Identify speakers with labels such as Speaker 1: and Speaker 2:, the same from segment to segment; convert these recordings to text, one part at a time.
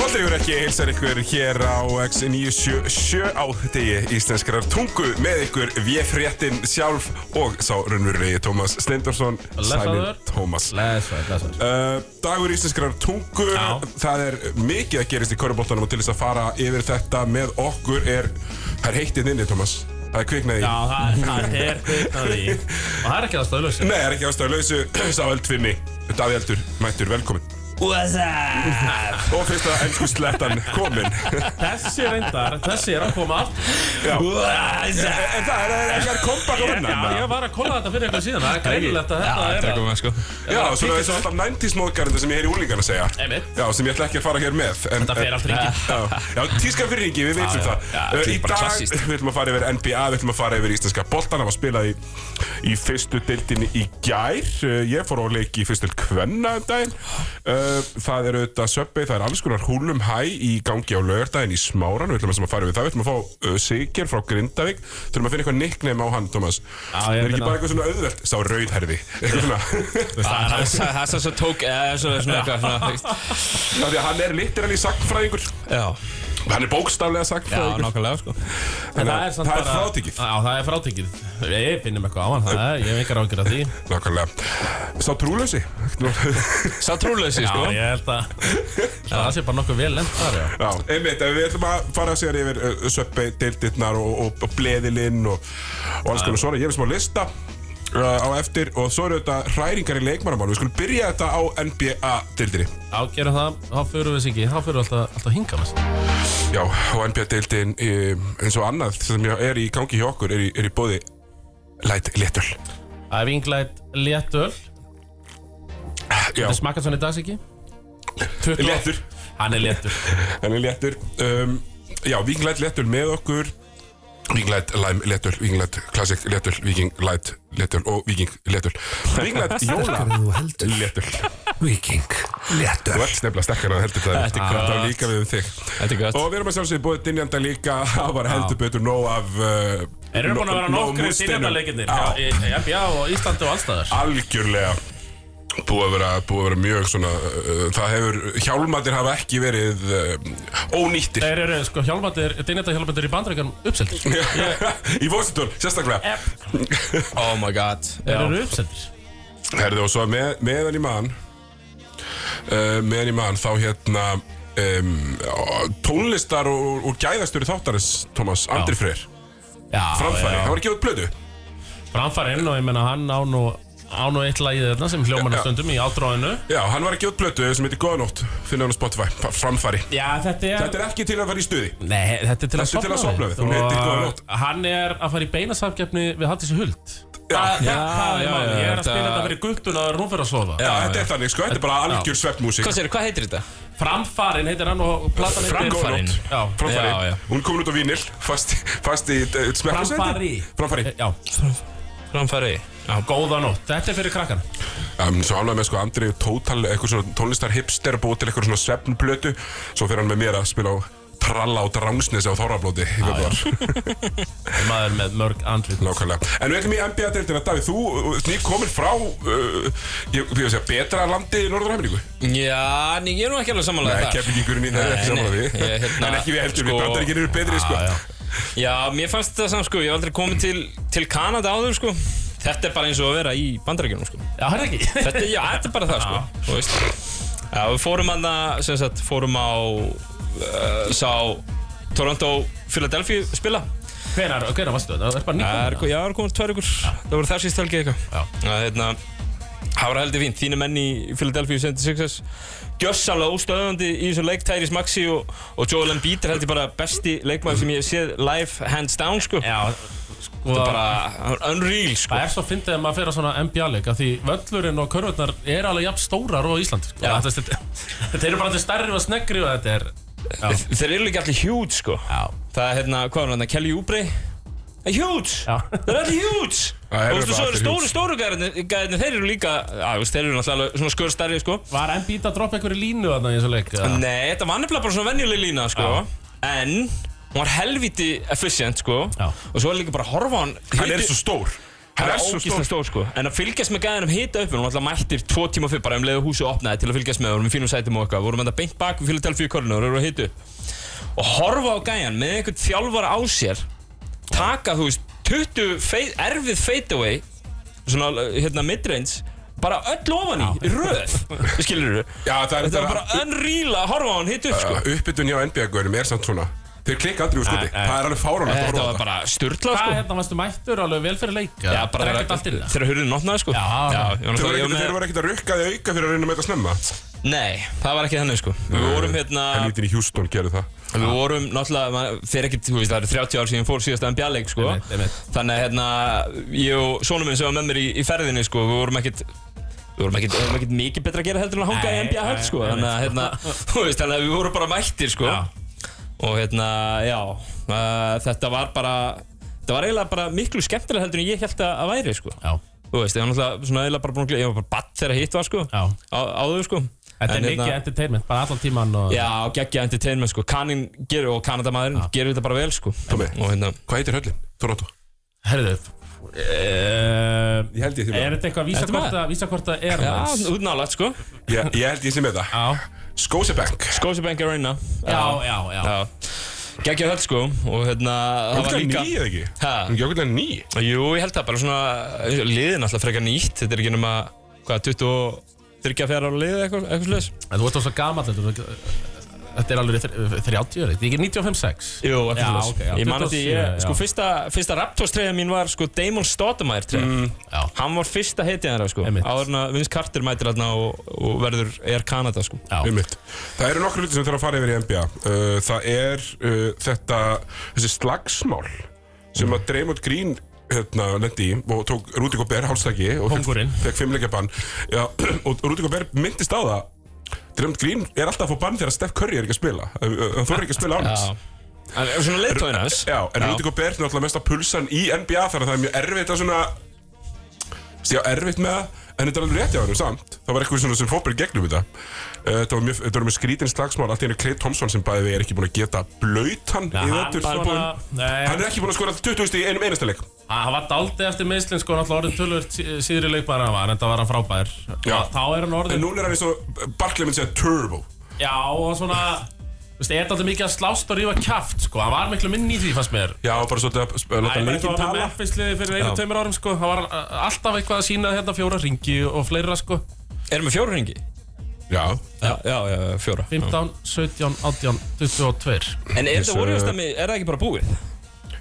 Speaker 1: Bóttriður ekki heilsar ykkur hér á X977 á degi íslenskrar tungu með ykkur V-fréttin sjálf og sá raunverulegi Tómas Stendorsson
Speaker 2: Blessaður.
Speaker 1: Tómas
Speaker 2: Lesaður, lesaður
Speaker 1: Uh, dagur íslenskrar tungu
Speaker 2: Já.
Speaker 1: Það er mikið að gerist í köruboltanum og til þess að fara yfir þetta með okkur er Það er heittið inni, Thomas Það er kviknaði
Speaker 2: Já, það, það er kviknað í Og það er ekki það stöðlösi
Speaker 1: Nei, það er ekki ástæðu lausu Sá eldfinni Davi Eldur, mættur, velkomin
Speaker 2: What's up?
Speaker 1: Og fyrsta elsku slettan komin
Speaker 2: Þessi reyndar, þessi er að koma aftur
Speaker 1: Já.
Speaker 2: What's up?
Speaker 1: En það er, er, er, er kompakt og
Speaker 2: Já, ég
Speaker 1: vinnan
Speaker 2: var að kolla þetta fyrir eitthvað síðan Það er greinilegt að þetta er að
Speaker 3: Tekum við sko
Speaker 1: Já, svona þessu alltaf 90s móðgarenda sem ég heyri úlingarna segja
Speaker 2: Einmitt.
Speaker 1: Já, sem ég ætla ekki að fara hér með en,
Speaker 2: Þetta fer allt hringi.
Speaker 1: Já, já tíska fyrir ringi, við veitum
Speaker 3: já,
Speaker 1: það
Speaker 3: já,
Speaker 1: Uh,
Speaker 3: þetta
Speaker 1: Í
Speaker 3: er bara
Speaker 1: dag
Speaker 3: klassískt.
Speaker 1: við ætlum að fara yfir NBA, við ætlum að fara yfir íslenska boltan Það var spilað í, í fyrstu deildinni í gær Uh, Ég fór á leik í fyrstu deild kvenna um daginn Uh, Það er auðvitað söpbi, það er alls konar húlum hæ í gangi á laugardaginn í smáran Við ætlum að fara yfir það, við ætlum að fá uh, Sigger frá Grindavík Þurfum að finna eitthvað nickname á hann, Thomas
Speaker 2: Já,
Speaker 1: Er
Speaker 2: ég
Speaker 1: ekki
Speaker 2: finna-
Speaker 1: bara eitthvað svona auðvelt, sá rauðherði Eitthvað svona
Speaker 3: Það er það- það er það sem tók eða svona svona eitthvað svona veist.
Speaker 1: Af því að hann er literally sagnfræðingur
Speaker 3: Já
Speaker 1: Hann er bókstaflega
Speaker 3: Já,
Speaker 1: sagnfræðingur
Speaker 3: nákvæmlega sko
Speaker 2: En
Speaker 1: Þannig að
Speaker 2: samt
Speaker 1: Það er
Speaker 2: bara-
Speaker 1: frátikið
Speaker 2: Já, það er frátekið Ég finnum eitthvað á hann, það er, ég hef engar ágjör af því
Speaker 1: Nákvæmlega Sá trúlausi
Speaker 3: Sá trúleysi sko
Speaker 2: Já, ég held að Það sé bara nokkuð vel lent þar, já
Speaker 1: Já, einmitt, en við ætlum að fara að segja yfir uh, söppi, deildirnar og, og, og bleðilinn og, og alls konar svona Ég er smá lista uh, á eftir og svo eru þetta hræringar í leikmannamál Við skulum byrja þetta á NBA deildinni
Speaker 2: Ágjörum það, þá fyrir við sig ekki, þá fyrir við alltaf, alltaf hingað með sér.
Speaker 1: Já, og NBA deildin um, eins og annað sem er í gangi hjá okkur er í, er í bóði Light Little
Speaker 2: Æfinglætt léttöl,
Speaker 1: Já,
Speaker 2: það smakkast hann í dags ekki? 20.
Speaker 1: Léttur.
Speaker 2: Hann er léttur.
Speaker 1: Hann er léttur um, Já, Viking Light léttur með okkur Viking Light Lime léttur Viking Light Classic léttur Viking Light léttur og Viking léttur Viking Light Jóla
Speaker 4: Þú heldur
Speaker 1: léttur
Speaker 4: Viking Léttur
Speaker 1: Þú ert nefnilega sterkar að heldur það
Speaker 3: Þetta er gott.
Speaker 1: Það á líka við um þig
Speaker 3: Þetta er gott
Speaker 1: Og við erum að sjálfsögja búið dynjanda líka Það var heldur betur nóg af uh,
Speaker 2: Þeir eru búin að vera
Speaker 1: nóg
Speaker 2: nokkru
Speaker 1: múrsteinum.
Speaker 2: dýrjafnarleikirnir
Speaker 1: Já,
Speaker 2: í í NBA og Íslandi og allstæðar.
Speaker 1: algjörlega búið að vera, búið að vera mjög svona uh, það hefur, hjálmatir hafa ekki verið uh, ónýttir
Speaker 2: Þeir eru sko hjálpandir, dýrjafnda hjálpandir í bandaríkan uppseldir.
Speaker 1: í Vositón, sérstaklega
Speaker 3: Oh my god
Speaker 2: Þeir eru uppseldir.
Speaker 1: Herðu og svo með, meðan í mann uh, meðan í mann þá hérna um, á- tónlistar og, og gæðastöru þáttarins Thomas, Andri Freyr,
Speaker 2: Já,
Speaker 1: framfæri,
Speaker 2: já.
Speaker 1: hann var ekki út blödu
Speaker 2: Framfærin og ég menna hann á nú, á nú eitt lagið þarna sem hljóman
Speaker 1: Já.
Speaker 2: að stundum í átráðinu.
Speaker 1: Já, hann var ekki út blödu sem heitir Góðanótt finna hann á Spotify, Fa- framfæri
Speaker 2: Já, þetta er...
Speaker 1: Þetta er ekki til að fara í stuði
Speaker 2: Nei, þetta er
Speaker 1: Þetta
Speaker 2: til að
Speaker 1: er til að
Speaker 2: sofna
Speaker 1: sofna við. Hún heitir Góða nótt.
Speaker 2: Og hann er að fara í beina samkeppni við Hattis Huld.
Speaker 1: Já, já,
Speaker 2: Já, það er
Speaker 3: já,
Speaker 2: málið.
Speaker 3: já,
Speaker 2: Ég er að spila
Speaker 3: þetta-
Speaker 2: þetta fyrir guttun að hún fyrir að sofa.
Speaker 1: þetta er þannig, sko, þetta er bara algjör sveppmúsík
Speaker 3: Hvað sér, hvað heitir þetta?
Speaker 2: Framfarin heitir hann og platan heitir
Speaker 3: Framfarin.
Speaker 2: Já,
Speaker 1: Framfæri,
Speaker 3: Já, já.
Speaker 1: hún kom út á vínil fast, fast í uh, smekkusæti
Speaker 2: Framfæri.
Speaker 1: Framfæri
Speaker 2: já,
Speaker 3: Framfæri
Speaker 2: góða nótt. Þetta er fyrir krakkan.
Speaker 1: Um, svo ánægði með sko Andri tótal, eitthvað svona tónlistar hipster og búið til eitthvað svona svefnblötu svo fyrir hann með mér að spila á tralla á drangsnesi á Þorrablóti í februar
Speaker 2: Maður með mörg andlit.
Speaker 1: nákvæmlega en við ætlum í NBA-deildina Davíð þú uh, ný komin frá uh, ég, ég, ég segja, betra landi í Norður-Ameríku
Speaker 3: Já, en ég er nú ekki alveg samanlega
Speaker 1: nei, kefningurinn í það er
Speaker 3: Nei,
Speaker 1: ekki saman að
Speaker 3: nei,
Speaker 1: því
Speaker 3: ég, hérna,
Speaker 1: en ekki við heldur
Speaker 3: sko-
Speaker 1: við bandaríkinn eru betri sko
Speaker 2: já.
Speaker 3: Já, mér fannst þetta samt sko, ég hef aldrei komið til, til Kanada áður sko Þetta er bara eins og að vera í bandarækjunum sko
Speaker 2: Já, hann er ekki.
Speaker 3: Þetta, já, þetta er bara það sko, þú veist Já, við fórum aðna, sem sagt, fórum á, uh, sá Toronto Philadelphia spila
Speaker 2: Hvenar, hvenar varstu þetta? Það er bara
Speaker 3: Það er,
Speaker 2: nýtt.
Speaker 3: já, það er komið tvær ykkur, það voru þar síst helgið
Speaker 2: Já.
Speaker 3: eitthvað Já, hérna, það var heldur fínt, þínu menn í Philadelphia 76ers Gjössalega óstöðandi í þessum leik, Tyrese Maxey og, og Joel Embiid er heldur bara besti leikmaður sem ég hef séð live hands down sko
Speaker 2: Já, sko.
Speaker 3: Þetta er bara unreal sko
Speaker 2: Það er svo fyndið að maður fyrir að svona NBA-leik að því völlurinn og körvurnar er alveg jafn stórar og á Íslandi. Sko.
Speaker 3: Já.
Speaker 2: Þetta- Þetta þetta eru bara allir stærri og sneggri og þetta er... Já.
Speaker 3: Þeir eru líka allir huge sko
Speaker 2: Já.
Speaker 3: Það er hérna, hvað var hann, Kelly Oubre Það er huge
Speaker 2: Já.
Speaker 3: Það er allir huge
Speaker 1: Já, þeir eru
Speaker 3: Og
Speaker 1: bara
Speaker 3: veistu, svo
Speaker 1: allir
Speaker 3: eru
Speaker 1: huge.
Speaker 3: stóru, stóru gæðinni Þeir eru líka, já, þú veist, þeir eru náttúrulega alveg svona skör stærri sko
Speaker 2: Var Embiid að droppa einhverju línu þarna í þessu leik? eða?
Speaker 3: Nei, þetta var nefnilega bara svona venjuleg lína sko En Hún var helviti efficient sko
Speaker 2: Já.
Speaker 3: Og svo er líka bara að horfa á hann
Speaker 1: Hann er svo stór Hann
Speaker 3: Hann er
Speaker 1: er svo
Speaker 3: ógísla
Speaker 1: stór
Speaker 3: stór sko En að fylgjast með gæðinum hita upp Hún var alltaf mættir tvo tíma fyrir bara um leiðu húsi opnaði Til að fylgjast með honum í fínum sætum og eitthvað Vorum enda beint bak við Philadelphia Körnur og eru að hita upp Og horfa á gæjan með einhvern þjálfara á sér Taka þú veist 20 fei, erfið fadeaway Svona hérna midrange Bara öll ofan í, í röð Skilur
Speaker 1: Já, það er
Speaker 3: Þetta var bara unreal að horfa á hann hita upp sko
Speaker 1: Uppbytun hjá NBA-görum er samt svona Þeir klikka aldrei úr stundi
Speaker 3: Nei, nei.
Speaker 1: Það er alveg fáránlegt að
Speaker 3: Þetta
Speaker 1: horfa á
Speaker 3: var bara styrla
Speaker 2: Hvað
Speaker 3: sko
Speaker 2: hérna varstu mættur alveg vel fyrir leika?
Speaker 3: Já, bara
Speaker 2: Það er ekkert allt yfir það.
Speaker 3: þegar hurðin opnaði sko
Speaker 2: Já.
Speaker 3: ég var
Speaker 1: Þeir voru
Speaker 3: náttúrulega-
Speaker 1: ekkert-
Speaker 3: ég var með-
Speaker 1: þeir voru ekkert að rukka þig auka fyrir að reyna með þetta snemma
Speaker 3: Nei, það var ekki þannig sko Við vorum hérna
Speaker 1: Helvítin í Houston gerðu það
Speaker 3: Við vorum náttúrulega maður- Fyrir ekki, þú veist, það eru 30 ár síðan fór síðasta en bjalleg sko
Speaker 2: Einmitt, einmitt.
Speaker 3: Þannig að hérna Ég og sonum minn sem var með mér í, í ferðinni sko Við vorum ekkit Við vorum ekkit, við vorum ekkit mikið betra að gera heldur en að hanga í
Speaker 2: Nei,
Speaker 3: NBA höll
Speaker 2: nei,
Speaker 3: sko
Speaker 2: einmitt.
Speaker 3: Þannig að hérna Þú veist, þannig að við vorum bara mættir sko
Speaker 2: Já.
Speaker 3: Og hérna, já uh, Þetta var bara Þetta var eiginlega bara miklu skemmtilega heldur en ég held að að væri sko
Speaker 2: Já,
Speaker 3: Þú veist, ég var náttúrulega svona eiginlega bara búin að gleyma Ég var bara batt þegar hitt var sko
Speaker 2: já.
Speaker 3: á, Áður sko
Speaker 2: Þetta
Speaker 3: En,
Speaker 2: er mikið entertainment, bara allan tíman og...
Speaker 3: Já, geggja entertainment sko Kanin gerir og Kanadamaðurinn gerir þetta bara vel sko
Speaker 1: Tommi.
Speaker 3: Og hérna
Speaker 1: Hvað heitir höllin? Toronto
Speaker 2: Herðu, uh,
Speaker 1: Ég held ég því
Speaker 2: er þetta eitthvað að vísa
Speaker 3: Ertu
Speaker 2: hvort
Speaker 3: með?
Speaker 2: að- vísa hvort það er
Speaker 3: Já,
Speaker 2: næs?
Speaker 3: út nálægt sko
Speaker 1: Ég ég held ég sem með það
Speaker 2: Já,
Speaker 1: Scotiabank
Speaker 3: Scotiabank Arena
Speaker 2: já, já, já.
Speaker 3: já. Geggja höll sko Og hérna Það var
Speaker 1: Jókulega
Speaker 3: líka
Speaker 1: ný eða ekki?
Speaker 3: Ha?
Speaker 1: Jókulega ný
Speaker 3: Jú, ég held það bara svona Liðin alltaf frekar nýtt Þetta er ekki nema Hvað, 23 fjara ára lið eitthvað, eitthvað slags
Speaker 2: En þú ert þá svo gamall, þetta er- þetta er alveg þr- 30 ári, þetta er ekki 95-6?
Speaker 3: Jú, eitthvað
Speaker 2: Já,
Speaker 3: slags
Speaker 2: ok, já,
Speaker 3: Ég man að því
Speaker 2: 27, já.
Speaker 3: Sko, fyrsta, fyrsta Raptors treyja mín var sko Damon Stoudemire treyja
Speaker 2: Já,
Speaker 3: Hann var fyrsta heitið þeirra sko
Speaker 2: Einmitt.
Speaker 3: Áður en að Vince Carter mætir hérna og, og verður Air Canada sko
Speaker 2: já.
Speaker 1: Einmitt. Það eru nokkur hluti sem þarf að fara yfir í NBA Uh, Það er uh, þetta Þessi slagsmál Sem að Draymond Green hérna, lendi í og tók Rúdi Gobert hálstæki og fékk-
Speaker 2: Kóngurinn.
Speaker 1: fekk fimmleikjabann Já, og Rúdi Gobert myndist á það Draymond Green er alltaf að fá bann þegar Steph Curry er ekki að spila Uh, uh, hann þorir ekki að spila án hans
Speaker 3: Já En svona leiðtóðin hans
Speaker 1: Já, en Rúdi Gobert er náttúrulega mesta pulsan í NBA þar að það er mjög erfitt að svona Já, erfitt með það En þetta er alveg rétt hjá hann samt Það var eitthvað svona sem fótbæri gegnum þetta uh, Þetta var mjög, þetta var mjög skrítin slagsmál Allt í henni Clay Thompson sem bæði við er ekki búin að geta blöytan
Speaker 2: Nei,
Speaker 1: í
Speaker 2: hann
Speaker 1: vettur
Speaker 2: bara- nei.
Speaker 1: Hann er ekki búin að skora 20 stig í einum einasta leik
Speaker 2: Hann hann var daldið eftir meðslinn sko, náttúrulega orðin tölvöld síðri leikmaður en hann var, en það var hann frábær.
Speaker 1: Já.
Speaker 2: Þá er hann orðin
Speaker 1: En núna er hann eins og Barkley minn segja turbo
Speaker 2: Já, og svona Þú veist, er þetta mikið að slást og rífa kjaft, sko Hann var miklu minni í því, fannst mér
Speaker 1: Já, bara svolítið að sp-
Speaker 2: Æ,
Speaker 1: láta
Speaker 2: bara
Speaker 1: leikinn
Speaker 2: eitthvað með
Speaker 1: tala
Speaker 2: Memphis-liði fyrir einu,
Speaker 1: Já.
Speaker 2: tveimur árum, sko Hann var uh, alltaf eitthvað að sína hérna fjóra ringi og fleira, sko
Speaker 3: Erum við fjóra ringi?
Speaker 1: Já,
Speaker 3: Já, já, já, já, fjóra
Speaker 2: 15, 17, 18, 22
Speaker 3: En er þetta
Speaker 1: Þessu-
Speaker 3: vorjóðstæmi, er það ekki bara búið?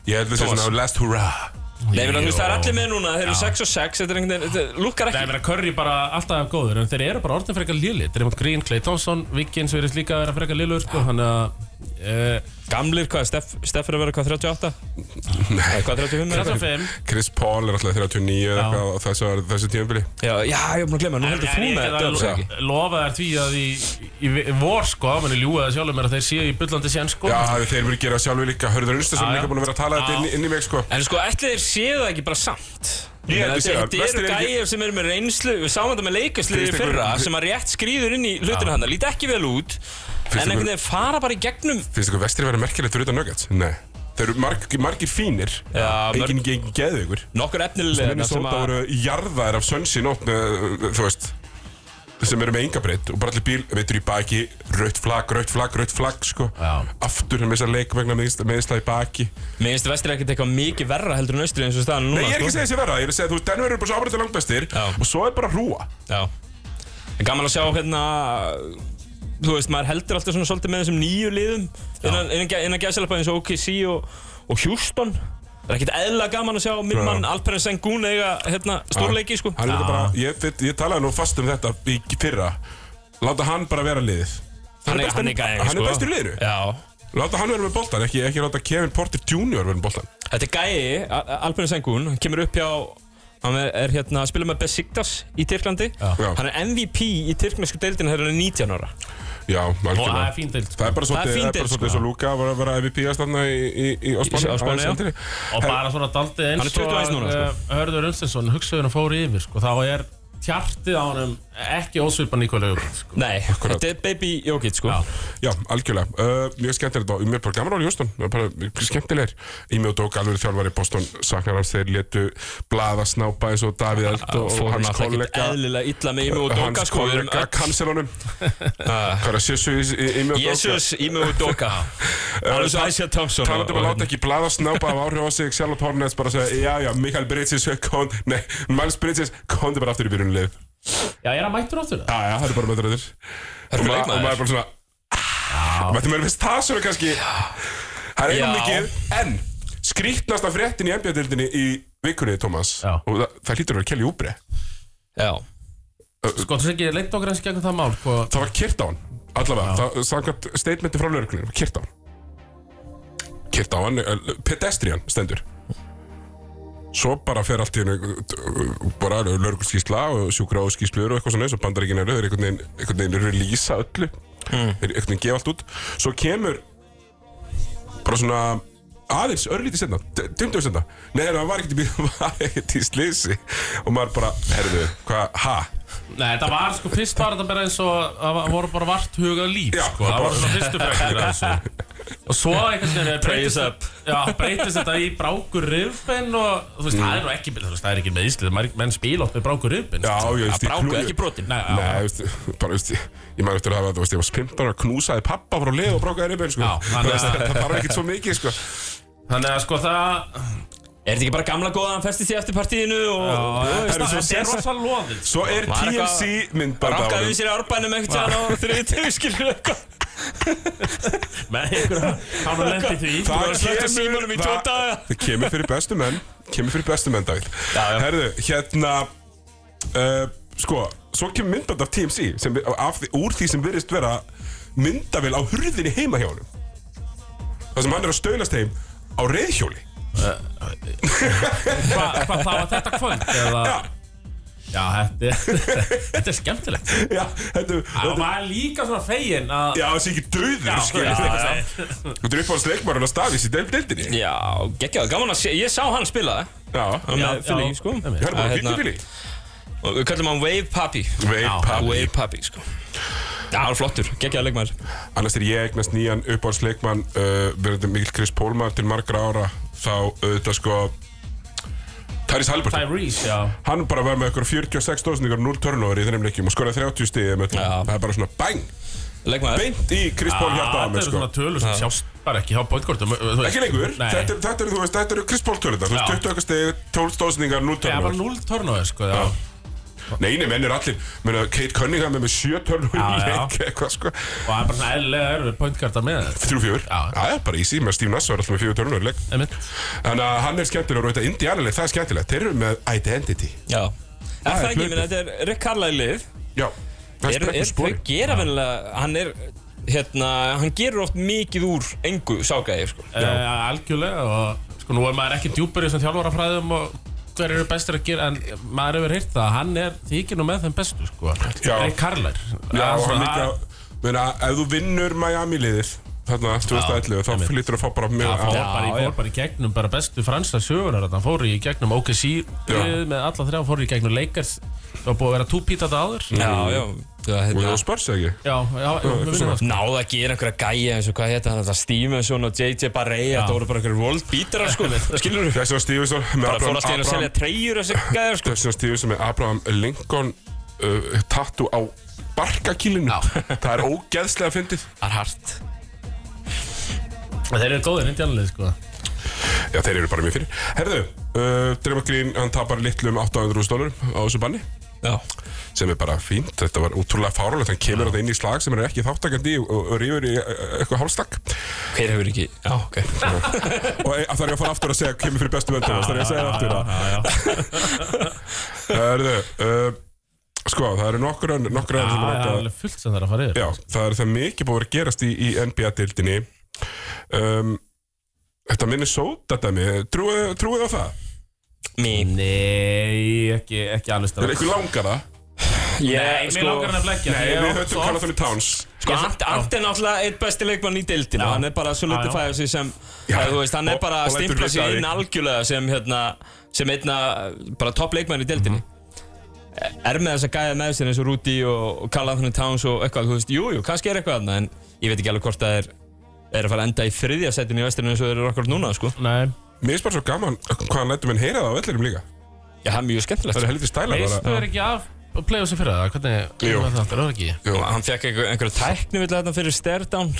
Speaker 1: ég held við sér svona last hurrah
Speaker 3: Nei, við erum það er allir með núna, þeir eru
Speaker 2: Já.
Speaker 3: 6 og 6 Þetta er einhvern veginn, þetta lukkar
Speaker 2: Það er
Speaker 3: ekki
Speaker 2: verið að Curry bara alltaf góður En þeir eru bara orðin frekar lili Þeir eru mjög Green, Clay Thompson, Wiggins verið líka að vera frekar lilur sko, Þannig að eh,
Speaker 3: Gamlir, hvað, Steff, Steff er að vera hvað, 38? Nei Hvað, 35 er þetta?
Speaker 2: 35
Speaker 1: Chris Paul er alltaf 39 eða eitthvað á þessu, þessu tímabili
Speaker 3: Já, já, ég er búin að glemma, nú heldur þú
Speaker 2: En ég
Speaker 3: með
Speaker 2: get
Speaker 3: þetta,
Speaker 2: alveg
Speaker 3: ekki?
Speaker 2: lofa þær því að í, í, í vor sko, manni ljúa það sjálfum er að þeir séu í byllandi sén sko
Speaker 1: Já, þeir eru að gera sjálfur líka Hörður Unstarsson
Speaker 2: Já,
Speaker 1: er
Speaker 2: já.
Speaker 1: líka búin að vera að tala þetta inn, í- inn í mig sko
Speaker 3: En sko, ætli þeir séu það ekki bara samt
Speaker 1: Ég held
Speaker 3: Þetta-
Speaker 1: við séu það.
Speaker 3: Þetta
Speaker 1: Vestir
Speaker 3: eru
Speaker 1: er ekki-
Speaker 3: gæjar sem eru með reynslu Við sáum þetta með leikasliði
Speaker 1: Finnst
Speaker 3: í
Speaker 1: ykkur-
Speaker 3: fyrra sem að rétt skrýður inn í hlutinu hann Líti ekki vel út En
Speaker 1: ykkur-
Speaker 3: einhvern veginn fara bara í gegnum
Speaker 1: Finnst ykkur vestri vera merkilegt fyrir utan Nuggets? Nei Þeir eru marg, margir fínir
Speaker 3: Já,
Speaker 1: Engin mörg... geðu ykkur
Speaker 3: nokkur efnilega
Speaker 1: Minni sóta voru jarðaðir af Sunshine Open uh, Þú veist sem eru með engabreytt og bara allir bíl veitur í baki, raut flagg, raut flagg, raut flagg sko,
Speaker 2: Já.
Speaker 1: aftur hann missa leik vegna meðisla í baki
Speaker 3: Mér finnst vestir ekkert eitthvað mikið verra heldur en austri eins og staðan núna
Speaker 1: Nei, ég er ekki að
Speaker 3: sko.
Speaker 1: segja þessi verða, ég er að segja þú veist, Denver eru bara svo ábæðið langbæstir
Speaker 3: Já.
Speaker 1: og svo er bara rúa
Speaker 3: Já En gaman að sjá hérna Þú veist, maður heldur alltaf svona svolítið með þessum nýju liðum Innan, innan, gæ- innan gæðsalapa eins og OKC og, og Houston Það er ekkert eðla gaman að sjá minn
Speaker 1: Já.
Speaker 3: mann Alperen Sengun eiga hérna, stórleiki sko
Speaker 1: Hann er þetta bara, ég, ég, ég talaði nú fast um þetta í fyrra Láta hann bara vera liðið
Speaker 3: Hann er,
Speaker 1: bestur-
Speaker 3: hann er, gæðing,
Speaker 1: hann er bestur í liðinu.
Speaker 3: Já
Speaker 1: Láta hann vera með boltan, ekki, ekki láta Kevin Porter Jr. vera með boltan
Speaker 3: Þetta er gæi, Alperen Sengun, hann kemur upp hjá Hann er, er hérna að spila með Besiktas í Tyrklandi
Speaker 1: Já.
Speaker 3: Hann er MVP í tyrknesku deildinu þegar hann er 19 ára
Speaker 1: Já,
Speaker 2: og það er
Speaker 1: algjörlega
Speaker 2: fín deild sko.
Speaker 1: Það er bara
Speaker 3: Það er
Speaker 1: svolítið,
Speaker 3: fín
Speaker 1: það er bara
Speaker 3: deild,
Speaker 1: svolítið eins og Luka var að vera MVP að stanna í, í, í á Spáni
Speaker 3: á Spáni, já.
Speaker 1: aðeins eldri.
Speaker 2: og bara svona daldið
Speaker 3: Hann er
Speaker 2: eins
Speaker 3: 21 núna, sko.
Speaker 2: eh, Hörður Unstinsson hugsaður að fóru yfir sko, þá er tjartið á honum ekki ósvipa Nikola Jókins sko.
Speaker 3: Nei, þetta er baby Jókit sko
Speaker 2: Já.
Speaker 1: Já, algjörlega. Uh, mjög skemmtilegt og mér er bara gaman á Jónsson. Það er bara skemmtilegir. Í mjög dók alveg þjálfari Boston saknar hans þeir letu blaða snápa eins og Davíð Eld og, og hans kollega
Speaker 3: Eðlilega illa með Ími og Dóka
Speaker 1: hans
Speaker 3: sko við erum
Speaker 1: kollega
Speaker 3: öll-
Speaker 1: kanselunum. Hvað er að sjössu í, í, sko. í mjög dók?
Speaker 3: Jesus, Ími og Dóka Alveg svo Æsja Thompson og-
Speaker 1: Talandum að
Speaker 3: og-
Speaker 1: láta ekki blaða snápa af áhrif á sig Charlotte Hornets bara að segja, já, já, Mikael Bridges kom, nei, Miles Bridges komði bara aftur í byrjunlið Já,
Speaker 2: Já, er hann mættur áttur það?
Speaker 1: já, það er bara möttur öður
Speaker 3: eru
Speaker 1: Og ma- og
Speaker 3: leikmaður.
Speaker 1: maður er bara svona "Ah." Mættum við veist það svona kannski Það er einum
Speaker 3: Já.
Speaker 1: mikið En skrýtnasta fréttin í NBA-dildinni í vikunni, Thomas
Speaker 2: Já.
Speaker 1: Og það, það hlýtur að vera Kelly Oubre
Speaker 3: Já
Speaker 2: Sko, þú sé ekki leitt okkur eins gegn það mál sko. hvað...
Speaker 1: Það var kyrt á hann, allavega Það samkvæmt statementi frá lögreglunum, kyrt á hann Kyrt á hann, eh, pedestrian stendur Svo bara fer allt í hennu bara lögreglskísla og sjúkraóskíslur og eitthvað svona eins og bandaríkinn eru, þeir einhvern veginn, einhvern veginn releasa öllu
Speaker 2: Hmm.
Speaker 1: þeir einhvern veginn gefa allt út Svo kemur bara svona aðeins örlítið senna, dundum senna Nei, það var ekkert í bíl, var ekkert í slisi og maður bara, herðu, hvað, ha?
Speaker 2: Nei, þetta var sko, fyrst var þetta bara eins og það var- voru bara vart hugað líf
Speaker 1: Já,
Speaker 2: sko.
Speaker 1: bara-
Speaker 2: Það voru svona fyrstu frekir að þessu Og svo einhvern veginn
Speaker 3: Praise up.
Speaker 2: Já, breytist þetta í brákur rifbein og þú veist, það er nú ekki, þú veist, það er ekki með íslið, menn spila oft með brákur rifbein sko.
Speaker 1: Já, ég veist,
Speaker 3: Að
Speaker 1: ég
Speaker 3: bráka
Speaker 1: knúði-
Speaker 3: ekki brotin
Speaker 2: Nei, já,
Speaker 1: Nei, þú veist, bara, þú veist, ég, ég maður eftir að hafa, þú veist, ég var 15 ára, knúsaði pappa frá leið og brókaði reyfbjörn, sko.
Speaker 2: Já,
Speaker 1: Þú
Speaker 2: þannig
Speaker 1: veist,
Speaker 2: að-
Speaker 1: það þarf ekkert svo mikið, sko.
Speaker 2: Þannig að sko það
Speaker 3: Er þetta ekki bara gamla góða að hann festi sig eftir partíinu og
Speaker 1: það er svo
Speaker 2: Þetta þetta er
Speaker 1: sens-
Speaker 2: rosa loðið
Speaker 1: Svo er
Speaker 3: Var eitthvað-
Speaker 1: TMC myndband á
Speaker 3: Rankaði
Speaker 1: honum.
Speaker 3: við sér í árbænum ekkert tíðan á þriðið, skilur eitthvað
Speaker 2: Með einhverja Hann var lendið því
Speaker 1: Það
Speaker 3: Þú var að slökkta símanum í tvo
Speaker 1: það-
Speaker 3: daga.
Speaker 1: Það kemur fyrir bestu menn, kemur fyrir bestu menn, Davíð.
Speaker 3: Já, já.
Speaker 1: Herðu, hérna, uh, sko, svo kemur myndband af TMC, sem, af, því- úr því sem virðist vera myndavél á hurðinni heima hjá honum. Það sem hann er að stöðlast heim á reyðhjóli.
Speaker 2: sko, Hvað hva, það var þetta kvöld eða...
Speaker 1: Já,
Speaker 2: Já, þetta er Þetta er skemmtilegt
Speaker 1: já, þetta,
Speaker 2: Og
Speaker 1: þetta
Speaker 2: maður er líka svona fegin að
Speaker 1: Já, það sé ekki döður,
Speaker 2: já,
Speaker 1: skiljið
Speaker 2: já,
Speaker 1: þig. Þú ert uppáhalds leikmarinn að Stafís í deildinni.
Speaker 3: Já, geggjað, gaman að sé, ég sá hann spila það
Speaker 1: Já.
Speaker 3: Já,
Speaker 2: já,
Speaker 3: Fili,
Speaker 2: já.
Speaker 3: sko
Speaker 2: Einmitt.
Speaker 1: Hérna bara,
Speaker 3: Að,
Speaker 1: fylgir fylgir.
Speaker 3: og Við kallum hann Wave Papi
Speaker 1: Veit, pappi.
Speaker 3: Wave Papi, sko Já, hann er flottur, geggjað leikmaður
Speaker 1: Annars er ég eignast nýjan uppáhalds leikmann, uh, verðandi Mikkel Chris Pólmaður til margra ára, þá auðvitað sko... Tyrese Halliburton.
Speaker 2: Tyrese, já
Speaker 1: Hann bara var með ykkur 46 stóðsendingar og 0 turnover í þeim leikjum og skoraði 30 stíði með
Speaker 3: Já.
Speaker 1: það er bara svona bang,
Speaker 3: Leikmaður
Speaker 1: beint í Chris Pól hjarta á
Speaker 2: Ah, Þetta
Speaker 1: mig
Speaker 2: eru
Speaker 1: sko.
Speaker 2: svona tölur sem sjást bara ekki hjá bóttkortum
Speaker 1: Ekki lengur,
Speaker 2: Nei.
Speaker 1: þetta eru, þetta eru, þú veist, þetta eru Chris Pól tölundar, þú veist,
Speaker 2: Já.
Speaker 1: 20 okkar stíði, 12 stóðsendingar, 0
Speaker 2: Það var
Speaker 1: turnover.
Speaker 2: null törnóður, sko já.
Speaker 1: Nei, nei, menn er allir, menn Kate Cunningham er með 7 turnover í
Speaker 2: Já, já.
Speaker 1: leik, eitthvað sko.
Speaker 2: Og það er bara svona eðlilega erfið pointkarta með þetta
Speaker 1: Þrjú fjögur,
Speaker 2: Já.
Speaker 1: já, já, bara easy, með Steve Nass var alltaf með fjögur törnur leik
Speaker 2: Einmitt.
Speaker 1: Þannig að hann er skemmtilegur og þetta indianalið, það er skemmtilegt, þeir eru með identity
Speaker 3: Já Er það
Speaker 1: er
Speaker 3: ekki,
Speaker 1: hlutur.
Speaker 3: minn, þetta er Rick Carlisle lið
Speaker 1: Já, það er
Speaker 3: er,
Speaker 1: sprekkur
Speaker 3: er,
Speaker 1: spori
Speaker 3: Þau gera venilega, hann er, hérna, hann gerur oft mikið úr engu ságæði, sko
Speaker 2: uh, Algjörlega og sko nú er maður ekki djúpur í þessum þjálfarafræðum og hver eru bestir að gera en maður hefur heyrt það að hann er þykir nú með þeim bestu sko
Speaker 1: Já.
Speaker 2: Ray Karlar
Speaker 1: Já, og hann líka, meina, ef þú vinnur Miami liðið, þarna, 2011, þá flyttur að fá bara mjög á-
Speaker 2: fór, bara, í- fór bara í gegnum bara bestu franska sögunar hann fór í gegnum OKC liðið með alla þrjá fór í gegnum Lakers það var búið að vera túpít þetta áður
Speaker 3: Já, já, það,
Speaker 1: Og
Speaker 3: hérna
Speaker 1: þú spörs ekki
Speaker 2: já, já, já við vinnum það sko
Speaker 3: Náða að gera einhverja gæja eins og hvað hétt hann, þetta Stevenson og JJ Barreya, þetta voru bara einhverjir world beaterar, sko Skilur þú?
Speaker 1: Þess að Stevenson með
Speaker 3: Bara fór
Speaker 1: Abraham,
Speaker 3: að stila að selja
Speaker 1: Abraham
Speaker 3: treyjur þessi gæjar, sko
Speaker 1: Þess að Stevenson með Abraham Lincoln uh, tattu á barkakýlinu Það er ógeðslega fyndið
Speaker 3: Það er hart
Speaker 2: En þeir eru góðir indjánalið sko
Speaker 1: Já, þeir eru bara mér fyrir. Herðu, uh, Draymond Green, hann tapar um litlum 800.000 dólar á þessu banni
Speaker 3: Já,
Speaker 1: sem er bara fínt, þetta var útrúlega fárálegt hann kemur þetta inn í slag sem hann er ekki þáttakandi í og, og rýfur í uh, eitthvað hálstak
Speaker 3: hver hefur ekki, já, ok
Speaker 1: og e, það er ég að fara aftur að segja kemur fyrir bestu vöndur það er ég að segja aftur það Herðu, uh, sko, það eru nokkur önn nokkur önn sem
Speaker 2: það
Speaker 1: er
Speaker 2: er
Speaker 1: nokkur
Speaker 2: alveg fullt sem það er að fara yfir
Speaker 1: Já, það er það mikið búið að vera að gerast í, í NBA-dildinni um, Þetta Minnesota dæmi, trúið, trúið á það?
Speaker 3: Mín
Speaker 2: Nei, ekki, ekki alveg
Speaker 1: Er
Speaker 2: strax
Speaker 1: eitthvað langar það?
Speaker 2: Nei, mér Eh, langar hann að fleggja
Speaker 1: sko- Nei, við höfum kallað þannig Towns
Speaker 3: Sko, Ant, Ant er náttúrulega eitt besti leikmann í deildinu
Speaker 2: Já.
Speaker 3: Hann er bara að solidifæða sig sem
Speaker 1: Já.
Speaker 3: eða, þú veist, Hann er
Speaker 1: Og-
Speaker 3: bara
Speaker 1: og
Speaker 3: að
Speaker 1: lætur
Speaker 3: stimpla
Speaker 1: vita af
Speaker 3: sig
Speaker 1: því.
Speaker 3: inn algjörlega sem, hérna, sem einna bara topp leikmann í deildinu er með þessa gæða með sér eins og Rúti og, og Karl Anthony Towns og eitthvað, þú veist, jú, jú, kannski er eitthvað annað, en ég veit ekki alveg hvort það er, er að fara að enda í þriðja setinu í vestirinu eins og þeir eru akkurat núna, sko.
Speaker 2: Nei,
Speaker 1: Mér finnst bara svo gaman hvað hann lætur minn heyra það á vellinum líka
Speaker 3: Já, það er mjög skemmtilegt.
Speaker 1: Það er helviti stælar
Speaker 2: veistu
Speaker 1: bara
Speaker 2: er ekki af að playa þessu fyrir það? Hvernig
Speaker 1: Jú.
Speaker 2: er það aftur? Er það ekki?
Speaker 1: Jú,
Speaker 3: Hann fekk einhver- einhverja tækni vilja þetta fyrir stærdown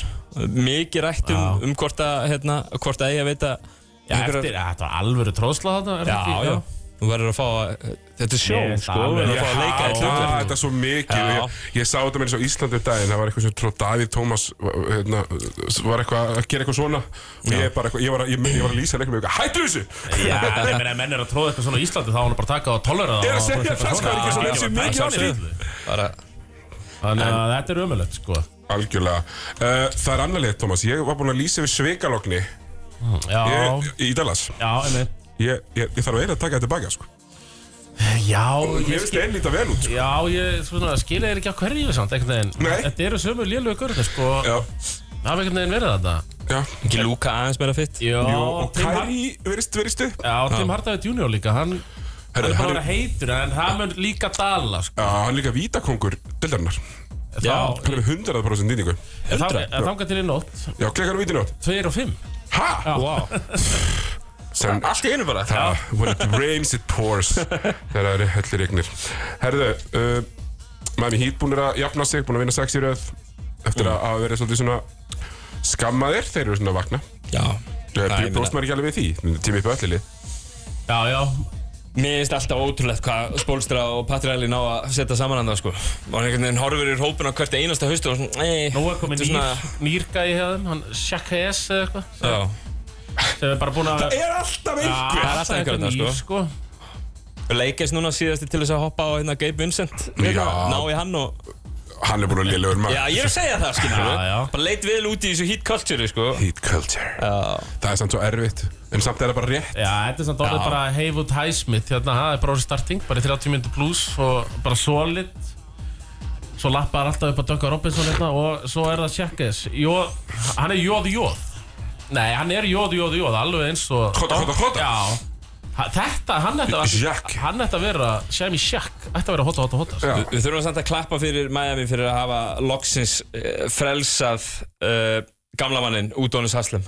Speaker 3: Mikið rætt um, um hvort að hérna, hvort að ég að veita
Speaker 2: Já, eftir, ja, þetta var alvöru tróðsla þarna eftir
Speaker 3: Já,
Speaker 2: því,
Speaker 3: já, Þú verður að fá að Þetta er sjó,
Speaker 2: Ég er
Speaker 3: sko
Speaker 2: það
Speaker 3: Þú verður
Speaker 1: Já,
Speaker 3: að fá að leika eitt
Speaker 1: það
Speaker 3: hlutverk
Speaker 1: þetta er svo mikið
Speaker 3: Já.
Speaker 1: ég, ég sá þetta með eins og Íslandi um daginn Það var eitthvað sem tróð Davíð Tómas hérna, Var eitthvað að gera eitthvað svona Og ég, bara, eitthvað- ég, var, að- ég, ég var að lýsa leiknum eitthvað Hættu þessu!
Speaker 2: Já, en ég meina, ef menn er að tróða eitthvað svona á Íslandi þá á hann bara að taka og tolera það
Speaker 1: Ég er að
Speaker 2: og
Speaker 1: segja það,
Speaker 2: bara eitthvað
Speaker 1: sko, er
Speaker 2: svona.
Speaker 1: ekki svo
Speaker 2: Já,
Speaker 1: leið sem
Speaker 2: já,
Speaker 1: mikið á því.
Speaker 2: já, sjálfsögðu.
Speaker 3: Bara,
Speaker 2: Þannig að þetta er ömulegt, sko
Speaker 1: Algjörlega uh, Það er annar leið, Tómas Ég var búin að lýsa yfir sveikalogni
Speaker 2: Já,
Speaker 1: ég, Í Dallas
Speaker 2: já, einmitt
Speaker 1: Ég, ég, ég þarf að eira að taka þetta tilbaka sko.
Speaker 2: Já,
Speaker 1: Mér
Speaker 2: ég
Speaker 1: finnst
Speaker 2: skil
Speaker 1: það einn líta vel út sko.
Speaker 2: Já, ég svona, skilja þér ekki á hverju samt, einhvern
Speaker 1: Nei.
Speaker 2: veginn Þetta eru sömu lélögu görðir, sko
Speaker 1: Já,
Speaker 2: Það hafa einhvern veginn verið þetta
Speaker 1: já
Speaker 3: ekki Lúka aðeins meira fitt
Speaker 2: Já,
Speaker 1: Jú, og
Speaker 2: Tim Har-
Speaker 1: Kæri verist, verist upp
Speaker 2: Já, Tim Hardaway Junior líka, hann Hann
Speaker 1: Herru,
Speaker 2: er bara að
Speaker 1: hann
Speaker 2: vera
Speaker 1: er,
Speaker 2: heitur, en það mun líka dala, sko
Speaker 1: já, hann er líka vítakongur Dildarinnar
Speaker 2: Þá-
Speaker 1: Hann er með 100% nýtingu
Speaker 2: en þá- en Þangað til í nótt,
Speaker 1: Já, klekkan á vítinót
Speaker 2: 2 og 5
Speaker 1: Ha?
Speaker 2: Wow
Speaker 1: Sem
Speaker 3: Allt í einu bara
Speaker 1: Það, when it rains it pours Þegar það eru höllir regnir Herðu, uh, maður hýtt búin að jafna sig, búin að vinna sex í röð Eftir að hafa verið svolítið svona skammaðir Þeir eru svona að vakna
Speaker 3: Já
Speaker 1: Bjóð
Speaker 3: ég meina-
Speaker 1: bróst maður ekki alveg við því, tími upp öllili
Speaker 2: Já, já,
Speaker 3: Mér finnst alltaf ótrúlegt hvað Spólstra og Patræli ná að setja saman hann sko. Og hann einhvern veginn horfir í hópin á hvert einasta haust og svona "Nei,
Speaker 2: nú er komið
Speaker 3: þetta
Speaker 2: nýr, nýrgæði hefðum, hann Shaq Hayes eða eitthvað
Speaker 3: Já,
Speaker 2: sem er bara búin að
Speaker 1: Er alltaf
Speaker 2: Já,
Speaker 1: einhver
Speaker 3: er alltaf einhver þarna,
Speaker 2: nýr, sko
Speaker 3: leikast núna síðasti til þess að hoppa á hérna Gabe Vincent hérna,
Speaker 1: Já.
Speaker 3: Ná í hann og
Speaker 1: Hann er búin að lélugur maður
Speaker 3: Já, ég er að segja það, skilur við.
Speaker 2: Já, já.
Speaker 3: Bara leit vel út í þessu heat culture, sko.
Speaker 1: Heat culture
Speaker 3: Já.
Speaker 1: Það er samt svo erfitt En samt er það bara rétt
Speaker 2: Já, þetta er samt orðið
Speaker 3: Já.
Speaker 2: bara Heywood Highsmith hérna, það er bara orðið starting, bara í 30 minntu pluss og bara solid svo lappar alltaf upp að Duncan Robinson hérna og svo er það Shaq Hayes Jóð- hann er jóð jóð Nei, hann er jóð jóð jóð, alveg eins og
Speaker 1: Kota, kota, kota.
Speaker 2: Já, Ha- þetta, hann ætti að,
Speaker 1: Shaq. Eh.
Speaker 2: hann ætti að vera Shami Shaq, ætti að vera hota, hota, hota sko.
Speaker 1: Já.
Speaker 3: Við, við þurfum samt að klappa fyrir Miami fyrir að hafa loksins uh, frelsað uh, gamla mannin, Udonis Haslem.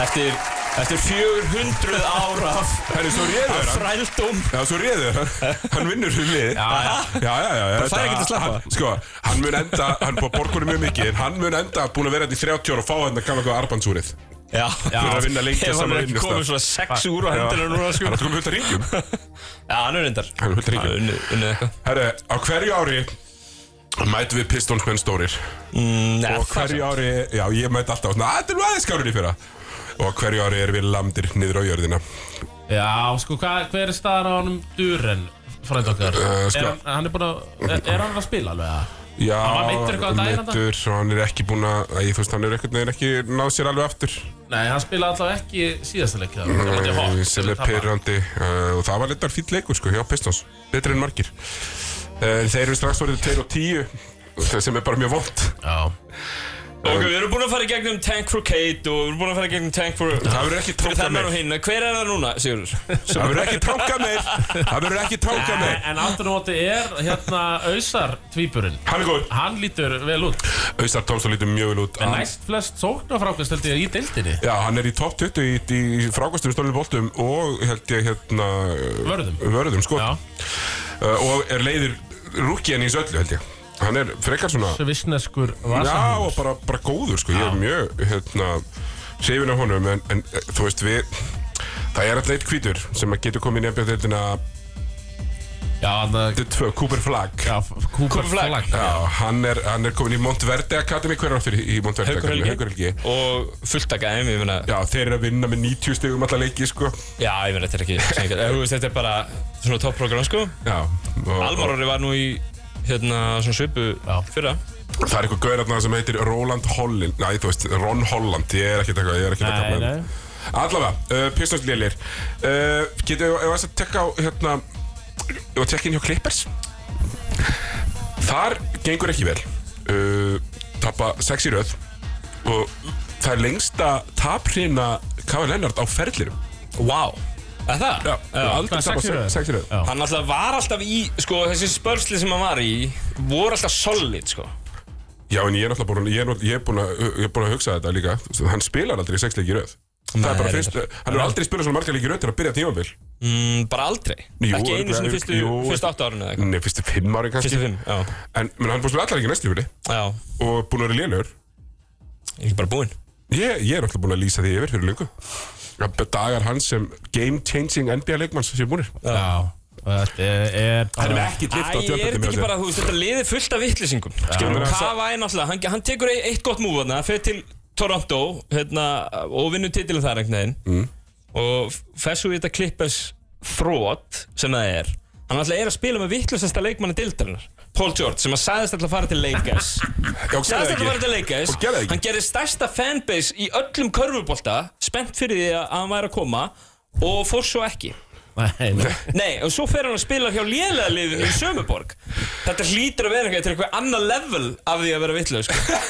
Speaker 3: Eftir, eftir 400 ára af
Speaker 1: Það er svo réður
Speaker 3: af
Speaker 1: hann
Speaker 3: frældum.
Speaker 1: Já, svo réður hann Hann vinnur hún liði Já, já, já, já, já Bara
Speaker 3: fær ekkert að sleppa.
Speaker 1: Sko, hann mun enda Hann búið að borga honum mjög mikið En hann mun enda búin að vera þetta í 30 ára Og fá þetta gamla góða arbansúrið
Speaker 3: Já, já.
Speaker 1: Fyrir að vinna lengi
Speaker 3: Ef
Speaker 1: saman
Speaker 3: hann er ekki
Speaker 1: vinnustað.
Speaker 3: komið svona 6 úr á hendina núna, sko.
Speaker 1: Hann er komið fullt að ringjum
Speaker 3: Já, hann er reyndar.
Speaker 1: Hann er fullt að
Speaker 3: Hann er
Speaker 1: ringjum
Speaker 3: unnið, unnið eitthvað.
Speaker 1: Herre, á hverju ári Mætum við Pistons menn stórir
Speaker 3: Mm,
Speaker 1: Og á hverju ári Já, ég mæt alltaf á svona "Æ, Þetta er nú aðeins skárur í fyrra Og á hverju ári erum við lamdir niður á jörðina
Speaker 2: Já, sko, hva, hver er staðan á honum Duren, frænd okkar?
Speaker 1: Eh, sko-
Speaker 2: er, hann- hann er, búinn að, er, er hann að spila alveg? eða?
Speaker 1: Já,
Speaker 2: Hann var meiddur eitthvað á daginn þarna?
Speaker 1: meiddur og hann er ekki búinn að, æ, þú veist, hann er einhvern veginn ekki náð sér alveg aftur
Speaker 2: Nei, hann spilaði alltaf ekki síðasta leik það var ekki
Speaker 1: Nei,
Speaker 2: hot,
Speaker 1: Eh, Mm, sem er
Speaker 2: þeir tapa.
Speaker 1: pyrrandi uh, og það var litar fýll leikur sko hjá Pistons, betur en margir uh, þeir eru strax orðið 2 og 10 sem er bara mjög vond
Speaker 2: Já,
Speaker 3: Ok, við erum búin að fara í gegnum Tank for Kate og við erum búin að fara í gegnum Tank for...
Speaker 1: það verður ekki
Speaker 3: Fyrir
Speaker 1: tanka
Speaker 3: þennan
Speaker 1: meir
Speaker 3: og hinn. Hver er það núna, Sigurður?
Speaker 1: það verður ekki tanka meir það verður ekki tanka
Speaker 2: en,
Speaker 1: meir
Speaker 2: en aftur á móti er hérna Ausar tvíburinn
Speaker 1: hann er góð
Speaker 2: Hann lítur vel út
Speaker 1: Auðvitað Tómsson lítur mjög vel út
Speaker 2: En
Speaker 1: Hann-
Speaker 2: næst flest sóknarfrákast held ég í deildinni
Speaker 1: Já, hann er í topp 20 í, í frákvæmstum stólinu boltum og held ég hérna uh,
Speaker 2: Vörðum.
Speaker 1: vörðum sko
Speaker 2: Já,
Speaker 1: uh, og er leiðir rúkien í þessu öllu held ég hann er frekar svona
Speaker 2: svisneskur
Speaker 1: Já,
Speaker 2: vasahnúr
Speaker 1: og bara, bara góður sko, ég er mjög hérna, hrifin af honum en, en eh, þú veist við það er alltaf eitt hvítur sem að getur komið í nefnbjörndeildina
Speaker 2: Já, hann að
Speaker 1: tvö, Cooper Flagg
Speaker 2: Já, Cooper
Speaker 3: Flagg.
Speaker 2: Flagg
Speaker 1: Já, hann er, hann er komin í Montverde Academy, hver er áttur í í Montverde
Speaker 3: Haukur
Speaker 1: Academy?
Speaker 3: Helgi.
Speaker 1: Haukur Helgi
Speaker 3: Og fullt að gæmi, ég meina...
Speaker 1: Já, þeir eru að vinna með 90 stegum alla leiki sko
Speaker 3: Já, ég meina, þetta er ekki sengið. Þú veist, þetta er bara svona topprogram, sko.
Speaker 1: Já, og, og
Speaker 3: Almarori var nú í hérna svona svipu
Speaker 2: Já.
Speaker 3: fyrra.
Speaker 1: það er eitthvað gaur þarna sem heitir Roland Holland Næ, þú veist, Ron Holland, ég er ekkert eitthvað, ég er ekkert
Speaker 2: Nei,
Speaker 1: eitthvað
Speaker 2: nei.
Speaker 1: Allavega, uh, Pistons lélir uh, Getur við að tekka á hérna og tekka inn hjá Clippers Þar gengur ekki vel uh, Tappa sex í röð og það er lengsta taprýna Kawhi Leonard á ferðlirum
Speaker 3: Vá! Er það?
Speaker 1: Já, aldrei
Speaker 2: Hvað, sex í
Speaker 1: tapað
Speaker 2: röð?
Speaker 1: 6 í röð
Speaker 2: Já.
Speaker 3: Hann alltaf var alltaf í, sko, þessi spörsli sem hann var í voru alltaf solid, sko
Speaker 1: Já, en ég er náttúrulega búin, ég er, náttúrulega- ég er búin, að, ég er búin að hugsa þetta líka Þú veist, Hann spilar aldrei sex leiki í röð Það
Speaker 3: Nei,
Speaker 1: er bara
Speaker 3: reyndar.
Speaker 1: fyrst, hann er aldrei spilað svona marga leiki í röð til að byrja tímabil
Speaker 3: mm, Bara aldrei
Speaker 1: Jú,
Speaker 3: Ekki einu sinni
Speaker 1: örugglega,
Speaker 3: fyrstu,
Speaker 1: jú,
Speaker 3: fyrstu átta árinu eða eitthvað
Speaker 1: Nei, fyrstu fimm ári kannski
Speaker 3: Fyrstu fimm, já
Speaker 1: En menn, hann er búin að spila allar leiki næstu fili
Speaker 3: Já,
Speaker 1: Og búin að vera lélugur
Speaker 3: ég er ekki bara búinn
Speaker 1: Ég, ég er alltaf búin að lýsa því yfir fyrir lungu Dagar hans sem game changing NBA leikmanns sem búinir
Speaker 2: Já, og þetta er- er
Speaker 1: Hann
Speaker 2: bara
Speaker 1: er ekki
Speaker 3: Æ,
Speaker 1: klift á
Speaker 3: er
Speaker 1: tjöldum
Speaker 3: þetta ekki bara, þú veist, þetta liði fullt af vittlýsingum Skilum,
Speaker 1: Já.
Speaker 3: Kava er náttúrulega, hann, hann tekur ei- eitt gott múf þarna Fer til Toronto, hérna, og vinnur titilin þar einhvern veginn mm. Og fessu við þetta klippes þrótt sem það er Hann alltaf er að spila með vittlustasta leikmanni dildarinnar Paul George, sem að sagðist alltaf að fara til Lakers Sagðist alltaf að fara til Lakers
Speaker 1: Og gerði það ekki.
Speaker 3: Hann gerði stærsta fanbase í öllum körfubolta Spennt fyrir því að hann væri að koma Og fór svo ekki
Speaker 2: Nei, nei.
Speaker 3: Nei, og svo fer hann að spila hjá lélega liðinu í Sömuborg Þetta hlýtur að vera eitthvað til eitthvað annað level af því að vera vitlaug sko.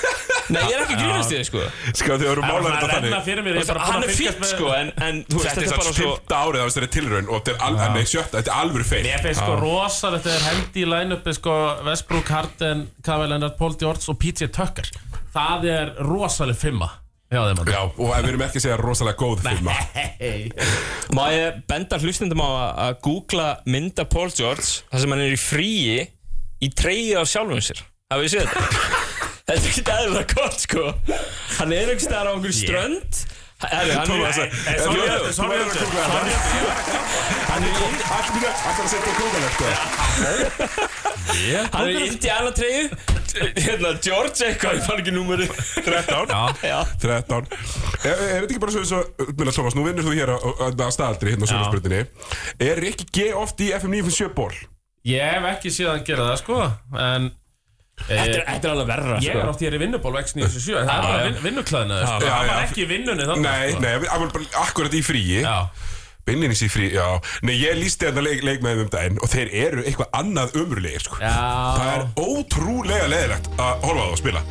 Speaker 3: Nei, ég er ekki að grínast í þig sko.
Speaker 1: Ska þau eru
Speaker 2: Það
Speaker 1: málar
Speaker 2: er
Speaker 1: þetta
Speaker 2: að renna
Speaker 1: þannig
Speaker 2: fyrir mér ég er bara búinn
Speaker 3: Hann
Speaker 2: að
Speaker 3: er
Speaker 2: fylgjast
Speaker 3: fýtt
Speaker 2: með-
Speaker 3: sko, en, en þú veist,
Speaker 1: Þetta er
Speaker 3: þetta er bara
Speaker 1: þess að
Speaker 3: svo
Speaker 1: fyrta árið af þessari tilraun og þetta er al- nei, sjötta, þetta er alvöru feil
Speaker 2: Ég finnst sko rosalegt þegar hendi í line-upi sko Westbrook, Harden, Kawhi Leonard, Paul George og PJ Tucker Það er rosaleg fimma Já, þeim að
Speaker 1: Já, og við erum ekki að segja rosalega góð filma
Speaker 3: Má ég benda hlustendum á að- að googla mynda Paul George þar sem hann er í fríi í treyju af sjálfum sér Hafið þið séð þetta? þetta er ekki aðeins að gott sko Hann er ekki staðar á einhverju strönd Herri, hann
Speaker 1: Thomas,
Speaker 3: er-
Speaker 1: eh,
Speaker 3: Jú,
Speaker 1: þú-
Speaker 3: jú.
Speaker 1: þú- þú verður að googla þetta.
Speaker 3: Hann er í
Speaker 1: Allt mjög, alltaf að setja á kókanlegt
Speaker 3: Hann er í Indiana treyju Hérna, George eitthvað, ég fann ekki númeri
Speaker 1: 13
Speaker 3: Já
Speaker 1: 13 Er er þetta ekki bara svo eins og Minna Thomas, nú vinnur þú hér á- á- að staðaldri hérna á sögursprutinni Er Rikki G oft í FM 957 ból?
Speaker 2: Ég hef ekki séð hann gera það sko En
Speaker 3: Þetta er- þetta er alveg verra sko.
Speaker 2: ég er átt hér í vinnuból X97 En það er bara vin, vinnuklæðina sko.
Speaker 1: Sko. Já,
Speaker 2: Það var
Speaker 1: já.
Speaker 2: ekki í vinnunni þannig
Speaker 1: Nei,
Speaker 2: sko.
Speaker 1: nei, við- hann var bara akkurat í fríi
Speaker 2: Já,
Speaker 1: Beinlinis í frí, já Nei, ég lísti þetta leik, leik með þeim um daginn Og þeir eru eitthvað annað umurlegir, sko Það
Speaker 2: já
Speaker 1: er ótrúlega leðilegt að horfa á það að spila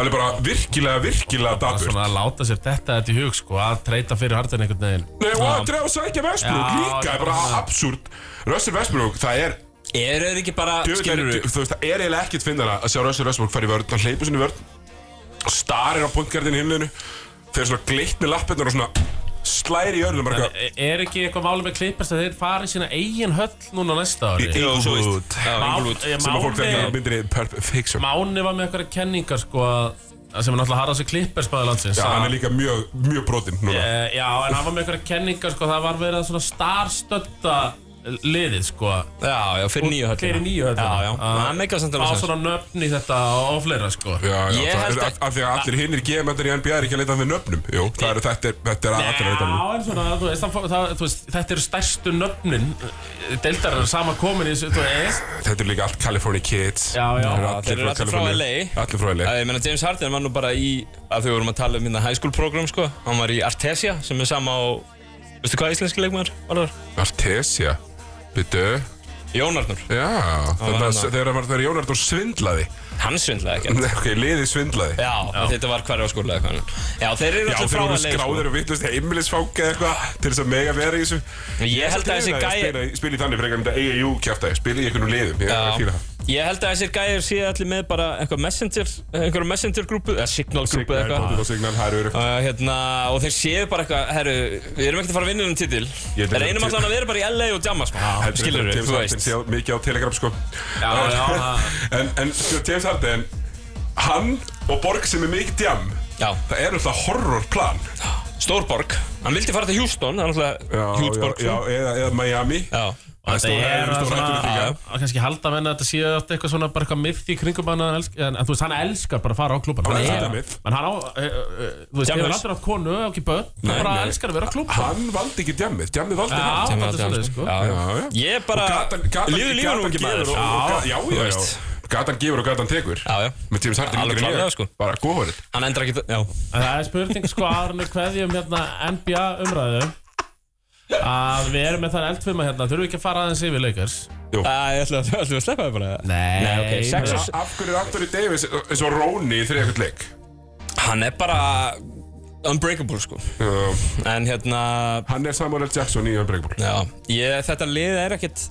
Speaker 1: Alveg bara virkilega, virkilega dabur
Speaker 2: Svona að láta sér þetta þetta í hug sko Að treyta fyrir Harden einhvern veginn
Speaker 1: Nei, og að drefa og sækja Vestbrúk
Speaker 2: Já,
Speaker 1: líka
Speaker 2: þetta
Speaker 1: er
Speaker 2: er
Speaker 1: bara
Speaker 2: bara-
Speaker 1: absúrt Russell Vestbrúk, það er
Speaker 3: Eru þeir ekki bara, skilur
Speaker 1: djöfull er- Þú veist, það er eiginlega ekkert finnara að sjá Russell Vestbrúk fara í vörð Hann hleypur sinni í vörð Starir á punktgardin í himlinu Þeir svona gleitt með lappirnar og svona Slæri í örðum bara eitthvað
Speaker 2: E- Er ekki eitthvað máli með klippast að þeir fari í sína eigin höll núna næsta ári?
Speaker 1: Í-
Speaker 3: Jú, svo
Speaker 1: Inglewood.
Speaker 3: veist Já, Inglewood.
Speaker 2: Má- ég-
Speaker 1: Sem að fólk
Speaker 2: Máni-
Speaker 1: þegar myndir Perfection
Speaker 2: Máni var með eitthvað kenningar sko að- að sem er náttúrulega harða sér klippers bæði landsins
Speaker 1: Já, hann
Speaker 2: að-
Speaker 1: er líka mjög, mjög brotinn núna
Speaker 2: Eh, Já, en hann var með eitthvað kenningar sko það var verið að svona starstötta liðið sko
Speaker 3: Já, já, fyrir nýju höllina
Speaker 2: Fyrir nýju höllina.
Speaker 3: Já, já,
Speaker 2: Ah.
Speaker 3: það meikar samt
Speaker 2: á
Speaker 3: alveg sens
Speaker 2: svona nöfn í þetta og fleira sko
Speaker 1: Já, já,
Speaker 3: Ég
Speaker 1: það
Speaker 3: held
Speaker 1: er
Speaker 3: að-
Speaker 1: að, af því að allir hinnir gemöndir í NBA er ekki að leita að þeim nöfnum Jú, það eru þetta, er- þetta er allir að leita að þeim
Speaker 2: Já, en svona, þú veist, það, fó- það, þú veist þetta eru stærstu nöfnin deildarar sama komin í þessu, þú veist
Speaker 1: Þetta er líka allt California Kids
Speaker 2: Já, já,
Speaker 1: Það
Speaker 3: já, þeir eru allir frá
Speaker 1: Kaliforníu.
Speaker 3: LA.
Speaker 1: Allir frá LA
Speaker 3: Eh, Ég meina James Harden var nú bara í að þau vorum að tala um minna high school program sko Hann var í Artesia sem er sama á Veistu hvað íslenski leikmaður var þar?
Speaker 1: Artesia Byttu
Speaker 3: Jón Arnur
Speaker 1: Já, þannig að
Speaker 3: hann var.
Speaker 1: þegar var- þegar Jón Arnór svindlaði
Speaker 3: Hann svindlaði ekki
Speaker 1: Ok, liði svindlaði
Speaker 3: Já, þetta var hverja skóla eða hvað Já, þeir eru
Speaker 1: Já,
Speaker 3: allir
Speaker 1: þeir
Speaker 3: frá sko.
Speaker 1: voru
Speaker 3: að leik
Speaker 1: skráðir og vittlust heimilisfang eða eitthvað til þess að mega vera í þessu
Speaker 3: Ég held að þessi
Speaker 1: Spila-
Speaker 3: gæi
Speaker 1: spila- Spila í þannig frekar en þetta EAU kjæftæði Spila í einhvernum liðum, ég er að fíla
Speaker 3: Já,
Speaker 1: það
Speaker 3: ég held að þessir gæðir séu allir með bara eitthvað messenger, einhverja messenger grúpu, eða signal grúpu
Speaker 1: Signal,
Speaker 3: eða eitthvað.
Speaker 1: Bótið og Signal, það eru
Speaker 3: Uh, hérna, og þeir séu bara eitthvað, herru, við erum ekkert að fara að vinna um titil.
Speaker 1: Ég held að-
Speaker 3: Reynum alltaf að vera bara í LA og jamma smá. Skilur við,
Speaker 1: James
Speaker 3: þú
Speaker 1: Harden
Speaker 3: veist.
Speaker 1: sé á- mikið á Telegram sko
Speaker 2: Já, já, það-
Speaker 1: En, en sko, James Harden Hann og Borg sem er mikið djam
Speaker 3: Já.
Speaker 1: Það er alltaf horrorplan
Speaker 3: Stórborg, hann vildi fara til Houston, það er náttúrulega huge borg.
Speaker 1: já,
Speaker 3: sko.
Speaker 1: eða, eða Miami
Speaker 3: Já,
Speaker 1: Það
Speaker 2: Þetta
Speaker 1: stór-
Speaker 2: er
Speaker 1: stór
Speaker 2: að svona
Speaker 1: hættulegur líka.
Speaker 2: að að kannski halda menna að þetta séu alltaf eitthvað svona bara eitthvað myth í kringum hann en, elsk- en, en þú veist hann elskar bara að fara á klúban
Speaker 1: Hann elskar þetta
Speaker 2: er
Speaker 1: myth.
Speaker 2: En hann á, e, e, þú veist,
Speaker 3: Jammers.
Speaker 2: hefur aldrei átt konu og ekki börn Hann
Speaker 1: Nei,
Speaker 2: bara
Speaker 1: nei.
Speaker 2: elskar að vera á klúban
Speaker 1: Hann valdi ekki djamið, djamið valdi
Speaker 2: Já,
Speaker 1: hann
Speaker 2: þetta er svolítið sko
Speaker 3: Já, já.
Speaker 1: Já, já.
Speaker 3: Ég bara,
Speaker 1: Gatan, gatan,
Speaker 3: lífið lífið
Speaker 1: gatan
Speaker 3: nú ekki
Speaker 1: gefur
Speaker 3: maður.
Speaker 1: og- og ga- Já, já, já
Speaker 3: veist.
Speaker 1: Gatan gefur og gatan tekur
Speaker 3: Já, já.
Speaker 1: Með James Harden
Speaker 3: Alveg
Speaker 1: yngri en ég.
Speaker 3: klárlega, sko.
Speaker 1: Bara góðhórið
Speaker 3: Hann endra ekki, já.
Speaker 2: En það er spurning sko aðrunni hverjum hérna NBA umræðu að við erum með þann eldfima hérna þurfum við ekki að fara aðeins yfir leikars
Speaker 3: Æ, ég ætla að, ætla að sleppa þið bara.
Speaker 2: Nei,
Speaker 3: Nei, ok, sex og
Speaker 1: Af hverju er Anthony Davis eins og Róni í þriðakvæmt leik?
Speaker 3: Hann er bara Unbreakable sko
Speaker 1: Já.
Speaker 3: En hérna
Speaker 1: Hann er Samuel L. Jackson í Unbreakable
Speaker 3: Já, ég, þetta lið er ekkert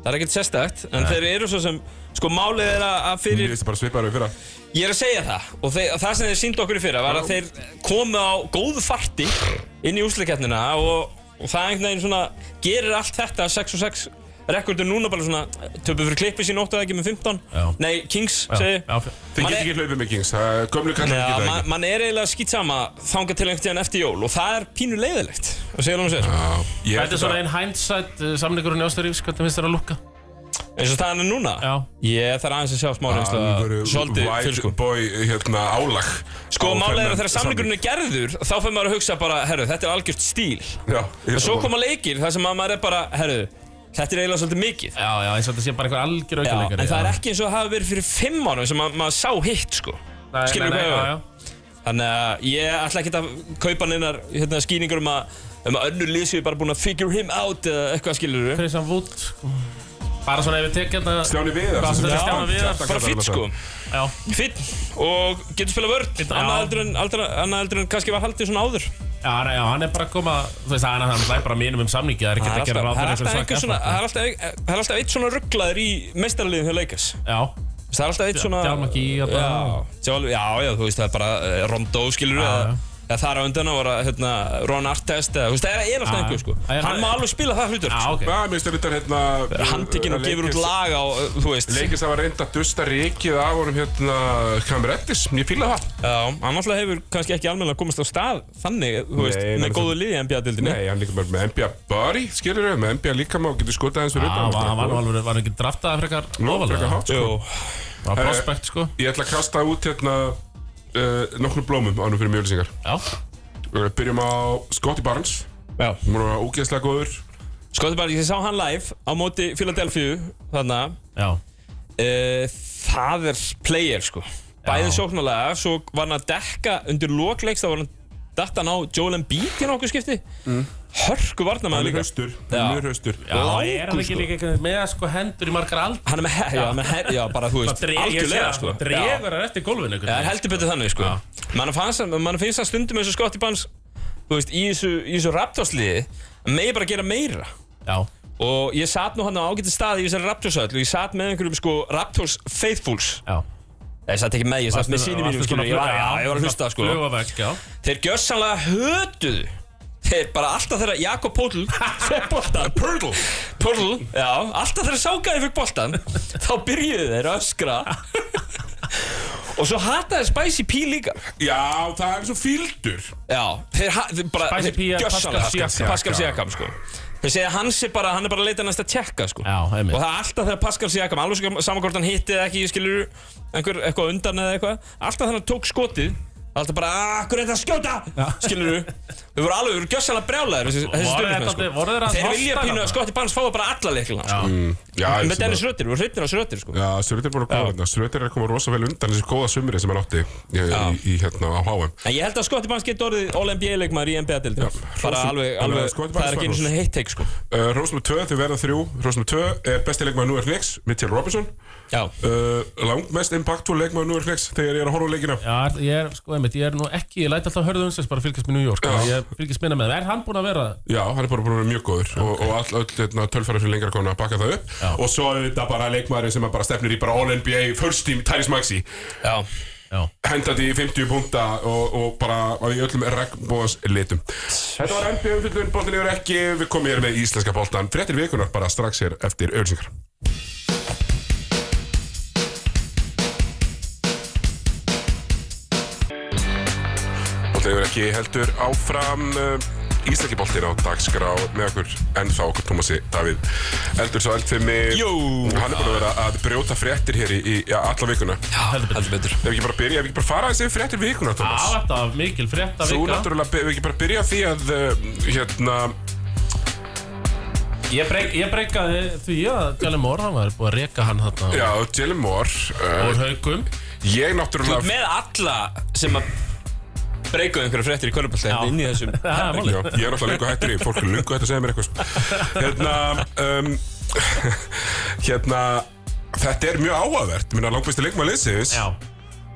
Speaker 3: Það er ekkert sérstakt En þeir eru svo sem Sko málið er að að
Speaker 1: Mér
Speaker 3: fyrir
Speaker 1: finnst það bara svipaður við fyrra
Speaker 3: Ég er að segja það Og þeir, það sem þeir síndu okkur í fyrra Var að þeir komu á góðu farti Inn í úsleiketnina og, og það einhvern veginn svona Gerir allt þetta 6 og 6 Rekordur núna bara svona Töpu fyrir klippi sín 8 eða ekki með 15
Speaker 2: Já.
Speaker 3: Nei, Kings segi
Speaker 2: já, f-
Speaker 1: Þeir
Speaker 3: Man
Speaker 1: geta
Speaker 3: er-
Speaker 1: ekki hlaupið með Kings það- Gömlu kallar
Speaker 3: Já,
Speaker 1: geta það
Speaker 3: man,
Speaker 1: ekki
Speaker 3: man er eiginlega skýt sama þanga til einhvern tíðan eftir jól og það er pínu leiðilegt og segja hann sér
Speaker 1: Já, ég
Speaker 2: Þetta er
Speaker 1: held
Speaker 2: svona
Speaker 1: að-
Speaker 2: einn hindsight uh, samningurinn í Ástarífs, hvernig finnst þér að lukka?
Speaker 3: eins og staðan er núna
Speaker 2: Já.
Speaker 3: ég þarf aðeins að sjá
Speaker 1: Ah,
Speaker 3: smá reynslu að
Speaker 1: Alvöru
Speaker 3: svolítið
Speaker 1: white
Speaker 3: fylgum
Speaker 1: boy hérna, álag
Speaker 3: Sko,
Speaker 1: á þennan
Speaker 3: málega er að þegar samlingurinn er gerður þá fyrir maður að hugsa bara, herru, þetta er algjört stíl
Speaker 1: Já, ég
Speaker 3: og svo
Speaker 1: sammála.
Speaker 3: koma leikir þar sem að maður er bara, herru, þetta er eiginlega svolítið mikið
Speaker 2: Já, já, eins og þetta sé bara eitthvað algjör
Speaker 3: Já,
Speaker 2: aukuleikari
Speaker 3: en það er ekki eins og það hafi verið fyrir fimm árum sem að, maður sá hitt, sko Skilurðu hvað ég á við?
Speaker 2: við?
Speaker 3: Þannig að ég ætla ekki að kaupa neinar hérna, skýningar um að, um að önnur lið séu bara búin að figure him out eða eitthvað skilur við.
Speaker 2: Christian Wood sko. Bara svona ef við tekja þetta
Speaker 1: Stjáni Viðar
Speaker 2: Hvað,
Speaker 1: sem sagt.
Speaker 2: Stjáni Viðar?
Speaker 1: Kjartan
Speaker 3: Bara
Speaker 1: kallar hann
Speaker 3: fýtt sko.
Speaker 1: alltaf.
Speaker 2: Já,
Speaker 3: Fýtt og getur spilað vörn.
Speaker 2: Fínn, já.
Speaker 3: Annað heldur en, aldra, annað heldur en kannski var haldið svona áður.
Speaker 2: já, hann- já, hann er bara að koma Þú veist, hann hann er bara mínum um samningi Það er ekki
Speaker 3: Það
Speaker 2: að
Speaker 3: er
Speaker 2: gera ráð
Speaker 3: alltaf- það er
Speaker 2: fyrir
Speaker 3: alltaf einhver
Speaker 2: einhverjum
Speaker 3: svona,
Speaker 2: svaka
Speaker 3: það er alltaf ein- það er alltaf eitt svona rugglaður í mestarliðin hjá Leikas.
Speaker 2: Já,
Speaker 3: Það er alltaf eitt svona...
Speaker 2: Djalma Gí,
Speaker 3: Já,
Speaker 2: þarna.
Speaker 3: Djalma- já, já, þú veist það er bara eh, Rondó
Speaker 2: Já,
Speaker 3: skilur
Speaker 2: já.
Speaker 3: við. Eða þar á undan að vera hérna, Ron Artest eða, þú veist, það er alltaf
Speaker 2: Já,
Speaker 3: einhver sko.
Speaker 2: já. Já, já.
Speaker 3: Hann má alveg spila það hlutur.
Speaker 2: já, ok
Speaker 1: Já, mér finnst þetta hérna
Speaker 3: handtekinn og gefur út
Speaker 1: Lakers-
Speaker 3: lag á, uh, þú veist
Speaker 1: Lakers hafa reynd að dusta rikið af honum hérna Kamerettis, ég fíla það
Speaker 3: Já, hann alltaf hefur kannski ekki almennilega komist á stað þannig, eh, þú veist,
Speaker 1: Nei,
Speaker 3: með
Speaker 1: nei,
Speaker 3: góðu liði í NBA-dildinni
Speaker 1: Nei, hann líka bara með NBA body, skilur við, með NBA líka má getur skotað hans fyrir
Speaker 2: Já,
Speaker 1: utan. sko.
Speaker 2: hann var nú alveg, var hann ekki draftaði frekar
Speaker 1: Frekar
Speaker 2: lofalega
Speaker 1: hátt, sko.
Speaker 3: Jú,
Speaker 2: Það var prospekt, sko
Speaker 1: Ég ætla að kasta út hérna uh, nokkrum blómum ánum fyrir mjölisingar.
Speaker 2: Já,
Speaker 1: Við byrjum á Scotty Barnes,
Speaker 3: já
Speaker 1: hún var ógeðslega góður.
Speaker 3: Skoði Sko, bara, ég sá hann live á móti Philadelphia þarna
Speaker 2: já,
Speaker 3: uh, Það er player, sko Bæði sóknarlega, svo var hann að dekka undir lokleiks, þá var hann datt hann á Joel Embiid hérna okkur skipti Hörku varnamaður
Speaker 1: Mm. Hann er
Speaker 3: líka
Speaker 1: haustur,
Speaker 3: Já.
Speaker 1: mjög haustur.
Speaker 2: já,
Speaker 3: Langur,
Speaker 2: er hann ekki
Speaker 3: sko.
Speaker 2: líka eitthvað með sko hendur í margar ald
Speaker 3: Hann er með, he- já, með her, já, bara, þú veist, algjörlega, sko Já.
Speaker 2: Dregur hann eftir gólfinu einhvern
Speaker 3: Já, Það er
Speaker 2: veginn.
Speaker 3: heldur betur þannig sko Man finnst það mann finnst það stundum eins og Scotty Barnes Þú veist, í þessu, í þessu raptorsliði að Megi bara gera meira
Speaker 2: Já,
Speaker 3: Og ég satt nú hann á ágæti staði í þessari raptorsöll Og ég satt með einhverjum sko raptors faithfuls
Speaker 2: já
Speaker 3: Nei, Ég satt ekki með, ég satt með síni mínum skilur, ég, var, já, ég var að hlusta sko
Speaker 2: Flugavegg, já
Speaker 3: Þeir gjörsanlega hötuðu Þeir bara alltaf þeirra Jakob Pótl Þeir boltan Pörl Pörl, já, alltaf þeirra sákaði fyrir boltan Þá byrjuðu þeir að öskra Og svo hataði Spicy P líka
Speaker 1: Já, það er svo fíldur.
Speaker 3: Já, þeir, ha- þeir bara
Speaker 2: Spicy
Speaker 3: þeir
Speaker 2: P er
Speaker 3: gjörsamlega-
Speaker 2: Pascal Siakam.
Speaker 3: Pascal Siakam, sko Þeir segja að hans er bara, hann er bara að leita næst að tjekka, sko
Speaker 2: Já, einmitt.
Speaker 3: Og það er alltaf þegar Pascal Siakam, alveg svo saman hvort hann hitti eða ekki, skilur einhver, eitthvað undan eða eitthvað Alltaf þegar hann tók skotið Alltaf bara, akkur er þetta að skjóta, skilur Við voru alveg, við voru gjössalega brjálæðir þessi, þessi
Speaker 2: Voru
Speaker 3: stundismenn,
Speaker 2: þetta- voru þeir að
Speaker 3: sko. Þeir vilja
Speaker 2: hosta
Speaker 3: pínu að
Speaker 2: þarna?
Speaker 3: skotti banns fáið bara alla leikina, sko
Speaker 2: Já,
Speaker 1: Já, ég
Speaker 3: Með
Speaker 1: sem
Speaker 3: Dennis
Speaker 1: að-
Speaker 3: Röttir, við vorum hreitnir á Röttir, sko
Speaker 1: Já, Srötir er búin að koma hérna. Srötir er að koma rosa vel undan þessu góða sumri sem hann átti í, í, í hérna á HM.
Speaker 3: En ég held að Scottie Barnes getur orðið All-NBA leikmaður í NBA-dildinu Bara
Speaker 1: hrósum-
Speaker 3: alveg,
Speaker 1: alveg
Speaker 3: alveg,
Speaker 1: Scottie
Speaker 3: það
Speaker 1: Barnes
Speaker 3: er ekki
Speaker 1: var
Speaker 3: einu
Speaker 1: hrós.
Speaker 3: svona heitt teik sko
Speaker 1: Uh, Rósnum 2, þau verða 3 Rósnum 2 er besti leikmaður Núer Knicks Mitchell Robinson
Speaker 3: Já,
Speaker 1: uh, Langmest impactful leikmaður Núer Knicks Þegar ég er að horfa á leikina
Speaker 2: Já, ég er, sko, einmitt, ég er nú ekki, ég læti alltaf hörðu umsins bara að fylgjast með New York, en ég fylgjast minna með það. Er hann búinn að vera,
Speaker 1: Já, hann er bara búin að vera mjög góður Og, og all, öll hérna, tölfæra fyrir lengra konu að baka það upp
Speaker 2: Já.
Speaker 1: Og svo er þetta bara leikmaður sem er bara stefnir í bara All-NBA First team Tyrese Maxey
Speaker 3: já
Speaker 2: já,
Speaker 1: Hendandi í 50 punta og, og bara á í öllum regnbóðans litum Þetta var NBA umfyllun, boltin yfir ekki Við komum hér með íslenska boltan Fréttir vikunar bara strax hér eftir ölsingar Boltin yfir ekki heldur áfram uh, Íslenski boltin á dagskrá með okkur ennþá okkur Tómasi Davíð Eldur svo eldfimi
Speaker 3: Jú.
Speaker 1: Hann er búin að vera að brjóta fréttir hér í, í ja, alla vikuna
Speaker 3: heldur betur, heldur betur.
Speaker 1: Ef við ekki bara byrja, ef við ekki bara fara aðeins yfir fréttir vikuna, Thomas
Speaker 2: aðvægt af mikil frétta
Speaker 1: Þú
Speaker 2: vika.
Speaker 1: náttúrulega, ef við ekki bara byrja á því að, uh, hérna,
Speaker 2: Ég, breyk, ég breykaði því að Jalen Moore, hann var búinn að reka hann þarna
Speaker 1: já, Jalen Moore, uh,
Speaker 2: úr haugum.
Speaker 1: ég
Speaker 3: Þú ert
Speaker 1: náttúrulega,
Speaker 3: með alla sem að breyka einhverja fréttir í körnuballtæði
Speaker 2: Já.
Speaker 3: inn í þessum
Speaker 2: Það er
Speaker 1: já,
Speaker 2: málið.
Speaker 1: ég er náttúrulega löngu hættur í, fólk er löngu hættur að segja mér eitthvað, sko. hérna, um, hérna, þetta er mjög áhugavert, minna langbæsti leikmaður liðsins,
Speaker 2: Já,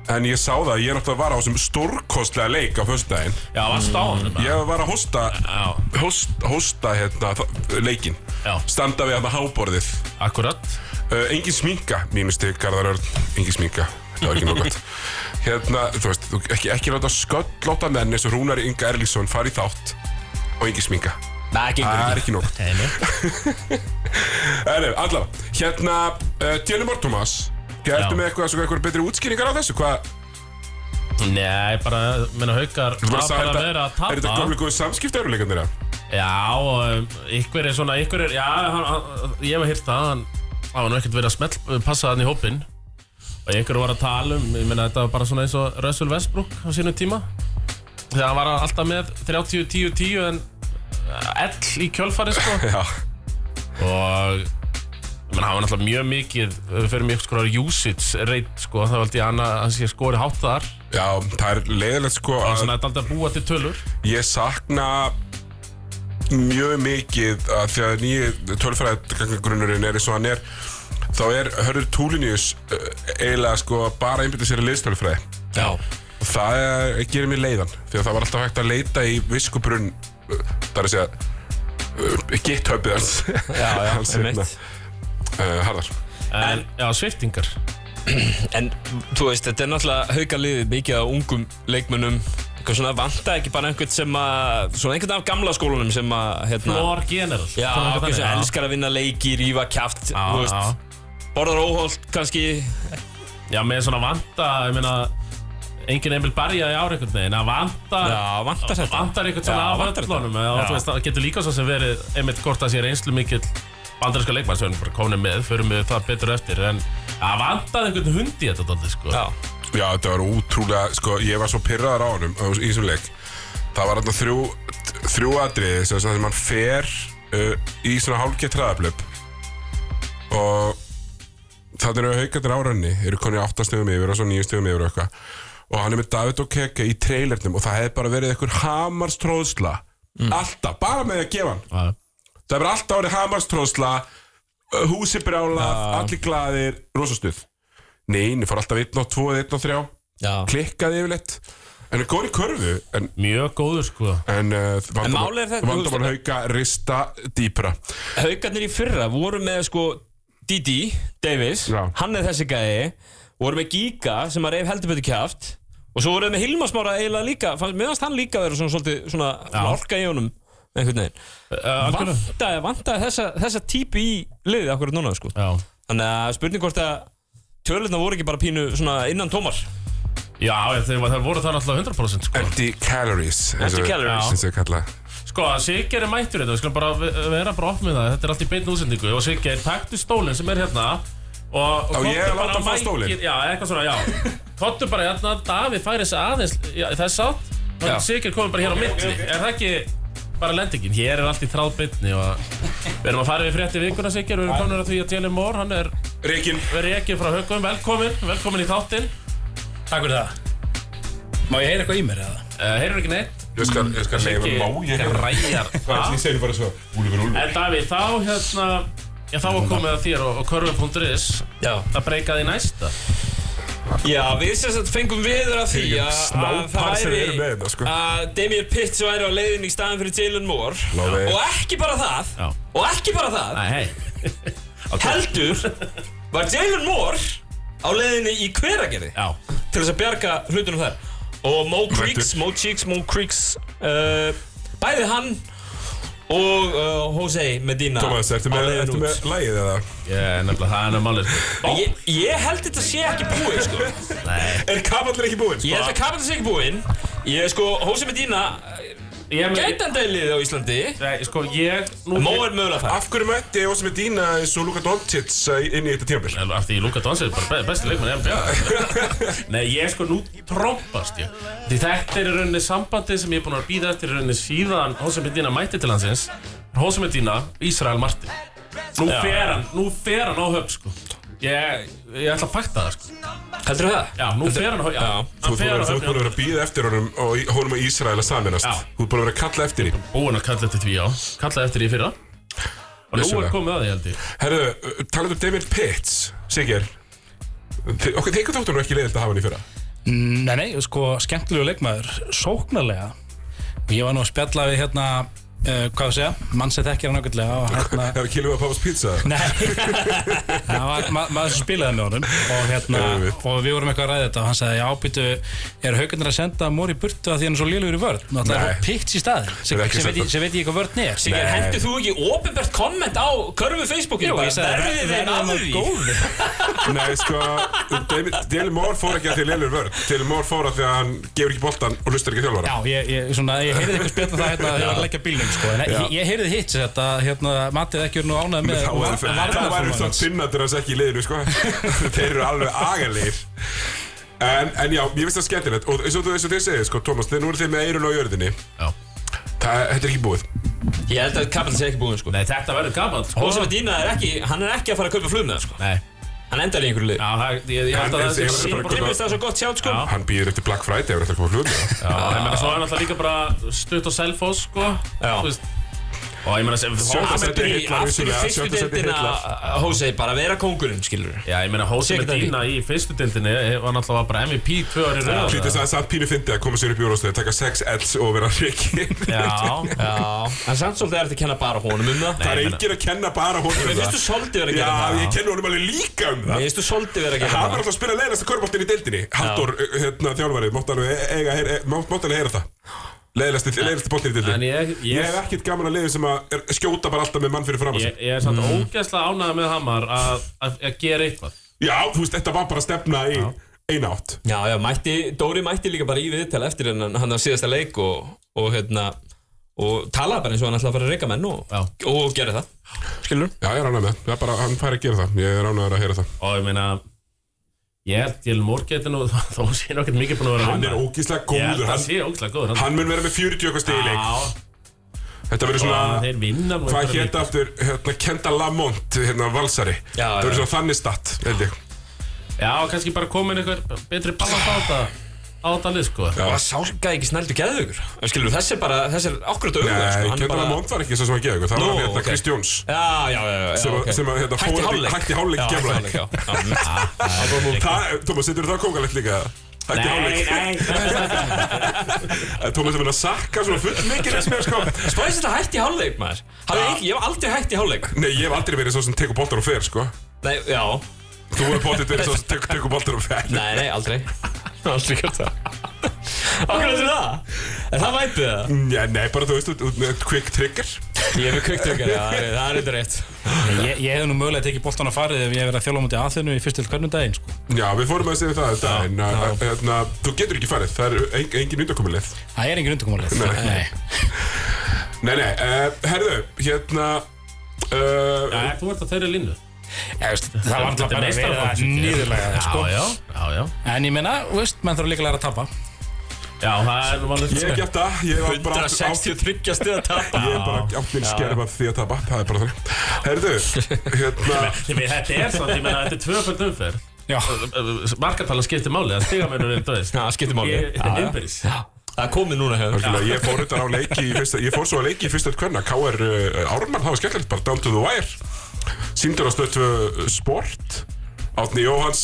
Speaker 1: En ég sá það, ég er náttúrulega var á þessum stórkostlega leik á föstudaginn
Speaker 2: Já, varst á hann
Speaker 3: Hérna.
Speaker 2: bara.
Speaker 1: Ég var að hósta,
Speaker 2: Já.
Speaker 1: hóst, hósta hérna, þa- leikinn
Speaker 2: Já.
Speaker 1: Standa við hérna háborðið
Speaker 2: Akkurat
Speaker 1: uh, Engin sminka, mínusti Garðar Örn Engin sminka, það var ekki nóg gott Hérna, þú veist, þú- ekki, ekki láta sköllóta menn eins og Rúnar Inga Erlingsson fari í þátt og engin sminka
Speaker 3: Nei, gengur
Speaker 1: Það
Speaker 2: Ah.
Speaker 3: ekki
Speaker 1: er ekki nóg gott Nei, nei, allavega, hérna uh, Djörnum Már Tómas Gertu
Speaker 2: Já.
Speaker 1: með eitthvað, eitthvað betri útskýringar á þessu? Hvað,
Speaker 2: Nei, bara, menna haukar
Speaker 1: þú
Speaker 2: Það
Speaker 1: bara
Speaker 2: var
Speaker 1: sagði
Speaker 2: bara verið
Speaker 1: þetta,
Speaker 2: að
Speaker 1: er þetta
Speaker 2: tapa
Speaker 1: gömlu góðu samskipti eruleikandir það?
Speaker 2: Já, og um, ykkur er svona, ykkur er, já, hann, hann, ég hef hýrt það, hann það var nú ekkert verið að smell, eh, passa þannig í hópinn og ykkur var að tala um, ég meina þetta var bara svona eins og Russell Westbrook á sínum tíma þegar hann var alltaf með 30-10-10 en eh, ell í kjölfari sko
Speaker 1: Já,
Speaker 2: og ég meina, það var náttúrulega mjög mikið ef við fyrir mjög skor usage rate sko, það valdi ég hann að hann sé skori hátt þar það
Speaker 1: já, það er leiðilegt sko
Speaker 2: var
Speaker 1: að
Speaker 2: svona þetta er alltaf að búa til tölur
Speaker 1: ég sakna mjög mikið að því að nýju tölfræðgangagrunnurinn er eins og hann er þá er Hörður Túlinius uh, eiginlega sko bara að einbytta sér í liðstölfræði
Speaker 2: Já,
Speaker 1: og það er, gerir mér leiðan því að það var alltaf hægt að leita í viskubrunn uh, það er að segja uh, githubið hans
Speaker 3: Já, já,
Speaker 1: hans
Speaker 3: einmitt.
Speaker 1: hérna, uh, Harðar
Speaker 2: en, já, sviftingar
Speaker 3: En þú veist, þetta er náttúrulega haukaliðið mikið af ungum leikmönnum eitthvað svona vanta ekki bara einhvern sem að svona einhvern af gamla skólunum sem að hérna,
Speaker 2: Floor General
Speaker 3: já,
Speaker 2: Svona eitthvað
Speaker 3: einhvern sem
Speaker 2: þannig,
Speaker 3: elskar að vinna leiki, rífa kjaft
Speaker 2: Já,
Speaker 3: þú veist,
Speaker 2: já.
Speaker 3: borðar óholt kannski
Speaker 2: Já, með svona vanta, ég meina Engin Emil Barja í ár einhvern veginn Að vanta
Speaker 3: Já, vantar þetta.
Speaker 2: Vantar einhvern svona
Speaker 3: Já,
Speaker 2: af
Speaker 3: vantar þetta.
Speaker 2: öllunum eða
Speaker 3: Já.
Speaker 2: þú veist, Það getur líka svo sem verið Einmitt hvort að sé reynslu mikill Bandarinska leikmann sem við erum bara komin með Förum við það betur eftir En að vantaði einhvern hund í þetta dálítið, sko.
Speaker 3: Já,
Speaker 1: Já, þetta var útrúlega, sko, ég var svo pyrraðar á honum á- í þessum leik. Það var alltaf þrjú, þrjú atriði sem þess að mann fer uh, í svona hálfgeitt hraðablöp og þannig eru haugarnir á rönni, eru konni áttastöfum yfir og svo nýjastöfum yfir og eitthvað og hann er með David og Keke í trailernum og það hefði bara verið einhver hamarstróðsla alltaf, bara með því að gefa hann
Speaker 2: Já.
Speaker 1: það er bara alltaf árið hamarstróðsla uh, húsi brjála, allir glaðir rosastuð Nei, það fór alltaf 1 og 2 eða 1 og 3
Speaker 3: já
Speaker 1: klikkaði yfirleitt en er góður í körfu en,
Speaker 2: Mjög góður, sko
Speaker 1: en, uh, vandamál,
Speaker 3: málið er þetta, þú
Speaker 1: vandamál
Speaker 3: veist-
Speaker 1: hauka rista dýpra
Speaker 3: Haukarnir í fyrra voru með sko Didi Davis,
Speaker 1: Já.
Speaker 3: hann er þessi gæði voru með Giga sem að reyf heldur betur kjaft og svo voru þeir með Hilmar Smára eiginlega líka, fannst- mér fannst hann líka vera svona svolítið svona orka í honum einhvern veginn,
Speaker 2: algjörlega.
Speaker 3: vantaði, vantaði þessa, þessa típu í liðið akkurat núna sko.
Speaker 2: Já
Speaker 3: þannig að spurning hvort að tölurnar voru ekki bara pínu svona innan tómar
Speaker 2: Já, þeir, þeir voru það náttúrulega 100% sko.
Speaker 1: empty calories eins og-
Speaker 3: Empty calories.
Speaker 1: eins og ég kalla
Speaker 2: Sko, Siggeir er mættur þetta, við skulum bara ve- vera bara opn með það, þetta er allt í beinu útsendingu og Siggeir, taktu stólinn sem er hérna og, og
Speaker 1: Á, ég
Speaker 2: komdu
Speaker 1: að
Speaker 2: bara
Speaker 1: láta hann fá
Speaker 2: mækið-
Speaker 1: stólinn?
Speaker 2: Já, eitthvað svona, já Kottu bara hérna, Davíð færi sig aðeins, já, það er sátt
Speaker 3: Já.
Speaker 2: og Siggeir komið bara hér á milli, er það ekki bara lendingin, hér er allt í þráð beinni og við erum að fara við frétti vikuna Siggeir, við erum komin að því að Jelen Mór, hann er
Speaker 1: Rekin
Speaker 2: verið ekki frá högum, velkomin, velkomin í þáttinn
Speaker 5: Takk fyrir það Má ég heyra eitthvað í mér eða?
Speaker 2: uh, Heyrur ekki neitt?
Speaker 1: ég skal, ég skal leifa má ég hérna
Speaker 2: Ræjar
Speaker 1: ég segi bara svo Úlfur, Úlfur
Speaker 2: En Davíð, þá hérna Já, þá var komið að þér og, og körfu.is
Speaker 5: Já
Speaker 2: Það breykaði í næsta
Speaker 3: Já, við sem sagt fengum viður af því að að
Speaker 1: snápar sem eru með þetta, sko.
Speaker 3: að Damien Pitts væri á leiðinni í staðin fyrir Jalen Moore
Speaker 1: Lóði.
Speaker 3: og ekki bara það
Speaker 2: Já.
Speaker 3: og ekki bara það
Speaker 2: Nei, hei
Speaker 3: heldur var Jalen Moore á leiðinni í hveragerði
Speaker 2: Já,
Speaker 3: til þess að bjarga hlutunum þar og Mo Creeks,
Speaker 1: Mættur.
Speaker 3: Mo Cheeks, Mo Creeks uh, bæði hann og uh, Jose Medina
Speaker 1: Thomas, ertu
Speaker 3: á
Speaker 1: með,
Speaker 3: leiðinni
Speaker 1: ertu
Speaker 3: út.
Speaker 1: með lagið eða?
Speaker 2: ég, nefnilega það er sko. námálið
Speaker 3: Ég, ég held þetta sé ekki búið sko.
Speaker 1: Er kafallir ekki búinn?
Speaker 3: Ég held að Kapitans sé ekki búinn Ég sko, Jose Medina
Speaker 2: Ég með
Speaker 3: Gætandælið á Íslandi
Speaker 2: Nei, sko, ég nú,
Speaker 3: Mó er mögulega það
Speaker 1: Af hverju mætti ég sem er dýna eins og Luka Doncic eh, inn í þetta tímabil?
Speaker 2: En af því Luka Dons er bara be- besti leikmann í NBA Nei, ég sko nú trompast ég Því þetta er í rauninni sambandið sem ég er búinn að býða eftir í rauninni síðan Hósa Medina mætti til hansins Hósa Medina, Ísrael Martin Nú fer hann, nú fer hann á höf sko Ég, ég ætla að fakta það sko
Speaker 3: Heldur það?
Speaker 2: Já, nú fer hann á höf Já,
Speaker 1: Þú
Speaker 2: hann
Speaker 1: þú
Speaker 2: fer á
Speaker 1: ert
Speaker 2: höf
Speaker 1: búin að vera að býða eftir honum og í- honum og Ísrael að saminast
Speaker 2: Já.
Speaker 1: Þú ert búin að vera að kalla eftir því
Speaker 2: búinn að kalla eftir því, já Kallaði eftir því í fyrra Og nú er
Speaker 1: Vissulega.
Speaker 2: komið að því, held ég
Speaker 1: Herðu, uh, talað um David Pitts Sigger Þi- Okkur þykir þóttu nú ekki leiðilt að hafa hann í fyrra
Speaker 5: Nei, nei, sko, skemmtilegu leikmaður, sóknarlega. Og ég var nú að spjalla við hérna, uh, hvað við segja, mann sem þekkir hann ákveldlega og hérna...
Speaker 1: Það er kilóið að pappas pizza
Speaker 5: Nei, það var ma maður sem spilaði með honum og, hérna,
Speaker 1: Auðvitað.
Speaker 5: og við vorum eitthvað að ræða þetta og hann sagði, já, býtu, er haugarnir að senda Móri í burtu að því hann er svo lélugur í vörð? Náttúrulega
Speaker 1: Nei.
Speaker 5: er pikt í staðin, sem,
Speaker 1: Það er ekki
Speaker 5: sem, veit,
Speaker 1: sagt
Speaker 5: ég- sem veit ég hvað vörðn er.
Speaker 3: Siggi, hendur þú ekki ofinbært komment á körfu Facebookinu?
Speaker 5: Jú,
Speaker 3: Bara
Speaker 5: ég sagði,
Speaker 3: verðið þeim
Speaker 5: verðum
Speaker 3: að
Speaker 5: að
Speaker 3: því
Speaker 5: góðu.
Speaker 1: Nei, sko, David- Daily Moore fór ekki að því lélur vörn Daily Moore fór að því að hann gefur ekki boltan og hlustar ekki á þjálfara
Speaker 5: Já, ég, ég, svona, ég heyrði eitthvað spjalla það hérna þegar ég var að leggja bílnum sko, en ég, ég heyrði hitt sem þetta, hérna, Matið ekki er nú ánægð með
Speaker 1: Þá var- Það væri svo sinnaður hans ekki í liðinu sko. Þeir eru alveg agalegir en, en já, ég veist það skemmtilegt Og eins og, þú- eins og þið segir, sko, Thomas Þegar nú eru þið með eirun á jörðinni
Speaker 2: Já.
Speaker 1: Það, þetta er ekki búið
Speaker 3: Ég held að Kaplan sé ekki búinn sko
Speaker 2: Nei, þetta verður gaman sko.
Speaker 3: Hósa Medina er ekki, hann er ekki að fara að kaupa flugna sko
Speaker 2: Nei,
Speaker 3: Hann endar í einhverju lið
Speaker 2: já, það, ég, ég held
Speaker 1: Hann
Speaker 2: að
Speaker 1: er-
Speaker 2: það sé
Speaker 1: ég-
Speaker 2: sín
Speaker 1: bara-
Speaker 2: Já,
Speaker 3: Drifist það svo gott sjátt sko
Speaker 2: Já.
Speaker 1: Hann býður eftir Black Friday og þetta komið hlut
Speaker 2: ég meina, svo er náttúrulega líka bara stutt á selfos, sko
Speaker 3: Já.
Speaker 2: Þú veist, Og ég meina, sem
Speaker 1: Sjötta
Speaker 2: Hósa
Speaker 1: sæti.
Speaker 3: Aftur í,
Speaker 1: Þetta er
Speaker 3: aftur í
Speaker 1: vissulega,
Speaker 3: fyrstu
Speaker 1: sjötta sæti
Speaker 3: deildina
Speaker 1: heillar.
Speaker 3: Hósa bara að vera kóngurinn skilur
Speaker 2: Já, ég meina, Hósa
Speaker 3: Sigurðar
Speaker 2: Medina í fyrstu dildinni var náttúrulega bara MVP tvö ári röð
Speaker 1: Lítið það samt pínu fyndi að koma sér upp í úrlóðstöðu Taka sex elds og vera reikin
Speaker 2: Já,
Speaker 3: Já En samt svolítið er þetta að kenna bara honum um það
Speaker 1: Það er
Speaker 2: ég meina-
Speaker 1: enginn að kenna bara honum um
Speaker 3: Mér finnst þú
Speaker 1: það
Speaker 3: svolítið vera að
Speaker 1: Já,
Speaker 3: gera það
Speaker 1: ég kenna honum alveg líka um
Speaker 3: Mér
Speaker 1: það
Speaker 3: finnst þú svolítið vera
Speaker 1: Hann
Speaker 3: að gera
Speaker 1: var
Speaker 3: það
Speaker 1: alltaf að spila leiðast að körbóltin í deildinni Haldur, hérna, þjálfarið, mátt alveg eiga- heyra- eh, mátt- mátt alveg heyra það Leiðast bóltin í
Speaker 2: en
Speaker 1: deildinni
Speaker 2: ég,
Speaker 1: Ég
Speaker 2: ég,
Speaker 1: hef ekkert gaman að liði sem að er- skjóta bara alltaf með mann fyrir fram að sig.
Speaker 2: ég, ég er samt
Speaker 1: Mm.
Speaker 2: ógeðslega ánægð með Hamar að, að, að gera eitthvað
Speaker 1: Já, þú veist, þetta var bara að stefna í eina átt.
Speaker 3: Já, já, mætti, Dóri mætti líka bara í viðtal eftir en hann að síðasta leik og, og hérna og talaði bara eins og hann ætlaði að fara að reyka menn og,
Speaker 2: Já.
Speaker 3: og gerði það Skilur
Speaker 1: Já, ég er ánægð með. það. Það er bara, hann fær að gera það. Ég er ánægður að heyra það.
Speaker 2: og ég meina ég held Dylan Moore geti nú þó sé hann ekkert mikið búin að vera
Speaker 1: Hann er ógíslega
Speaker 2: Ég held
Speaker 1: góður.
Speaker 2: að hann
Speaker 1: Hann,
Speaker 2: sé ógislega góður hann
Speaker 1: hann mun vera með 40 okkar stig í leik.
Speaker 2: Já,
Speaker 1: Þetta verður
Speaker 2: og
Speaker 1: svona,
Speaker 2: þeir vinna nú
Speaker 1: hvað
Speaker 2: einhverja
Speaker 1: hétt aftur, hérna, Kenda Lamont, hérna, Valsari.
Speaker 3: Já,
Speaker 1: það verður
Speaker 3: já.
Speaker 1: svona þannig statt, held ég.
Speaker 2: leiki. Já, og kannski bara komin einhver betri balans á þetta á þetta lið sko
Speaker 1: Já.
Speaker 3: Bara sálkaði ekki snældu geðugur Skilur, þessi er bara, þessi er okkur dögur
Speaker 1: Nei,
Speaker 3: sko, hann er
Speaker 1: Kenda
Speaker 3: bara-
Speaker 1: Lamont var ekki svo sem að geða ykkur. Það
Speaker 3: Nú,
Speaker 1: var hérna
Speaker 3: ok.
Speaker 1: Krist Jóns.
Speaker 3: Já, já, já, já
Speaker 1: Sem að-
Speaker 3: ok.
Speaker 1: sem að, hérna, fór-
Speaker 3: Hætti hálfleik
Speaker 1: hætti hálfleik
Speaker 3: Já,
Speaker 1: Keflavík.
Speaker 3: hálfleik, já. mm. Já,
Speaker 1: Það, Tómas, setur það kókalegt líka? Ekki hálfleik. Eh,
Speaker 2: nei, nei
Speaker 1: En Tómas er verið að sakka svona full mikið þess með sko.
Speaker 3: Spæðis þetta hætti hálfleik maður Hafði ekki, Ég hef aldrei hætti hálfleik
Speaker 1: Nei, ég hef aldrei verið svo sem tekur boltar og fer, sko.
Speaker 3: Nei, já,
Speaker 1: Þú hefur potið verið svo sem tekur, tekur boltar og fer.
Speaker 3: nei, nei, aldrei Aldrei gert það Okkur er það Er það væpið það?
Speaker 1: Já, nei, bara þú veist, út- út með quick trigger.
Speaker 3: Ég er með kvöktökar, já, það er eitthvað rétt
Speaker 5: Ég, ég hef nú mögulega tekið boltan að farið ef ég hef verið að þjóla á mútið aðþennu í fyrst til hvernig daginn sko.
Speaker 1: Já, við fórum að segja það þetta, en að- að- hérna, þú getur ekki farið, það er en, engin undankomuleið.
Speaker 5: Það er engin undankomulegð.
Speaker 1: Nei. Nei, nei, uh, herðu, hérna, uh,
Speaker 2: Já, þú ert að þeirri línu
Speaker 5: Ég veist, það var alltaf
Speaker 2: Þetta er
Speaker 5: bara verið að
Speaker 2: meistaraflokksins, ég.
Speaker 5: nýðurlega það, sko.
Speaker 2: Já, já, já, já
Speaker 5: En ég meina, þú veist, menn þarf líka að læra að tapa.
Speaker 2: Já, það er nú sko. alveg
Speaker 1: ég hef gert það, ég var bara átt, átt,
Speaker 3: 163 stuð að tapa
Speaker 1: ég hef bara átt minn skerf af því að tapa, það er bara þannig. Herðu, hérna,
Speaker 2: Ég meina, Þetta er samt, ég meina, þetta er tvöföld umferð
Speaker 5: Já.
Speaker 2: Markartala skiptir máli, það stigamennur er döðist
Speaker 3: Já, það skiptir máli
Speaker 2: Þetta er innbyrðis
Speaker 3: Það er komið núna hefur
Speaker 1: algjörlega, ég fór þetta á leiki, í fyrsta, ég fór svo að leiki í fyrsta hverna, K.R. Uh, Ármann, það var skemmtilegt, bara down to the wire. Sýndur á stöðtu eh, sport, Átni Jóhans,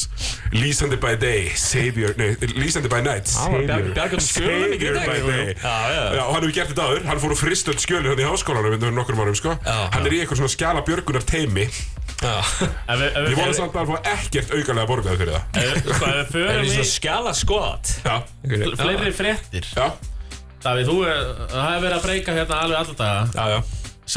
Speaker 1: lýsandi by day, savior, nei, lýsandi by night, savior.
Speaker 3: Bjargum skjölum ekki
Speaker 1: Savior by day
Speaker 3: Já, já.
Speaker 1: og hann hefur gert þetta aður Hann fór og frist öll skjölin hérna í háskólanum Fyrir nokkrum árum sko
Speaker 3: Já,
Speaker 1: Hann er í eitthvað svona skjala björgunar teimi
Speaker 3: Það
Speaker 2: Ef við- ef
Speaker 1: Ég
Speaker 2: við-
Speaker 1: vona samt að hann fá ekkert aukalega borgað fyrir það
Speaker 2: ef við- sko, ef við
Speaker 3: er
Speaker 2: förum
Speaker 3: svona
Speaker 2: í
Speaker 3: skjala skoðat
Speaker 1: Já,
Speaker 2: fleiri fréttir
Speaker 1: já
Speaker 2: Davíð, þú er- það hefur verið að breyka hérna alveg alla daga
Speaker 3: Já, já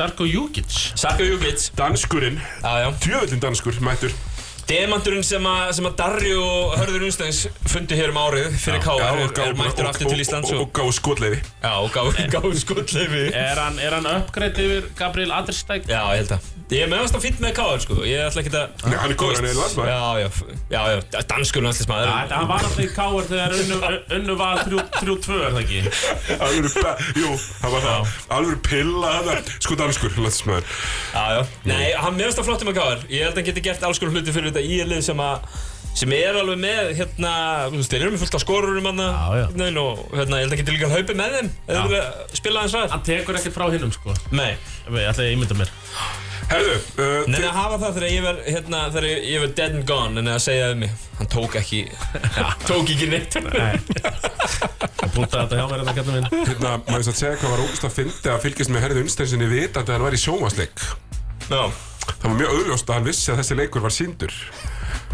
Speaker 2: Sarko Júkic
Speaker 3: Sarko Júkic
Speaker 1: Danskurinn
Speaker 3: Já, já
Speaker 1: Djöfullin danskur mættur
Speaker 3: Demanturinn sem að, sem að Darri og Hörður Unstæns fundu hér um árið fyrir
Speaker 1: Já,
Speaker 3: K.R.
Speaker 1: og
Speaker 3: er,
Speaker 1: gá-
Speaker 3: er mættur aftur til Íslands
Speaker 1: og-
Speaker 3: og,
Speaker 1: Og gá skotleiði
Speaker 3: já, og gá- gá skuldleifi
Speaker 2: Er hann, er hann uppgreitt yfir Gabriel Addersteg?
Speaker 3: Já, ég held að Ég er meðanst að fýtt með K.R. sko Ég ætla ekki að
Speaker 1: Nei, hann er góður, hann er landsmaður.
Speaker 3: Já, já, f- já, já Danskur landslismæður
Speaker 2: Þetta hann var alltaf í káar þegar unnu, unnu var 3-2 er það ekki?
Speaker 1: Alvöru be- Jú, það var það Alvöru pilla þetta Sko danskur, landsmaður
Speaker 3: um Já, já Nei, hann meðanst að flottum með K.R. Ég held að hann geti gert alls konar hluti fyrir þetta í lið sem að sem er alveg með hérna, þú veist, þeir eru með fullt af skorurum hann
Speaker 2: Já, já.
Speaker 3: og hérna, ég held að geta líka hlaupið með þeim eða þeir vilja spila aðeins hraðar
Speaker 2: Hann tekur ekkert frá hinnum sko
Speaker 3: Nei,
Speaker 2: Ég ætla að ímynda mér
Speaker 1: Herðu, uh,
Speaker 3: neina að hafa það þegar ég verð hérna, þegar ég- ég verð dead and gone en að segja um mig, hann tók ekki tók ekki neitt
Speaker 2: Hann púntaði þetta hjá mér þetta kallum minn
Speaker 1: hérna, maður þess að segja hvað var ógust að fyndi að fylgjast með Herðu Unnsteinsinni vitandi að hann var í sjómasleik.
Speaker 3: Já,
Speaker 1: Það var mjög augljóst að hann vissi að þessi leikur var síndur.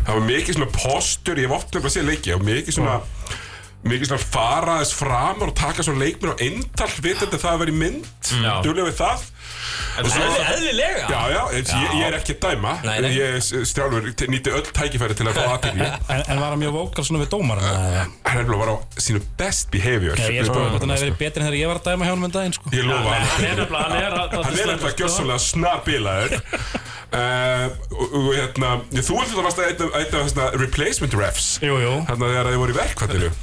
Speaker 1: Það var mikið svona postur, ég hef oft nefnilega séð leiki, og mikið svona, mikið svona fara þess framar og taka svona leikminn á eintal, vitandi að það að vera í mynd,
Speaker 2: Já.
Speaker 1: duðlega við það. Og svo-
Speaker 3: Mm. Eðli, eðlilega
Speaker 1: Já, já, ég, ég er ekki að dæma,
Speaker 3: Nei, nei.
Speaker 1: ég strjálfur nýti öll tækifæri til að fá aðtegli.
Speaker 5: En, en var hann mjög vókal svona við dómar Ég
Speaker 1: Hann er bara var á sínu best behavior.
Speaker 5: er spóðið hvort hann hefði verið betri en þegar ég var að dæma hjá hann um daginn sko.
Speaker 1: Ég lofa hann.
Speaker 2: Hann er nefnilega, hann er að
Speaker 1: Hann er eitthvað gjössalega snabilaður uh, og, og hérna Þú ert þetta varst að eitt af eitt af þessna replacement refs
Speaker 5: Jú, jú,
Speaker 1: Þannig að þegar þið voru í verkfallinu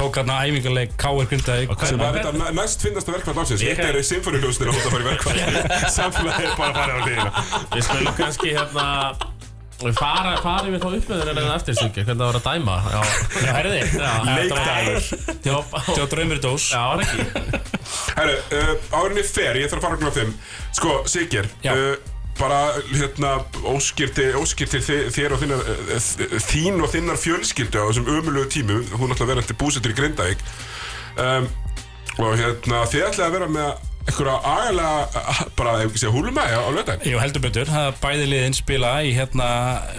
Speaker 5: tók hann að æfingarleik K.R. Grindavík
Speaker 2: hvað-
Speaker 1: sem var þetta me- mest finnasta verkfall ásins
Speaker 2: Ég-
Speaker 1: Þetta eru symfóniljóstin og þetta fara í verkfall Samfélagið er bara að fara á hliðina
Speaker 2: Við skulum kannski hérna Við fara, farum við þá upp með þeirra en eftir Siggi, hvernig það var að dæma Já, herði
Speaker 1: Leikdagur.
Speaker 5: Þetta var draumur í dós
Speaker 2: Já, var ekki
Speaker 1: Herru, uh, árinni fer, ég þarf að fara okkur á þeim Sko, Sigir
Speaker 5: Já.
Speaker 1: uh, bara hérna óskir til, óskir til þi- þér og þinnar, eh, þ- þín og þinnar fjölskyldu á þessum ömulegu tímum, hún ætla að vera eftir búsettur í Grindavík um, og hérna þið ætlaði að vera með einhverja agalega eh, bara ef ekki segja húlumæja á löðan
Speaker 5: Jú, heldur betur, það er bæði liðin spila í, hérna,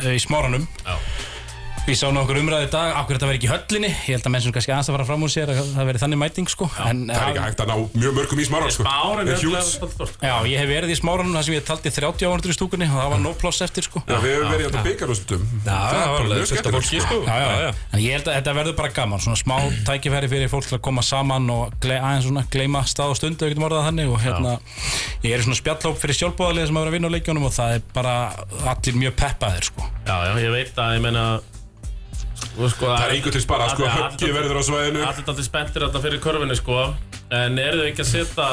Speaker 5: í smáranum
Speaker 2: Já.
Speaker 5: Ég sá nokkur umræði í dag, akkur þetta verið ekki í höllinni Ég held að menn sem kannski aðeins að fara fram úr sér að það verið þannig mæting sko en,
Speaker 1: það er ekki hægt að ná mjög mörgum í smáran sko.
Speaker 2: Árin
Speaker 1: Eh,
Speaker 2: er
Speaker 1: Hughes.
Speaker 2: alltaf stort
Speaker 5: Já, ég hef verið í smáranum þar sem ég taldi 30 áhundur í stúkunni og það var no ploss eftir sko
Speaker 1: Já, við hefum verið hérna byggarústum
Speaker 5: það var alveg
Speaker 1: mjög
Speaker 3: Þetta
Speaker 1: skemmtilegt
Speaker 3: fólki
Speaker 1: sko.
Speaker 3: sko
Speaker 5: Já, já, já. En ég held að þetta verður bara gaman, svona smá tækifæri fyrir fólk til að koma saman og gle, aðeins svona gleyma stað og stund, ef við getum orðað það þannig og hérna, ég er í svona spjallhóp fyrir sjálfbóðarlega sem að vera að vinna á leikjónum og það er bara allir mjög peppaðir sko.
Speaker 2: Já, já, ég veit að, ég meina þú veist, sko,
Speaker 1: Það er einhvern til spara, sko,
Speaker 2: Allir-
Speaker 1: höggið verður á svæðinu
Speaker 2: Allir daldið spenntir þarna fyrir körfinni sko En eru þau ekki að setja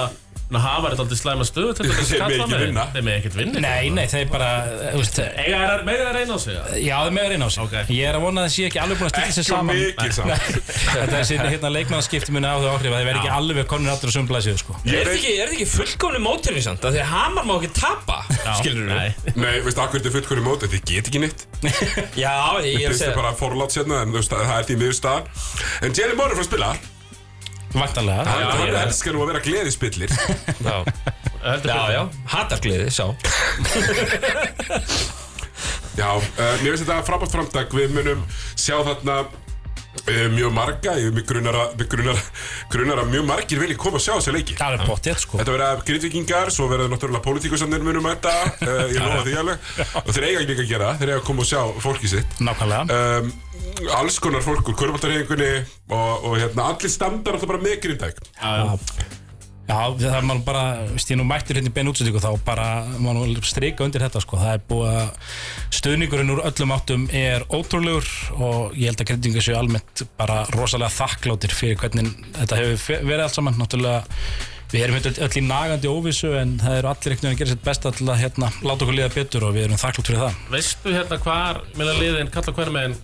Speaker 2: Ná hafa þetta aldrei slæma stöðu til þess
Speaker 1: Þeir
Speaker 2: að
Speaker 1: mega
Speaker 2: kalla
Speaker 1: ekki
Speaker 2: með
Speaker 1: vinna.
Speaker 2: Þeir með ekkert vinna
Speaker 5: Nei, nei, þeir bara, eh, þú veist, eh,
Speaker 2: Eiga er meira að reyna á sig eða?
Speaker 5: já það er meður einn á sig.
Speaker 2: Ok.
Speaker 5: Ég er að vona að það sé ekki alveg búin að stilla
Speaker 1: Ekki
Speaker 5: sér
Speaker 1: of
Speaker 5: saman.
Speaker 1: mikið saman
Speaker 5: Þetta er síðan hérna leikmannaskipti muni á þau áhrif að þeir verði ekki alveg konur aftur á sömu blaðsíðu sko.
Speaker 1: Ég
Speaker 3: Er
Speaker 1: veit-
Speaker 3: þetta ekki, er þetta ekki fullkomni móturinn samt? Af Því að Hamar má ekki tapa, skilur
Speaker 2: Nei.
Speaker 3: við?
Speaker 1: Nei, veistu, akkur þetta er fullkværi móti, þið get ekki neitt
Speaker 3: Já,
Speaker 1: Þetta
Speaker 3: ég er að
Speaker 1: er
Speaker 3: segja
Speaker 1: bara forlátt sérna, en þú veist, það er því miður staðan En Jerry Moore er frá að spila
Speaker 5: Væntanlega.
Speaker 1: Hann, hann
Speaker 3: já.
Speaker 1: elskar nú að vera gleðispillir
Speaker 3: Já,
Speaker 2: Heldur
Speaker 3: já,
Speaker 2: betur.
Speaker 3: já, hatargliði, sá
Speaker 1: Já, uh, mér finnst þetta frábært framtak Við munum sjá þarna uh, mjög marga Ég mig grunar að, mig grunar, grunar að mjög margir vilji koma að sjá þessu leiki
Speaker 5: Það er pottétt sko.
Speaker 1: Þetta verða grindvikingar, svo verða náttúrulega pólitíkusannir munum mæta uh, Ég lofa því alveg Og þeir eiga líka að gera, það, þeir eiga að koma og sjá fólkið sitt
Speaker 5: Nákvæmlega.
Speaker 1: um, Alls konar fólk úr körfaldarhefingunni og, og hérna, allir standar alltaf bara með grindæk
Speaker 5: Já, það er maður bara, veist ég nú mættur hérna í beinu útsendingu þá bara má nú strika undir þetta sko, það er búið að stöðningurinn úr öllum áttum er ótrúlegur og ég held að grindingu séu almennt bara rosalega þakkláttir fyrir hvernig þetta hefur fe- verið allt saman, náttúrulega við erum hérna öll í nagandi óvissu en það eru allir einhvern veginn að gera sér besta til að hérna láta okkur liða betur og við erum þakklátt fyrir það.
Speaker 2: Veistu hérna hvar Meina liðin, kalla hver megin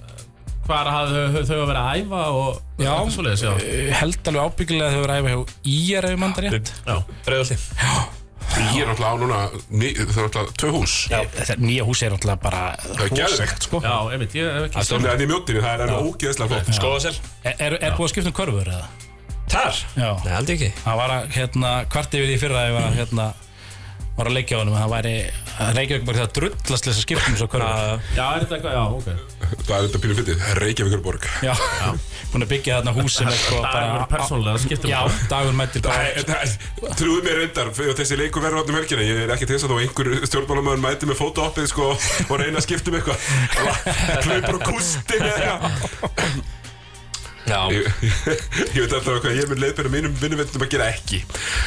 Speaker 2: Hvar hafði þau, þau að vera að æfa og
Speaker 5: Já.
Speaker 2: eitthvað svoleiðis, já.
Speaker 5: Ég Eh, held alveg ábyggilega að þau verið æfa hjá IR ef ég mann það rétt.
Speaker 2: já
Speaker 3: Breiðaldi
Speaker 1: Ég er náttúrulega á núna, ný, það er náttúrulega tvö hús
Speaker 5: Þetta nýja hús er náttúrulega bara
Speaker 1: er geðveikt.
Speaker 5: sko.
Speaker 2: Já, einmitt, ég hef ekki
Speaker 1: Þannig að það er í mjóttinni, það er alveg ógeðslega flott
Speaker 3: Skóðasel
Speaker 5: Er, er, er búið að skipta um körfur eða?
Speaker 3: Þar?
Speaker 5: Já.
Speaker 3: Nei, aldrei ekki
Speaker 5: Það var að, hérna, kvart yfir því fyrra að ég var að, hérna, var að leikja á honum að það væri, að Reykjavík bara það drullast til þess að skipta um svo körfur.
Speaker 2: Já, er þetta eitthvað, já, ok
Speaker 1: Það er þetta pínu fyndið, Reykjavíkurborg
Speaker 5: Já, búin að byggja þarna hús sem er sko
Speaker 2: Það er einhver
Speaker 5: bara,
Speaker 2: persónulega, það skiptir
Speaker 5: já,
Speaker 2: máli.
Speaker 5: dagur mættir bara.
Speaker 1: Nei, um- það- Trúðu mér reyndar, fyrir þessi leikur verður áttum helgina Ég er ekki til þess að þó einhver stjórnmálamöður mæti með fótóoppið sko og reyna að skipta um eitthvað Hlaupur og kústi með
Speaker 3: Já
Speaker 1: Ég ég veit alltaf hvað ég mun leiðbyrja mínum vinnuvendum að gera ekki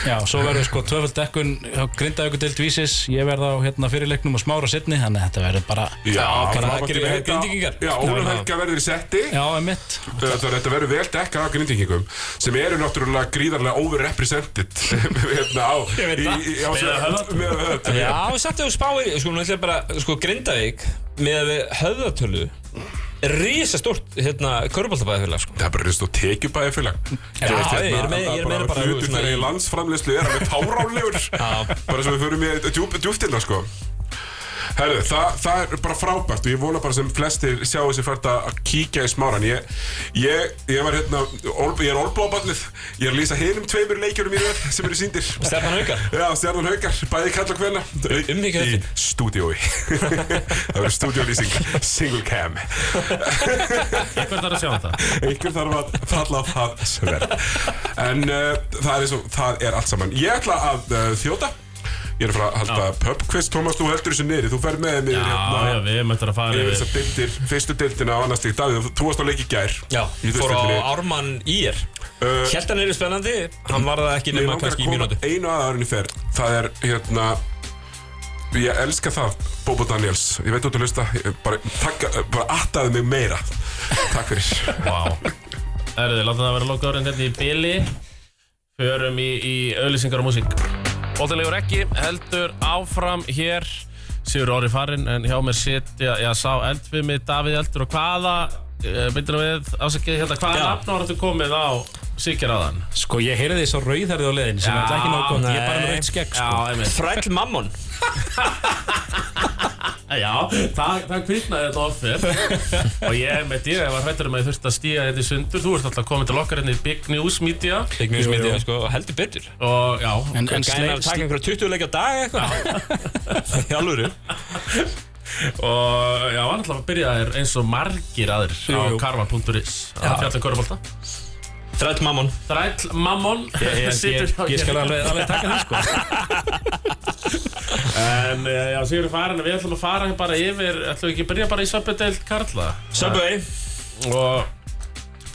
Speaker 5: Já, svo verður sko tvöfald dekkun á grindavíku deild vísis, ég verð á hérna fyrirleiknum og smára setni, þannig að þetta verður bara,
Speaker 1: Já,
Speaker 3: bara
Speaker 1: frábært
Speaker 3: gera
Speaker 1: yfir þetta.
Speaker 3: Grindvíkingar.
Speaker 1: Já, Ólaf Helga verður í setti
Speaker 5: já, emitt.
Speaker 1: Það er þetta verður vel dekkað af grindvíkingum sem eru náttúrulega gríðarlega overrepresented hérna á
Speaker 5: Ég veit
Speaker 1: í-
Speaker 5: það.
Speaker 1: í- á-
Speaker 2: Með höfðatölu.
Speaker 1: með höfðatölu.
Speaker 3: Já, samt ef þú spáir, sko, nú ætlum ég bara, sko, Grindavík með höfðatölu risastórt hérna, köruboltabæðafélag sko.
Speaker 1: Það er bara reist og tekjubæðifélag
Speaker 3: Já, ég
Speaker 1: hérna,
Speaker 3: er með- ég er meira bara, þú veist,
Speaker 1: Hlutur
Speaker 3: svona
Speaker 1: þegar
Speaker 3: í-
Speaker 1: landsframleyslu er alveg tárálegur Bara sem við förum í djúp, djúftina sko Herðu, það, það er bara frábært og ég vona bara sem flestir sjáu sér fært að að kíkja í smáran Ég, ég, ég var hérna, ol, ég er olblóðballið Ég er að lýsa hinum tveimur leikjurum í röð sem eru sýndir
Speaker 3: Stefán Haukar
Speaker 1: Já, Stjarnan Haukar, bæði kall og kvenna
Speaker 3: umhyggja
Speaker 1: Í
Speaker 3: þetta.
Speaker 1: stúdiói Það verður stúdiólýsing, single cam
Speaker 2: Hvernig þarf að sjá þetta?
Speaker 1: einhver þarf að falla á það sverð en uh, það er eins og það er allt saman ég ætla að uh, þjóta ég er að fara að halda pub quiz Tómas, þú heldur þessu niðri, þú fer með mér hérna
Speaker 2: Já, já, við erum eftir að fara
Speaker 1: yfir
Speaker 2: yfir
Speaker 1: þessar deildir, fyrstu deildina á annars stík Davíð, þú varst á leik í gær
Speaker 3: Já,
Speaker 1: í
Speaker 3: fór
Speaker 1: deildinni.
Speaker 3: á Ármann Ír
Speaker 1: Uh,
Speaker 3: Hjælt hann er spennandi, hann var það ekki
Speaker 1: Mig
Speaker 3: nema
Speaker 1: langar að
Speaker 3: kannski í
Speaker 1: koma
Speaker 3: mínútu
Speaker 1: einu að árunni fer það er hérna ég elska það, Bobo Daniels ég veit út að hlusta, ég bara, takk, bara attaði mig meira takk fyrir
Speaker 2: Vá Erðu, látum það vera loka orðin hérna í bili Förum í, í auðlýsingar og músík Bóttilegur ekki, heldur áfram hér Sigur Orri farinn en hjá mér sitja Já, sá eldfið mig, Davíð eldur og hvaða uh, Myndir við ásakið hérna Hvaða
Speaker 3: Já.
Speaker 2: nafn var þetta komið á Sigurraðan?
Speaker 5: Sko, ég heyrði því svo rauðherði á leiðin sem
Speaker 2: Já,
Speaker 5: er alltaf ekki nóg gott, ég er bara
Speaker 3: nei.
Speaker 5: með rauð skegg
Speaker 2: Já,
Speaker 5: sko.
Speaker 2: einmitt
Speaker 3: Fræll Mammon
Speaker 2: Eh, Já, það, það kvitnaði þetta ofir Og ég með dýr, ég var hrættur um að ég þurfti að stíga hérna í sundur Þú ert alltaf komin til okkar hérna í Big News Media
Speaker 3: Þegar mjög smitið, sko, og heldur betur
Speaker 2: Og já,
Speaker 5: En, en
Speaker 3: Gæna að taka
Speaker 5: sleik,
Speaker 3: einhverja 20 leikja á dag eitthvað Í alvöru
Speaker 2: og já, hann alltaf byrjaði eins og margir aðrir á
Speaker 5: jú.
Speaker 2: karvan.is að fjalla körubólta
Speaker 3: Fræll Mammon
Speaker 2: Þræll Mammon
Speaker 5: ég, ég, ég, ég skal alveg, alveg taka það sko.
Speaker 2: En eh, já, Sigur er farin við ætlum að fara hérna bara yfir ætlum við ekki að byrja bara í söpudeild Karla
Speaker 3: Subway
Speaker 2: og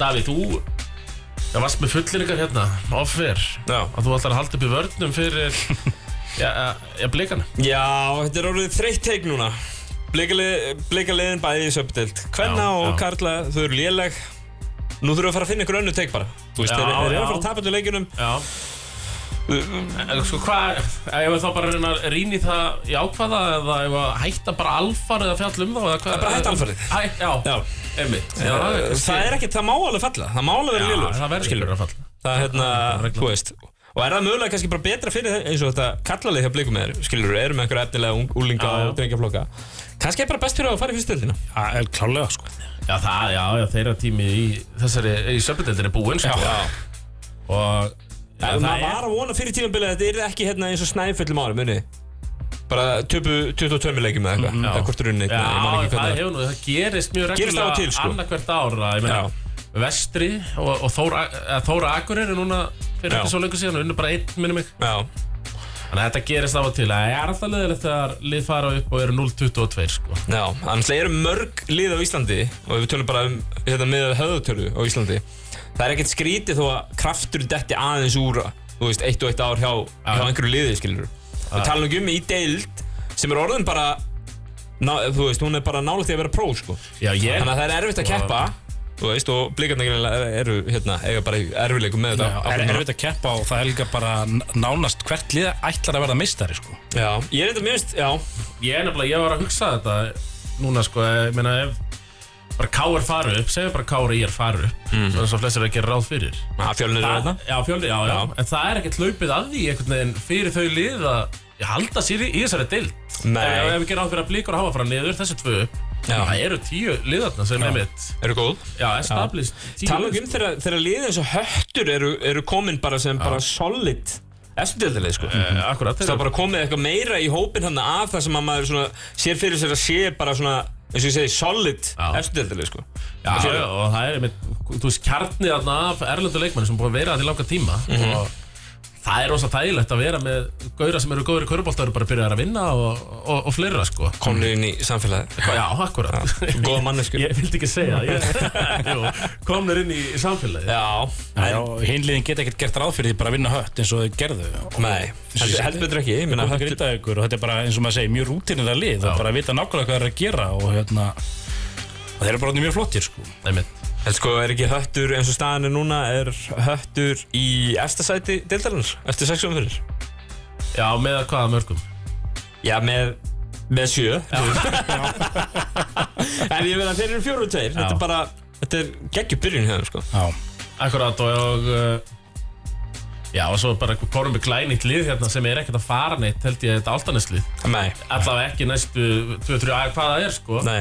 Speaker 2: Davíð, þú já, varst með fullinningar hérna offer
Speaker 3: Já.
Speaker 2: að þú ætlar að halda upp í vörnum fyrir já, eh, já, blikana
Speaker 3: Já, þetta er orðið þreytt teik núna Blikalið- Blikaliðin bæði í söpdelt Hvenna
Speaker 2: Já,
Speaker 3: og
Speaker 2: já.
Speaker 3: Karla, þau eru léleg Nú þurfum við að fara að finna ykkur önnu teik bara Þú
Speaker 2: Já,
Speaker 3: veist, þeir þeir eru
Speaker 2: já.
Speaker 3: að fara að tapa til leikunum
Speaker 2: Já En sko hvað, ef við þá bara reyna að rýna í það í ákvaða eða ef að hætta bara alfarið að fjalla um þá eða hvað
Speaker 3: Bara hætta alfarið.
Speaker 2: Hæ, já,
Speaker 3: Já,
Speaker 2: einmitt
Speaker 3: það er ekki, það má alveg falla Það má alveg vera
Speaker 2: skilur
Speaker 3: lélegur
Speaker 2: Það verður skilur að falla
Speaker 3: Það er
Speaker 2: Það er
Speaker 3: hérna,
Speaker 2: reglan.
Speaker 3: þú veist Og er það mögulega kannski bara betra fyrir þeir- eins og þetta kallalið hjá blikum er Skilur, eru með einhverja efnilega ung- úlinga
Speaker 2: Já, já.
Speaker 3: og drengjafloka Kannski er bara best fyrir þá að fara í fyrstöldina
Speaker 5: Já, el- Klálega sko.
Speaker 2: Já, það, já, já, þeirra tími í þessari, í söpindeldin er búinn sko. Og já,
Speaker 3: Það
Speaker 2: það
Speaker 3: var
Speaker 2: er
Speaker 3: að vona fyrir tímabilið að þetta yrði ekki hérna eins og snæfjöldum árum, muni Bara töpu 22 leikjum eða eitthvað
Speaker 2: já.
Speaker 3: Eða hvort runni,
Speaker 2: Já,
Speaker 3: ég man ekki
Speaker 2: það
Speaker 3: hvernig
Speaker 2: hefur nú, það gerist mjög
Speaker 3: Gerist af og
Speaker 2: reglulega
Speaker 3: til, sko.
Speaker 2: annarkvert ára, ég meina
Speaker 3: Já.
Speaker 2: Vestri og, og Þóra, eða Þóra Akurir er núna fyrir
Speaker 3: Já.
Speaker 2: ekki svo lengur síðan og unnu bara einn, minnum mig
Speaker 3: Já,
Speaker 2: Þannig að þetta gerist af og til að ég er alltaf leðilegt þegar lið fara upp og eru 0-22 sko.
Speaker 3: já, annars það eru mörg lið á Íslandi og ef við tölum bara um hérna með höðutölu á Íslandi það er ekkert skrítið þó að kraftur detti aðeins úr þú veist, eitt og eitt ár hjá, hjá einhverju liði, skilur við tala ekki um í deild sem er orðin bara ná, þú veist, hún er bara nálægt því að vera pró, sko
Speaker 2: Já, ég
Speaker 3: þannig að það er erfitt að keppa þú veist, og blikarna eru hérna, eiga bara erfileikum með
Speaker 5: Já,
Speaker 3: þetta
Speaker 5: er erfitt að keppa og það er líka bara n- nánast hvert liða ætlar að verða meistari sko.
Speaker 3: Já, ég er eitthvað minnst, já
Speaker 2: Ég er nefnilega, ég var að hugsa þetta núna sko, ég meina ef bara K.R. fara upp, segjum bara K.R. ég er fara upp
Speaker 5: Mhm.
Speaker 2: mm. þannig að flestir er að gera ráð fyrir
Speaker 3: Ah, Fjölnir er
Speaker 2: Þa,
Speaker 3: þetta
Speaker 2: Já, fjöldi, já, já, en það er ekkert hlaupið að því einhvern veginn fyrir þau lið að ég halda sér í, í þessari deild
Speaker 3: Nei.
Speaker 2: Ef ef við gerum ráð fyrir að blíkur hafa frá niður þessi tvö upp,
Speaker 3: Já.
Speaker 2: það eru tíu liðarna sem er mitt
Speaker 3: Eru góð
Speaker 2: Já, established tíu lið,
Speaker 3: Tala ekki um þegar, þegar liðið eins og höttur eru, eru komin bara sem bara solid eftirdeldileg sko
Speaker 2: sko. Eh, Akkurat,
Speaker 3: Það er bara komið eitthvað meira í hópin hann af það sem að maður svona, sér fyrir sér að sé bara svona eins og ég segi solid
Speaker 2: Já.
Speaker 3: eftirdeldileg sko
Speaker 2: Já, já, já, og það er einmitt, þú veist, kjarnið þarna af erlendu leikmenn sem er búin að vera það í langa tíma og það er rosa þægilegt að vera með gauðra sem eru góður í körubolt eru bara að byrja að vinna og, og, og fleira, sko
Speaker 3: Komnir inn í samfélagið
Speaker 2: Já, akkurat
Speaker 3: Góða manneskur
Speaker 2: Ég vildi ekki segja það, ég- Jú, komnir inn í samfélagið
Speaker 3: Já,
Speaker 5: Já, Hinn liðin geta ekkert gert ráð fyrir því bara að vinna hött eins og þau gerðu og
Speaker 3: nei, heldur held betur ekki Ég meina
Speaker 5: það
Speaker 3: höttur
Speaker 5: grinda ykkur og þetta er bara eins og maður segir mjög rútinir að lið og bara að vita nákvæmlega hvað það er að gera og hérna og þeir eru bara orðnir mjög flottir sko.
Speaker 2: Einmitt
Speaker 3: En sko, er ekki höttur eins og staðan er núna er höttur í efsta sæti deildarinnar eftir sex umfyrir?
Speaker 2: Já, með hvaða mörgum
Speaker 3: Já, með, með sjö. En ég meina, þeir eru fjóru og tveir Þetta er bara, þetta er geggjum byrjun hérna sko.
Speaker 5: Já,
Speaker 2: Akkurat og uh, Já og svo bara korum við glænýtt lið hérna sem er ekkert að fara neitt held ég þetta áltaneslið
Speaker 3: Nei,
Speaker 2: Allavega ekki næstu 2-3 að hvað það er sko
Speaker 3: nei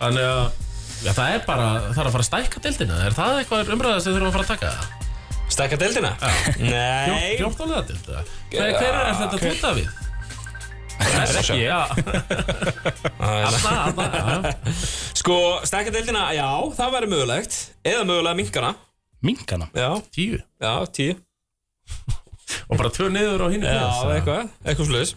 Speaker 2: Þannig að já, það er bara, það er að fara að stækka deildina Er það eitthvað umræða sem þurfum að fara að taka það?
Speaker 3: Stakka deildina? Nei
Speaker 2: 14 liða deilda? Hver, hver er þetta tóta við? Það er ekki, já Alla, alla, já
Speaker 3: Sko, stakka deildina, já, það væri mögulegt Eða mögulega minkana
Speaker 5: minkana
Speaker 3: Já,
Speaker 2: Tíu
Speaker 3: já, tíu
Speaker 2: Og bara tvö niður á hínu
Speaker 3: Já, eitthvað, eitthvað sluðis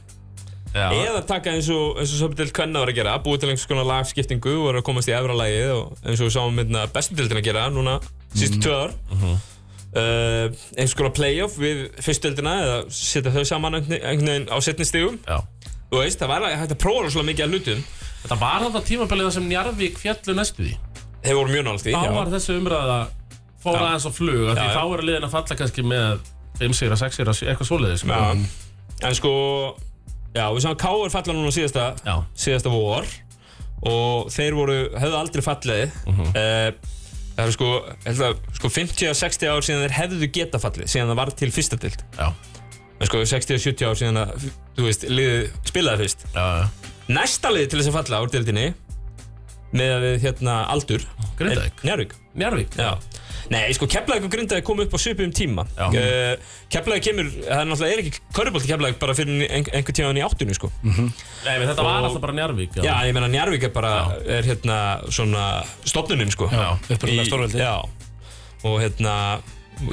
Speaker 3: Eða taka eins og, eins og söpudeld kvenna var að gera Búið til einhvers konar lagskiptingu og var að komast í efra lagið og eins og við sáum myndina bestu deildina gera núna
Speaker 2: Mhm.
Speaker 3: sístu tvö ár Uh, eins og konar playoff við fyrstdeildina eða setja þau saman einhvern einhvern veginn á setni stigum
Speaker 2: Já.
Speaker 3: þú veist, það var að hægt að prófa rosalega mikið að hlutum
Speaker 2: Þetta var þetta tímabilið þar sem Njarvík fjallu næstu því
Speaker 3: þeir voru mjög nált í
Speaker 2: þá
Speaker 3: já.
Speaker 2: var þessi umræða fór aðeins á flug af því
Speaker 3: Já, já.
Speaker 2: þá eru liðin að falla kannski með 5 sigra, 6 sigra, eitthvað svoleiðis sko.
Speaker 3: Já. En sko, já, við sáum Káur falla núna síðasta,
Speaker 2: Já.
Speaker 3: síðasta vor og þeir voru, höfðu aldrei fallið. Uh
Speaker 2: Mhm.
Speaker 3: það eru sko, ég held að, sko 50-60 ár síðan þeir hefðu geta fallið, síðan það var til fyrsta dild.
Speaker 2: Já.
Speaker 3: En sko 60-70 ár síðan að, þú veist, liðið spilaði fyrst.
Speaker 2: Já, já.
Speaker 3: Næsta lið til þess að falla úr dildinni, með að við hérna aldur,
Speaker 2: Grindavík.
Speaker 3: Njárvík.
Speaker 2: Njarvík
Speaker 3: Já. Nei, sko, Keflavík og Grindavík kom upp á svipum tíma
Speaker 2: Já.
Speaker 3: uh, Keflavík kemur, það er náttúrulega er ekki Körubolt Keflavík bara fyrir ein, einhver tíðan í áttunni sko.
Speaker 2: Nei, menn þetta var alltaf bara Njarvík
Speaker 3: Já, ég meina Njarvík er bara er hérna svona stofnunin sko.
Speaker 5: Já, upprunalega
Speaker 3: Í-
Speaker 5: stórveldi.
Speaker 3: Já, og hérna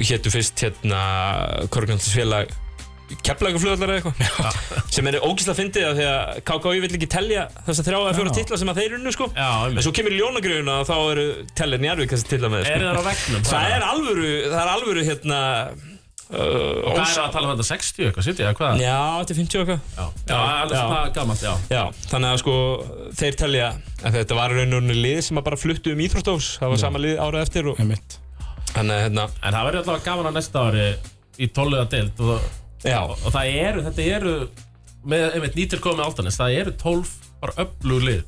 Speaker 3: héttu fyrst hérna Körubolt Keflavík og flugvallar eða eitthvað sem er ógísla fyndið af því að KKV vill ekki telja þess að þrjá eða fjóra titla sem að þeir unnu sko.
Speaker 2: Já,
Speaker 3: en
Speaker 2: einmitt.
Speaker 3: svo kemur í ljónagröðuna og þá eru tellir Njarvík þessi titla með sko.
Speaker 2: Er það á vegnum?
Speaker 3: Það er alvöru, það er alvöru hérna uh,
Speaker 2: Hvað er það að tala um þetta? 60 eitthvað, 70 eitthvað? hvað?
Speaker 3: Já, þetta er 50 og eitthvað
Speaker 2: Já, já, alveg
Speaker 3: Já.
Speaker 2: það er gammalt, já
Speaker 3: Já, þannig að sko þeir telja að þetta var í raun og rauninni lið sem að bara fluttu um íþróttós það var sama lið árað eftir og
Speaker 5: einmitt
Speaker 3: þannig að hérna
Speaker 2: En það verður alltaf gaman á næsta ári í 12. deild og,
Speaker 3: Já,
Speaker 2: og, og það eru, þetta eru með, einmitt nýtir komið áltanis, það eru 12 bara öflug lið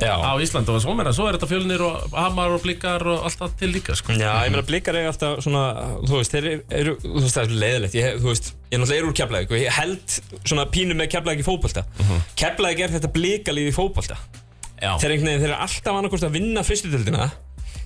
Speaker 3: já
Speaker 2: á Íslandi og svo meira, svo er þetta fjölnir og hamar og blikar og allt það til líka, sko
Speaker 3: Já, ég meina blikar er alltaf svona, þú veist, þeir eru, þú veist, það er leiðilegt, ég, þú veist, ég náttúrulega er úr keflæk og ég held svona pínu með keflæk í fótbolta. Uh er þetta blikalið í fótbolta.
Speaker 2: Mhm. Já.
Speaker 3: Þeir, eru einhvern veginn, þeir eru alltaf annarkvort að vinna fyrstutöldina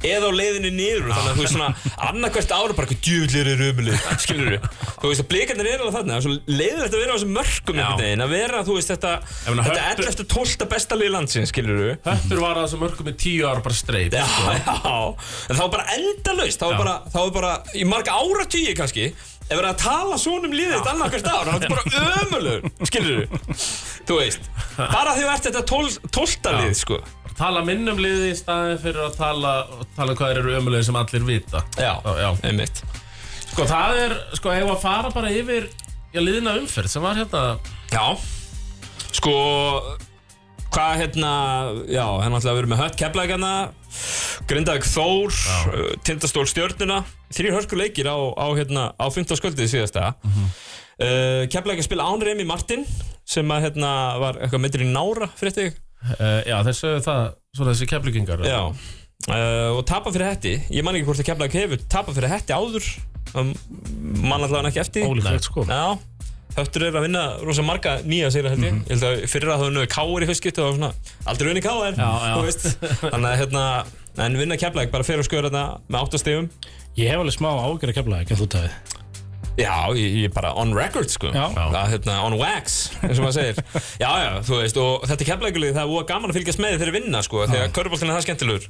Speaker 3: eða á leiðinu niður, þannig að þú veist svona annarkvert ára bara eitthvað djúðlir er ömuleg, skilur við. Þú veist að blikarnir eru alveg þarna, það er svo leiðilegt að vera á þessum mörkum einhvern veginn, að vera, þú veist, þetta,
Speaker 2: meina,
Speaker 3: þetta
Speaker 2: Höttur-
Speaker 3: 11. 12. besta lið landsins, skilur við.
Speaker 2: Höttur var að þessum örkum í tíu ára bara streit
Speaker 3: Já, já, en það var bara endalaust Það var bara, það var bara í marga áratugir kannski Ef verið að tala svona um liðið þetta annað hvert ár Það var bara ömulur, skilur þú Þú veist, bara því þú ert þetta tól- tólfta lið, sko
Speaker 2: Tala minn um liði í staðin fyrir að tala, tala um hvað þeir eru ömulegir sem allir vita Já, já.
Speaker 3: einmitt
Speaker 2: Sko það er, sko ef að fara bara yfir Já, liðina umferð sem var hérna
Speaker 3: Já, sko Hvað hérna, já, hérna ætlaði að vera með hött keflækana Grindavík Þór, uh, Tindastól Stjörnuna Þrýr hörkuleikir á, á, hérna, á 15. sköldið síðasta mm -hmm. uh, Keflæk að spila án Remi Martin sem að hérna var eitthvað myndir í nára fyrir þig
Speaker 2: uh, Já, þeir sögðu það, svona þessi keflugingar
Speaker 3: Já uh, Og tapa fyrir hætti, ég man ekki hvort að Keflæk hefur tapa fyrir hætti áður um, Man allavega ekki eftir því.
Speaker 2: Ólíklegt, sko
Speaker 3: Já, Höttur er að vinna rosa marga nýja sigra held ég
Speaker 2: Mhm.
Speaker 3: Ég held að fyrir að það nöðu káir í fyrstskipt og það var svona aldrei unni káir
Speaker 2: Já, já.
Speaker 3: Þannig að hérna En vinna keflæk bara fyrir að skjóra þetta með áttastegum
Speaker 5: Ég hef alveg smá ágjör að kefla ekki en þú tafið
Speaker 3: Já, ég, ég er bara on record sko
Speaker 5: Já.
Speaker 3: Það, hérna, On wax, eins og maður segir Já, já, þú veist, og þetta keflækulið það er óa gaman að fylgjast með þeir vinna sko Þegar köruboltin er það skemmtilegur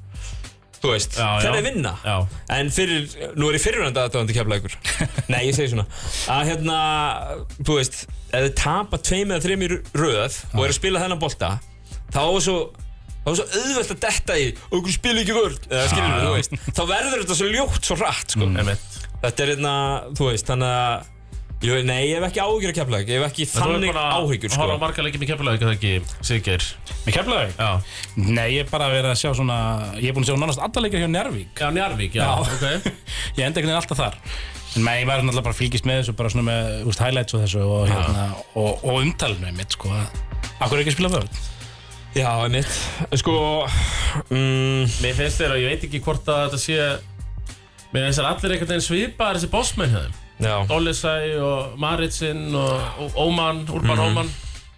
Speaker 3: Þú veist,
Speaker 2: Já, já.
Speaker 3: þeir vinna
Speaker 2: Já.
Speaker 3: En fyrir, nú er ég fyrirrandi aðdáðandi keflækur Nei, ég segi svona Að hérna, þú veist Ef þið tapa tveim eða þreim í röð Og eru að spila þennan bolta Þá er svo þá er svo auðvelt að detta í og okkur spila ekki vörn eða skilur þú veist þá verður þetta svo ljótt svo rætt sko.
Speaker 2: Einmitt.
Speaker 3: Þetta er hérna, þú veist, þannig að Jú, nei, ég hef ekki áhyggjur að kefla Ég hef ekki þannig áhyggjur,
Speaker 2: sko
Speaker 3: sko
Speaker 2: Hóra margar leikin í keflugingar, það ekki, Siggeir
Speaker 5: Með kefla ekki?
Speaker 2: Já,
Speaker 5: Nei, ég er bara að vera að sjá svona Ég er búin að sjá nánast alla leikir hjá Njárvík
Speaker 2: já, Njarvík, já, ok
Speaker 5: Ég enda einhvern veginn alltaf þar En nei, ég var náttúrulega bara að fylgjast með þessu bara svona með úst, highlights og þessu og, hérna, og, og umtalinu mitt sko að Akkur er ekki að spila vörð
Speaker 3: Já, einmitt Sko mm,
Speaker 2: Mér finnst þér að ég veit ekki hvort að þetta sé Mér finnst þér allir einhvern veginn svipaðar þessi bossmenn hefðum
Speaker 3: Já
Speaker 2: Dollisæ og Maritsinn og og Óman, Urban
Speaker 3: Mhm.
Speaker 2: Óman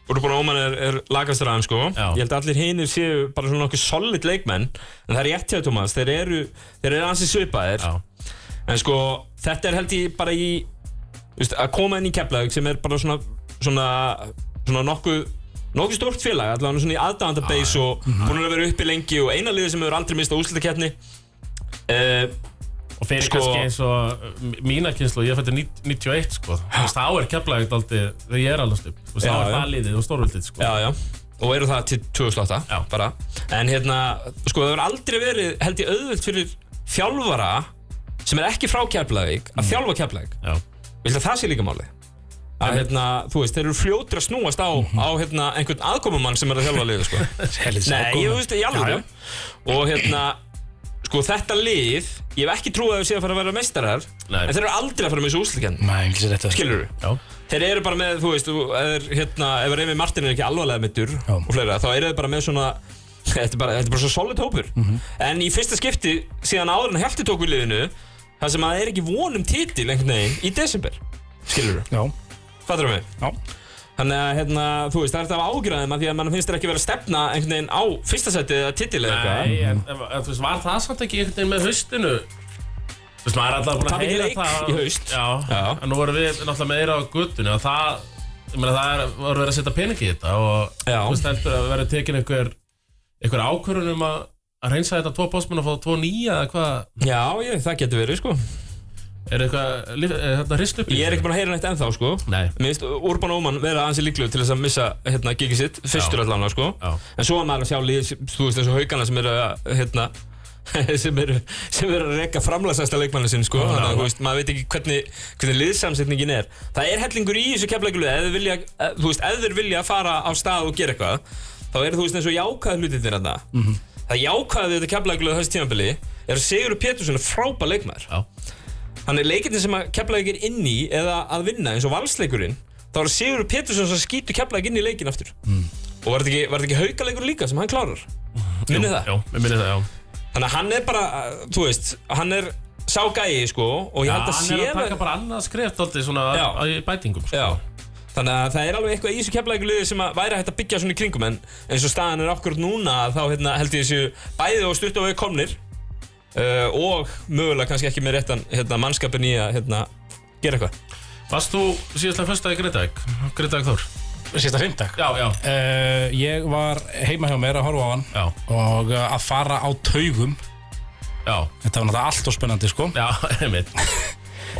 Speaker 3: Úrbúin Óman er, er lagastur aðeins sko
Speaker 2: Já.
Speaker 3: Ég held að allir hinir séu bara svona nokkuð solid leikmenn En það er rétt hjá Thomas Þeir eru, þeir eru ansi svipaðir
Speaker 2: Já.
Speaker 3: En sko, þetta er held ég bara í þú veist, Að koma inn í Keflavík sem er bara svona Svona, svona nokkuð Nokkuð stórt félag, allavega svona í aðdáðanda base Og búin að vera uppi lengi Og eina liðið sem hefur aldrei mistað úrslitakeppni uh,
Speaker 2: og fyrir
Speaker 3: Sko-
Speaker 2: kannski eins og uh, mína kynslu, ég fætti 91 sko Þú veist, þá er keflaðið aldrei þegar ég er alveg stup og þá
Speaker 3: Já,
Speaker 2: er
Speaker 3: já.
Speaker 2: það liðið og stórvöldið sko
Speaker 3: Já, já Og eru það til 2008
Speaker 2: Já.
Speaker 3: bara En hérna, sko það hefur aldrei verið held ég auðvöld fyrir þjálfara sem er ekki frá Keflavík
Speaker 2: Mm.
Speaker 3: að þjálfa Keflavík
Speaker 2: Já.
Speaker 3: Vilt að það sé líka máli? Að hérna, þú veist, þeir eru fljótur að snúast á,
Speaker 2: Mhm.
Speaker 3: á hérna, einhvern aðkomumann sem er að þjálfa liðið, sko
Speaker 5: Helvits
Speaker 3: Nei, ég veist, í alveg Og hérna, sko þetta lið Ég hef ekki trúið að þau sé að fara að vera meistarar
Speaker 2: Nei.
Speaker 3: En þeir eru aldrei að fara með þessu úslikenn
Speaker 5: Nei, ég vissi þetta
Speaker 3: Skilur
Speaker 2: Já.
Speaker 3: Þeir eru bara með, þú veist, þú- ef er, hérna, ef Reymi Martin er ekki alvarlega mittur og fleira, þá eru þeir bara með svona Þetta er bara, þetta er bara svo solid hópur
Speaker 2: Mhm.
Speaker 3: En í fyrsta skipti, síðan áður en heldur tók við liðinu Það sem að það er ekki vonum titil einhvern veginn í desember Skilur þú?
Speaker 5: Já,
Speaker 3: Fattur mig?
Speaker 5: já
Speaker 3: Þannig að, hérna, þú veist, það er þetta af ágræðum að því að mann finnst þér ekki vera að stefna einhvern veginn á fyrsta setið eða titil eða eitthvað
Speaker 2: Nei, en, en, en þú veist, var það samt ekki einhvern veginn með haustinu? Þú veist, maður er alltaf búin
Speaker 3: Það
Speaker 2: að
Speaker 3: er
Speaker 2: heyra
Speaker 3: leik
Speaker 2: það
Speaker 3: í haust.
Speaker 2: Já,
Speaker 3: Já.
Speaker 2: en nú vorum við náttúrulega meira á guttunni og það, ég meina, það er, voru verið að setja pening í þetta og
Speaker 3: Já.
Speaker 2: þú veist, heldur að verið tekin einhver, einhver ákvörun um að að reynsa þetta tvo bósmenn og fá tvo nýja eða hvað,
Speaker 3: Já, ég, það getur verið, sko
Speaker 2: er eitthvað líf- eh, hérna hrist upp í
Speaker 3: Ég er
Speaker 2: þessu?
Speaker 3: ekki búin að heyra neitt ennþá, sko
Speaker 2: Nei,
Speaker 3: Mér finnst Urban Oman vera aðeins líklegur til þess að missa hérna, gigið sitt, fyrstur allan sko.
Speaker 2: Já.
Speaker 3: en svo er maður að sjá lið, þú veist þessu haugana sem eru að hérna, sem eru sem eru að reka framlæsasta leikmanni sinn sko. þannig að þú veist, maður veit ekki hvernig, hvernig liðsamsetningin er það er hellingur í þessu keflækjulegu ef, þeir vilja- eh, þú veist, ef þeir vilja fara á stað og gera eitthvað þá eru þú veist eins og jákvæð hlutindir þarna það jákvæði við þetta keflækjulegu þessu tímabili er að Sigurður Pétursson er frábær leikmaður
Speaker 2: já
Speaker 3: Þannig leikirnir sem að Keflavík er inn í eða að vinna eins og valsleikurinn þá er Sigur Pétursson sem skýtur Keflavík inn í leikin aftur og var þetta ekki, var þetta ekki haukaleikur líka sem hann klárar minnið það
Speaker 2: Já, við minnið það, já
Speaker 3: þannig að hann er bara, uh, þú veist, hann er sá gæi sko og ég
Speaker 2: Já,
Speaker 3: held að
Speaker 2: hann
Speaker 3: sé
Speaker 2: er að taka
Speaker 3: með-
Speaker 2: bara annað skreft alltaf svona
Speaker 3: Já.
Speaker 2: að- að- í bætingum sko.
Speaker 3: Já, þannig að það er alveg eitthvað í þessu Keflavíkuliði sem að væri hægt að byggja svona í kringum en eins og staðan er okkur núna þá hérna, held ég þessu bæði og stutt á við komnir uh, og mögulega kannski ekki með réttan hérna, mannskapin í að hérna, gera eitthvað
Speaker 2: Varst þú síðastlega fyrsta í Grindavík? Grindavík Þór?
Speaker 5: Sýsta fimmtak
Speaker 2: Já, já,
Speaker 5: uh, Ég var heima hjá mér að horfa á hann
Speaker 2: já,
Speaker 5: og uh, að fara á taugum
Speaker 2: já
Speaker 5: Þetta var náttúrulega allt og spennandi sko
Speaker 2: Já, einmitt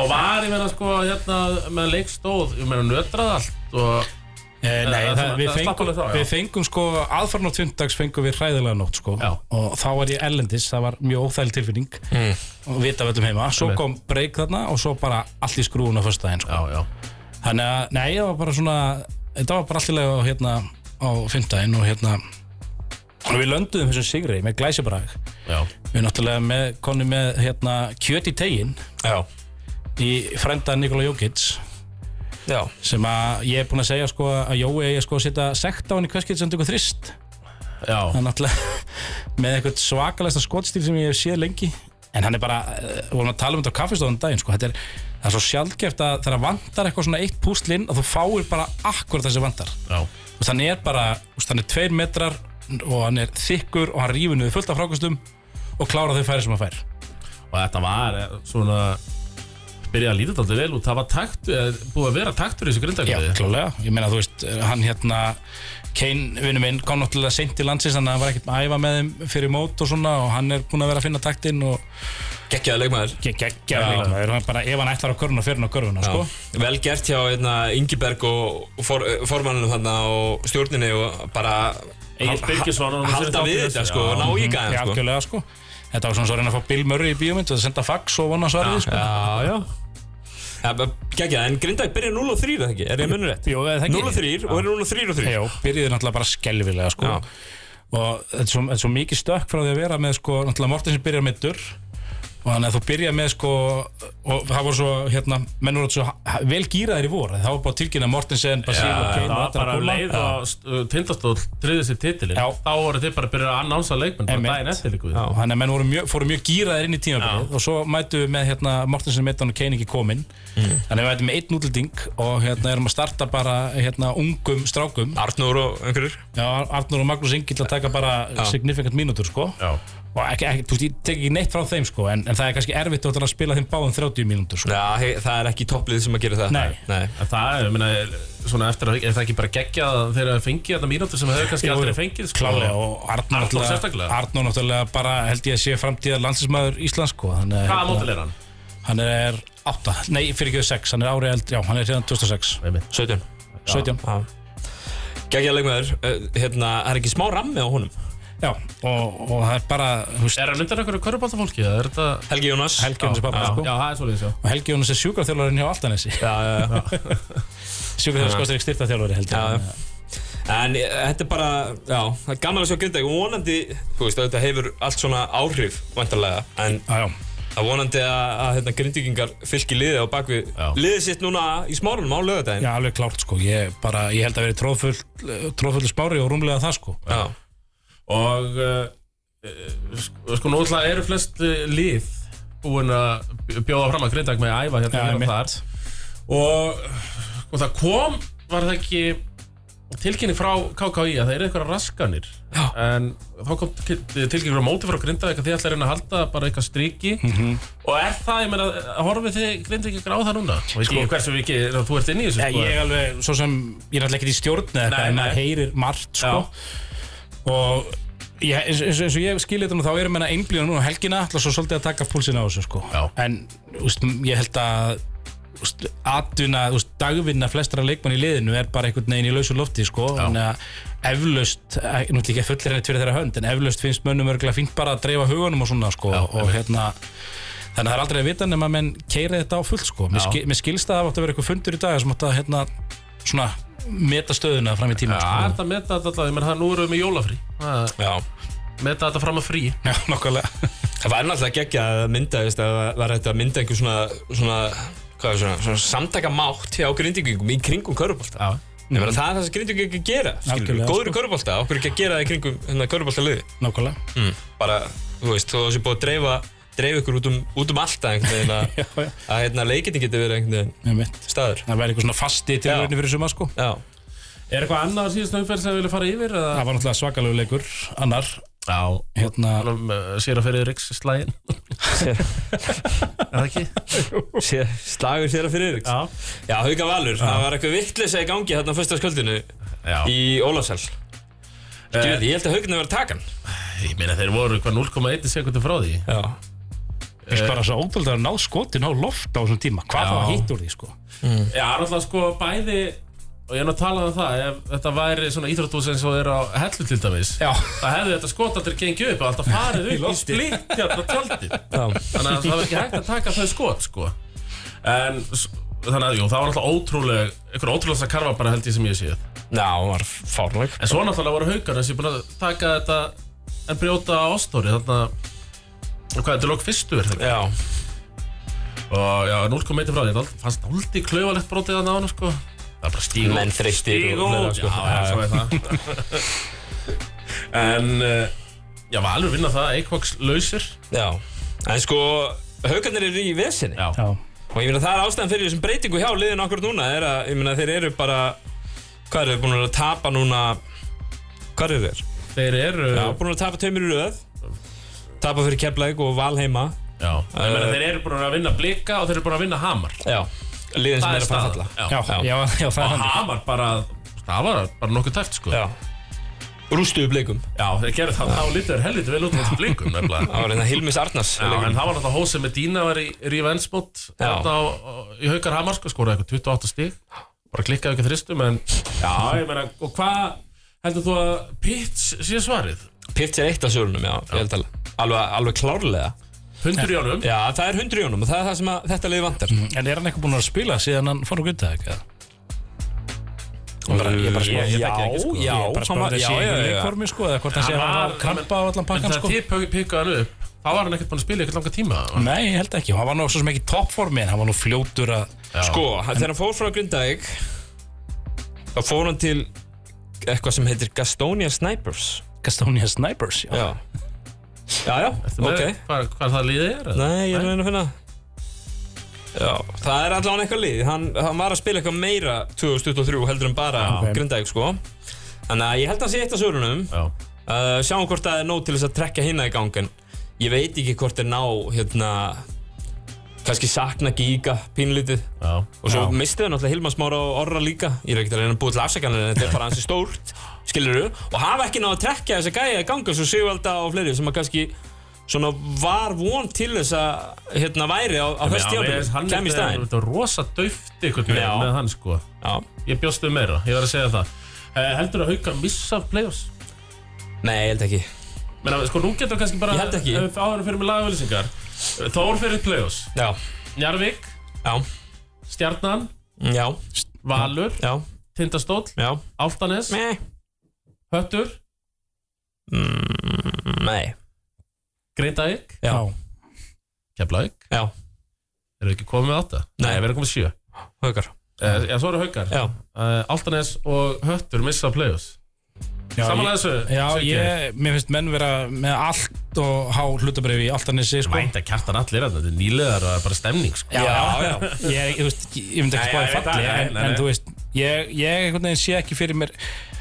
Speaker 2: Og var ég meina sko hérna með leikstóð Ég meina nötrað allt og
Speaker 5: Eh,
Speaker 2: það-
Speaker 5: nei, það,
Speaker 2: það-
Speaker 5: við,
Speaker 2: það slapp
Speaker 5: fengum,
Speaker 2: alveg þá, já.
Speaker 5: við fengum sko aðfarn á tvindags fengum við hræðilega nótt sko
Speaker 2: Já.
Speaker 5: og þá var ég ellendis, það var mjög óþægileg tilfinning mm. og vita við öllum heima svo
Speaker 2: Einmitt.
Speaker 5: kom breyk þarna og svo bara allt í skrúun á fyrsta daginn sko.
Speaker 2: Já, já,
Speaker 5: þannig að, nei, það var bara svona þetta var bara allirlega á hérna á fymtdægin og hérna og við lönduðum þessum sigri með glæsibrag
Speaker 2: já,
Speaker 5: við náttúrulega með, konum með hérna kjöt í tegin
Speaker 3: Já,
Speaker 5: í frenda Nikola Jókits
Speaker 3: já
Speaker 5: sem að ég er búinn að segja sko að Jói eigi sko að setja sekt á hann í hverskilt sem tekur þrist
Speaker 2: já
Speaker 5: hann náttúrulega með eitthvað svakalegsta skotstíl sem ég hef séð lengi en hann er bara, eh, vorum að tala um þetta á kaffistofan daginn sko, þetta er, það er svo sjálfgeft að þegar vantar eitthvað svona eitt púslinn að þú fáir bara akkur þessi vantar
Speaker 2: Já,
Speaker 5: og þannig er bara, úst, hann er tveir metrar og hann er þykkur og hann rífur niður fullt af frákostum og klára þau færi sem hann fær
Speaker 2: og þetta var eh, svona Byrjaði að líta þetta vel út Það var takt, eh, búið að vera taktur í þessu
Speaker 5: Já,
Speaker 2: Grindavík
Speaker 5: klálega, ég meina þú veist hann hérna, Kane vinnu minn kom náttúrulega seint í landsins, þannig að hann var ekkert að æfa með þeim fyrir mót og svona og hann er búinn að vera að finna taktinn og
Speaker 3: Gekkjaði leikmaður
Speaker 5: geggjaður líka, það er hann bara ef hann ætlar á körfuna, fyrir hann á körfuna, sko
Speaker 3: Vel gert hjá hérna, Ingiberg og for, formannum þarna og stjórninni og bara
Speaker 2: Egill Birgisson og-
Speaker 3: Halda við þetta sko og ná í
Speaker 5: Já,
Speaker 3: gæðan sko
Speaker 5: algjörlega, sko Þetta var svona svo að reyna að fá Bill Murray í bíómynd og það senda fax og vona svarið, sko
Speaker 3: Já, já Ja, Gækja, en Grindag byrja 0 og 3 er það ekki, er ég munur rétt?
Speaker 5: Jó, eða það ekki.
Speaker 3: 0 og 3 og er 0 og 3 og 3
Speaker 5: Já, byrjuði náttúrulega bara skelvilega, sko
Speaker 3: Já.
Speaker 5: og þetta er, svo, þetta er svo mikið stökk frá því að vera með, sko, náttúrulega Mortensen byrjar meittur og þannig að þú byrja með sko og það voru svo hérna menn voru svo ha- vel gýraðir í vor það var bara að tilkynna Mortensen, Basíl og
Speaker 2: Það
Speaker 5: Kane og
Speaker 2: var
Speaker 5: allar
Speaker 2: bara
Speaker 5: að
Speaker 2: að
Speaker 5: kúla.
Speaker 2: leið og tindastóll triðið sér titilinn
Speaker 5: Já.
Speaker 2: Þá voru þið bara að byrja að annánsa leikmenn bara
Speaker 5: Einmitt.
Speaker 2: daginn eftir líku
Speaker 5: Já, þannig að menn voru mjög, fóru mjög gýraðir inn í tímabilið og svo mætu við með hérna, Mortensen meittan og Kane ekki kominn
Speaker 2: Mm.
Speaker 5: þannig að við mætum með einn útlending og hérna erum að starta bara hérna ungum strákum
Speaker 3: Arnur og einhverjur
Speaker 5: Já, Arnur og Magnús Ingi til að taka bara signifikant mínútur sko
Speaker 2: Já.
Speaker 5: og ekki, ekki, þú veist, ég tek ekki neitt frá þeim sko en, en það er kannski erfitt að spila þeim báðum 30 mínútur sko.
Speaker 3: Já, he- það er ekki topplið sem að gera það
Speaker 5: Nei.
Speaker 2: En Það er, ég meina, eh, svona eftir að, er það ekki bara geggjað að þeir hafi fengið þetta mínútur sem hefur kannski
Speaker 5: Jú,
Speaker 2: aldrei
Speaker 5: jú.
Speaker 2: fengið sko?
Speaker 5: Klálega og Arnur
Speaker 2: Arnór sérstaklega.
Speaker 5: náttúrulega Arnur náttúrulega bara held ég að sé framtíðar landsinsmaður Íslands sko hann er,
Speaker 2: Hvaða mótil er hann?
Speaker 5: Hann er 8, nei fyrir ekki 6, hann er árið eldri, já hann er hérna 2006
Speaker 2: Einmitt.
Speaker 3: 17
Speaker 5: 17,
Speaker 3: Gægja leikmaður, uh, hérna, það er ekki smá rammi á honum
Speaker 5: já og, og það er bara, þú veist,
Speaker 2: Er hann undan einhverju körubáttafólki? Er þetta...
Speaker 3: Helgi Jónas
Speaker 5: Helgi Jónas pappa
Speaker 2: Já,
Speaker 5: sko
Speaker 2: já, það er svolítið sjá
Speaker 5: og Helgi Jónas er sjúkarþjálfarinn hjá Altanesi
Speaker 3: Já, já, já
Speaker 5: sjúkarþjálfarinn sko er ekki styrtaþjálfari held
Speaker 3: Já,
Speaker 5: ég
Speaker 3: já. En eh, þetta er bara, já, það er gaman að sjá Grindavík og vonandi, þú veist, þetta hefur allt svona áhrif, vantarlega, en
Speaker 5: Já, já,
Speaker 3: það er vonandi að, að hérna, Grindvíkingar fylgji liðið á bakvið,
Speaker 2: Já.
Speaker 3: liðið sitt núna í smárunum á lögadaginn.
Speaker 5: já alveg klárt sko ég, bara, ég held að verið tróðfull, tróðfull spári og rúmlega það sko
Speaker 3: Já.
Speaker 2: Og uh, sko, sko nú ætla eru flest eh, lið búin að bj- bjóða fram að Grindag með æfa hérna
Speaker 5: Já,
Speaker 2: hér og
Speaker 5: einmitt.
Speaker 2: þar og sko það kom var það ekki tilkynning frá KKÍ að það eru einhverja raskanir Já. en þá kom til- tilkynning frá móti frá Grindavík að þið ætla að reyna að halda bara eitthvað striki
Speaker 5: Mhm.
Speaker 2: -hmm. og er það, ég meina, horfið þið Grindavík á það núna? Sko, ekki, hversu vikið, þú ert inn í þessu sko,
Speaker 5: Ég, ég alveg, svo sem, ég er alltaf ekkert í stjórn eða
Speaker 2: Nei,
Speaker 5: eitthvað, en
Speaker 2: nei.
Speaker 5: maður heyrir margt sko. og ég, eins, eins, eins og ég skil þetta nú, þá erum menna einblíðan núna á helgina, alltaf svo svolítið að taka púlsina á þessu sko.
Speaker 2: Já.
Speaker 5: en úst, ég held að úst, atvinna, úst, dagvinna flestra leikmann í liðinu er bara einhvern veginn í lausu lofti sko. en að eflaust eh, nú ætlum ég ekki að fullir henni fyrir þeirra hönd en eflaust finnst mönnum örgulega fínt bara að dreifa hugunum og svona sko. og hérna Þannig að það er aldrei að vita nema að menn keira þetta á fullt sko. Mér, skil, mér skilst að það átt að vera eitthvað fundur í dag sem átt að hérna, svona, meta stöðuna fram í tíma.
Speaker 2: Já,
Speaker 5: sko.
Speaker 2: þetta meta þetta alltaf, ég menn það nú erum við með jólafrí Það-
Speaker 3: Já.
Speaker 2: Meta þetta fram að frí
Speaker 5: Já, nokkulega.
Speaker 3: Það var náttúrulega geggja að mynda, veist, að það var þetta að mynda einhver svona, svona, hvað er svona, svona samtakamátt hjá Grindvíkingum í kringum körubólta.
Speaker 2: Já,
Speaker 3: Það er það sem Grindvíking ekki að gera, skilur,
Speaker 5: Algjörlega,
Speaker 3: góður í körubólta, okkur ekki að gera það í kringum hérna, körubólta
Speaker 5: Nákvæmlega.
Speaker 3: Mm. bara, þú veist, þó það sé búið að dreifa dreifa ykkur út um, út um alltaf einhvern veginn
Speaker 5: Já,
Speaker 3: að,
Speaker 5: já.
Speaker 3: að hérna, leikinni geti verið einhvern veginn
Speaker 5: Ég mitt.
Speaker 3: staður
Speaker 5: Það væri eitthvað svona fasti til
Speaker 3: Já.
Speaker 5: rauninni fyrir suma sko.
Speaker 3: Já,
Speaker 2: Er eitthvað annað á síðustu umferð sem við viljum fara yfir? Eða?
Speaker 5: Það var náttúrulega svakalegu leikur, annar.
Speaker 2: Já,
Speaker 5: Hérna,
Speaker 2: um, uh, sér að fyrir Riks slægin Er það ekki?
Speaker 3: sé, slagur sér að fyrir Eriks Já, Hauka Valur, það var eitthvað vittleysa í gangi hérna á föstaskvöldinu
Speaker 2: Já.
Speaker 3: í Ólafsell Ég veit, ég held að Haukarni var að taka hann
Speaker 2: Ég meina þeir voru eitthvað 0,1 sekundu frá því
Speaker 3: Já,
Speaker 5: það er bara svo ótrúlega að ná skotin á loft á þessum tíma. Hvað
Speaker 2: Já.
Speaker 5: það hitt úr því sko?
Speaker 2: Já, alltaf sko bæði og ég er nú að tala um það ef þetta væri svona íþróttús eins og er á hellu til dæmis
Speaker 5: Já.
Speaker 2: það hefði þetta skot aldrei gengið upp og alltaf farið upp í splitt hérna tjaldið þannig að það var ekki hægt að taka þau skot sko en s- þannig að jú, það var alltaf ótrúlega einhver ótrúlega að karfa bara held ég sem ég séð
Speaker 3: Já, hann var fárleg
Speaker 2: En svo náttúrulega voru haukar þessi búin að taka þetta en brjóta á ástóri þannig að og hvað, þetta er lók fyrstu er þetta
Speaker 3: Já,
Speaker 2: ekki? og já, 0,1 frá því, það fannst aldrei klauvalegt brotið þannig á hann sko það er bara stíg
Speaker 3: menn þreyttir
Speaker 2: stíg
Speaker 3: og fleira,
Speaker 2: út,
Speaker 3: sko.
Speaker 2: já, já, svo er það en eh, já, Valur vinna það, Eikvox lausir
Speaker 3: Já, en sko Haukarnir eru í vesinni
Speaker 2: Já.
Speaker 5: Já.
Speaker 3: Og ég meina það er ástæðan fyrir þessum breytingu hjá liðin okkur núna er að, ég meina þeir eru bara hvað eru þeir búin að tapa núna hvað eru þeir?
Speaker 2: þeir eru
Speaker 3: Já, búin að tapa tveimur í röð tapa fyrir Keflæk og Valheima
Speaker 2: já, ég meina, þeir eru búin að vinna blika og þeir eru búin að vinna hamar
Speaker 3: Já, liðin sem
Speaker 2: það
Speaker 3: er
Speaker 2: er
Speaker 3: að fara að falla
Speaker 2: staðan já.
Speaker 5: Já, já, já, það er
Speaker 2: og
Speaker 5: hann.
Speaker 2: hamar bara, það var bara nokkuð tæft sko
Speaker 3: Já Rústuðu blikum
Speaker 2: Já, þeir gerðu það, þá lítur þér helviti vel út á þessum blinkum nefnilega.
Speaker 3: Það var hérna Hilmis Arnars
Speaker 2: Já, en það var náttúrulega hósið með Dína var í revenge-mót hérna á, á- í Haukar Hamar sko, skoraði eitthvað 28 stík bara klikkaði ekki þristum en já, ég meina, og hvað heldur þú að Pitts sé svarið?
Speaker 3: Pitt er eitt af sörunum, já, ég held alveg alveg, alveg klárlega
Speaker 2: Hundur í honum?
Speaker 3: Já, það er hundri jónum og það er það sem að þetta liði vantar
Speaker 2: Mm,
Speaker 5: En er hann eitthvað búinn að spila síðan hann fór á gutta eitthvað?
Speaker 3: bara, Ég bara
Speaker 2: Ég- ég þekki það ekki, sko.
Speaker 3: Já, já,
Speaker 5: Bara
Speaker 3: hann
Speaker 5: spáði
Speaker 3: var-
Speaker 5: þessi
Speaker 3: já, já,
Speaker 5: í
Speaker 3: já, já.
Speaker 5: leikformi sko, eða hvort hann sé að
Speaker 2: Hann
Speaker 5: hann á
Speaker 2: var-
Speaker 5: krampa á allan
Speaker 2: En
Speaker 5: pakkan
Speaker 2: það
Speaker 5: sko?
Speaker 2: þið pökkaði hann upp þá var hann ekkert búin að spila í ekkert langa tíma
Speaker 3: Mm,
Speaker 5: Nei, ég held ekki, hann var nú svo sem ekki í toppformi en hann var nú fljótur að
Speaker 3: Sko, hann- þegar hann fór frá Grindavík þá fór hann til eitthvað sem heitir Gastonia Snipers
Speaker 5: Gastonia Snipers já.
Speaker 3: Já Já, já,
Speaker 2: Ertu með
Speaker 3: ok
Speaker 2: hvað, hvað það liðið er? eða?
Speaker 3: Nei, ég er að reyna að finna Já, það er allavega eitthvað lið hann, hann var að spila eitthvað meira 2023 heldur en bara
Speaker 2: Já.
Speaker 3: Grindavík sko Þannig að ég held að hann sé eitt af svörunum
Speaker 2: Já,
Speaker 3: uh, Sjáum hvort það er nóg til þess að trekja hinna í gang En ég veit ekki hvort er ná hérna kannski sakna Gíga pínlítið
Speaker 2: já,
Speaker 3: og svo
Speaker 5: Já.
Speaker 3: mistið hann náttúrulega Hilma Smára og Orra líka ég er ekkert að reyna að búa til afsakanir en þetta er bara hansi stórt skilur og hafa ekki náðu að trekja þessa gæja í ganga svo Sigvalda og fleiri sem að kannski svona var von til þess að hérna væri á, á
Speaker 2: Já,
Speaker 3: þessi
Speaker 2: ég- hann
Speaker 3: tíðanbili kem í
Speaker 2: er-
Speaker 3: staðinn
Speaker 2: þetta er rosa dauft einhvern
Speaker 3: Já.
Speaker 2: veginn með hann sko
Speaker 3: já.
Speaker 2: Ég bjóst við meira, ég var að segja það Eh, Heldur að hauka missa af play-offs?
Speaker 3: nei, ég held ekki
Speaker 2: Menna, sko, nú getur kannski bara
Speaker 3: Ég held ekki.
Speaker 2: eh, áður en fyrir með lagavölisingar Þór fyrir play-offs
Speaker 3: já,
Speaker 2: Njarvík,
Speaker 3: já,
Speaker 2: Stjarnan,
Speaker 3: já,
Speaker 2: Valur,
Speaker 3: já,
Speaker 2: Tindastóll,
Speaker 3: já
Speaker 2: Álftanes,
Speaker 3: nei,
Speaker 2: Höttur,
Speaker 3: Mm, nei,
Speaker 2: Grindavík,
Speaker 3: já,
Speaker 2: Keflavík
Speaker 3: já,
Speaker 2: Erum við ekki komið með átta?
Speaker 3: Nei.
Speaker 2: við erum komið með sjö
Speaker 3: haukar
Speaker 2: Eh, Já, svo eru haukar
Speaker 3: já,
Speaker 2: uh, Altanes og Höttur missa play-offs
Speaker 5: Já,
Speaker 2: Samanlega þessu
Speaker 5: Já,
Speaker 2: þessu ekki.
Speaker 5: ég, mér finnst menn vera með allt og há hlutabrifi í allt hann þessi sko.
Speaker 2: Mænda kjartan allir að þetta er nýlegar og það er bara stemning sko.
Speaker 5: Já,
Speaker 3: já.
Speaker 5: Ég, ég, veist, ég ég myndi ekki
Speaker 3: Nei,
Speaker 5: spáði
Speaker 3: ég veit
Speaker 5: falli
Speaker 3: það, nei,
Speaker 5: en,
Speaker 2: nei,
Speaker 5: en
Speaker 2: nei.
Speaker 5: þú veist, ég, ég einhvern veginn sé ekki fyrir mér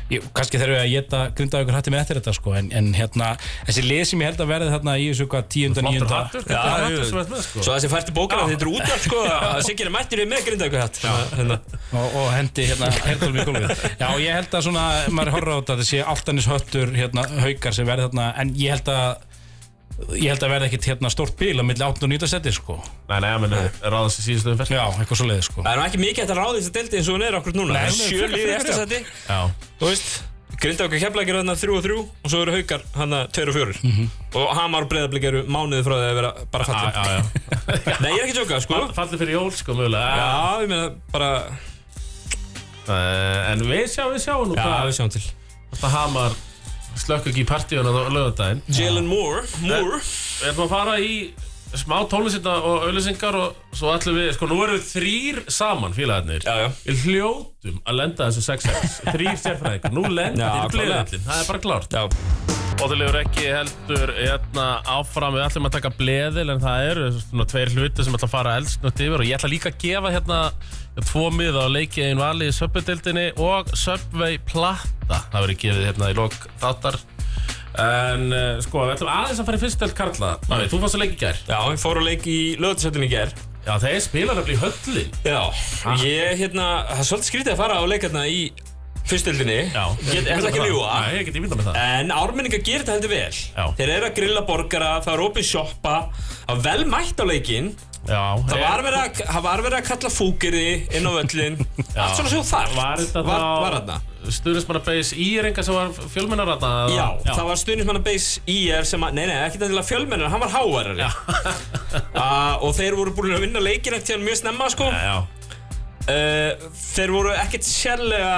Speaker 5: ég, kannski þurfum við að geta grinda ykkur hattir með eftir þetta sko, en, en hérna, þessi lið sem ég held að verði þarna í þessu hvað tíunda,
Speaker 2: Flottur
Speaker 5: níunda
Speaker 2: hattur,
Speaker 3: Já,
Speaker 2: þetta er
Speaker 3: jú, jú.
Speaker 2: hattur sem er með sko.
Speaker 3: svo þessi færti bókina þetta er út af sko að Sigur er mættur við með grindaðugur hatt hérna.
Speaker 5: og, og hendi hérna hertólum í gólfið Já, ég held að svona, maður horfður á þetta þetta sé alltanis höttur, hérna, haukar sem verði þarna, en ég held að ég held að verði ekkit hérna stórt bíl á milli 8 og 9 seti sko,
Speaker 2: Nei, nei, menn, ráðast í síðustu umferð
Speaker 5: já, eitthvað svo leiði sko
Speaker 3: það er nú ekki mikið hægt að ráði þess að delta eins og hún er okkur núna Það er
Speaker 5: Nei, hún er
Speaker 3: sjö
Speaker 5: frekar-
Speaker 3: liðið
Speaker 5: frekar
Speaker 3: eftir
Speaker 5: jafn.
Speaker 3: sæti
Speaker 2: Já.
Speaker 3: þú veist Grindavík og Keflæk eru þarna 3 og 3 og svo eru haukar hann að 2 og 4 og Hamar og Breiðablík eru mánuði frá því að vera bara
Speaker 2: Já,
Speaker 3: fallið
Speaker 2: já, já.
Speaker 3: Nei, ég er ekki að sjóka, sko
Speaker 2: Fallið fyrir jól sko mögulega
Speaker 3: Já, ég meina bara
Speaker 2: Eh, En við sjáum, við sjáum nú hvað
Speaker 3: sjáum til
Speaker 2: Þetta hamar slökk ekki í partíuna á lögadaginn
Speaker 3: Jalen Moore, Moore
Speaker 2: Við ætlum að fara í smá tónlistinda og auðlýsingar og svo ætlum við, sko nú eru við þrýr saman félagarnir
Speaker 3: Já, já.
Speaker 2: Við hljótum að lenda þessu 6x Þrýr sérfræðingar, nú lenda
Speaker 3: Já,
Speaker 2: þér
Speaker 3: klárlega.
Speaker 2: bleðallin, það er bara klárt
Speaker 3: Já,
Speaker 2: Óðurlegur ekki heldur hérna, áfram, við ætlum að taka bleðil en það eru svona tveir hluti sem ætla að fara elsnögt yfir og ég ætla líka að gefa hérna tvo miða á leikið einn vali í söpudildinni og Subway Plata það verið gefið hérna í lok þáttar en eh, sko, við ætlum aðeins að fara í fyrstdelt Karla Mavi, þú fannst að leik í gær
Speaker 3: já, ég fór á leik í lögatinsöldinni í ger
Speaker 2: Já, þeir spilar að bli höllin
Speaker 3: Já, ég, hérna, það er svolítið skrítið að fara á leikarna í fyrstöldinni Ég ég ætla ekki að ljúa
Speaker 2: Nei, ég get ímynda með það
Speaker 3: En ármenningar gerir þetta heldur vel
Speaker 2: Já.
Speaker 3: Þeir eru að grilla borgara, það er opið sjoppa Það er vel mætt á leikinn
Speaker 2: Já,
Speaker 3: Það var verið að, það var verið að kalla fúkirði inn á völlin Allt svona sem þú þarft
Speaker 2: Var þetta
Speaker 3: var,
Speaker 2: þá-
Speaker 3: var þarna.
Speaker 2: Stuðnismanna beis í reynga sem var fjölmennarata
Speaker 3: Já, það var stuðnismanna base IR sem að, nei nei, ekki til að fjölmennir, hann var hávarari uh, Og þeir voru búin að vinna leikinn eftir hann mjög snemma sko
Speaker 2: Já,
Speaker 3: uh, Þeir voru ekkert sérlega,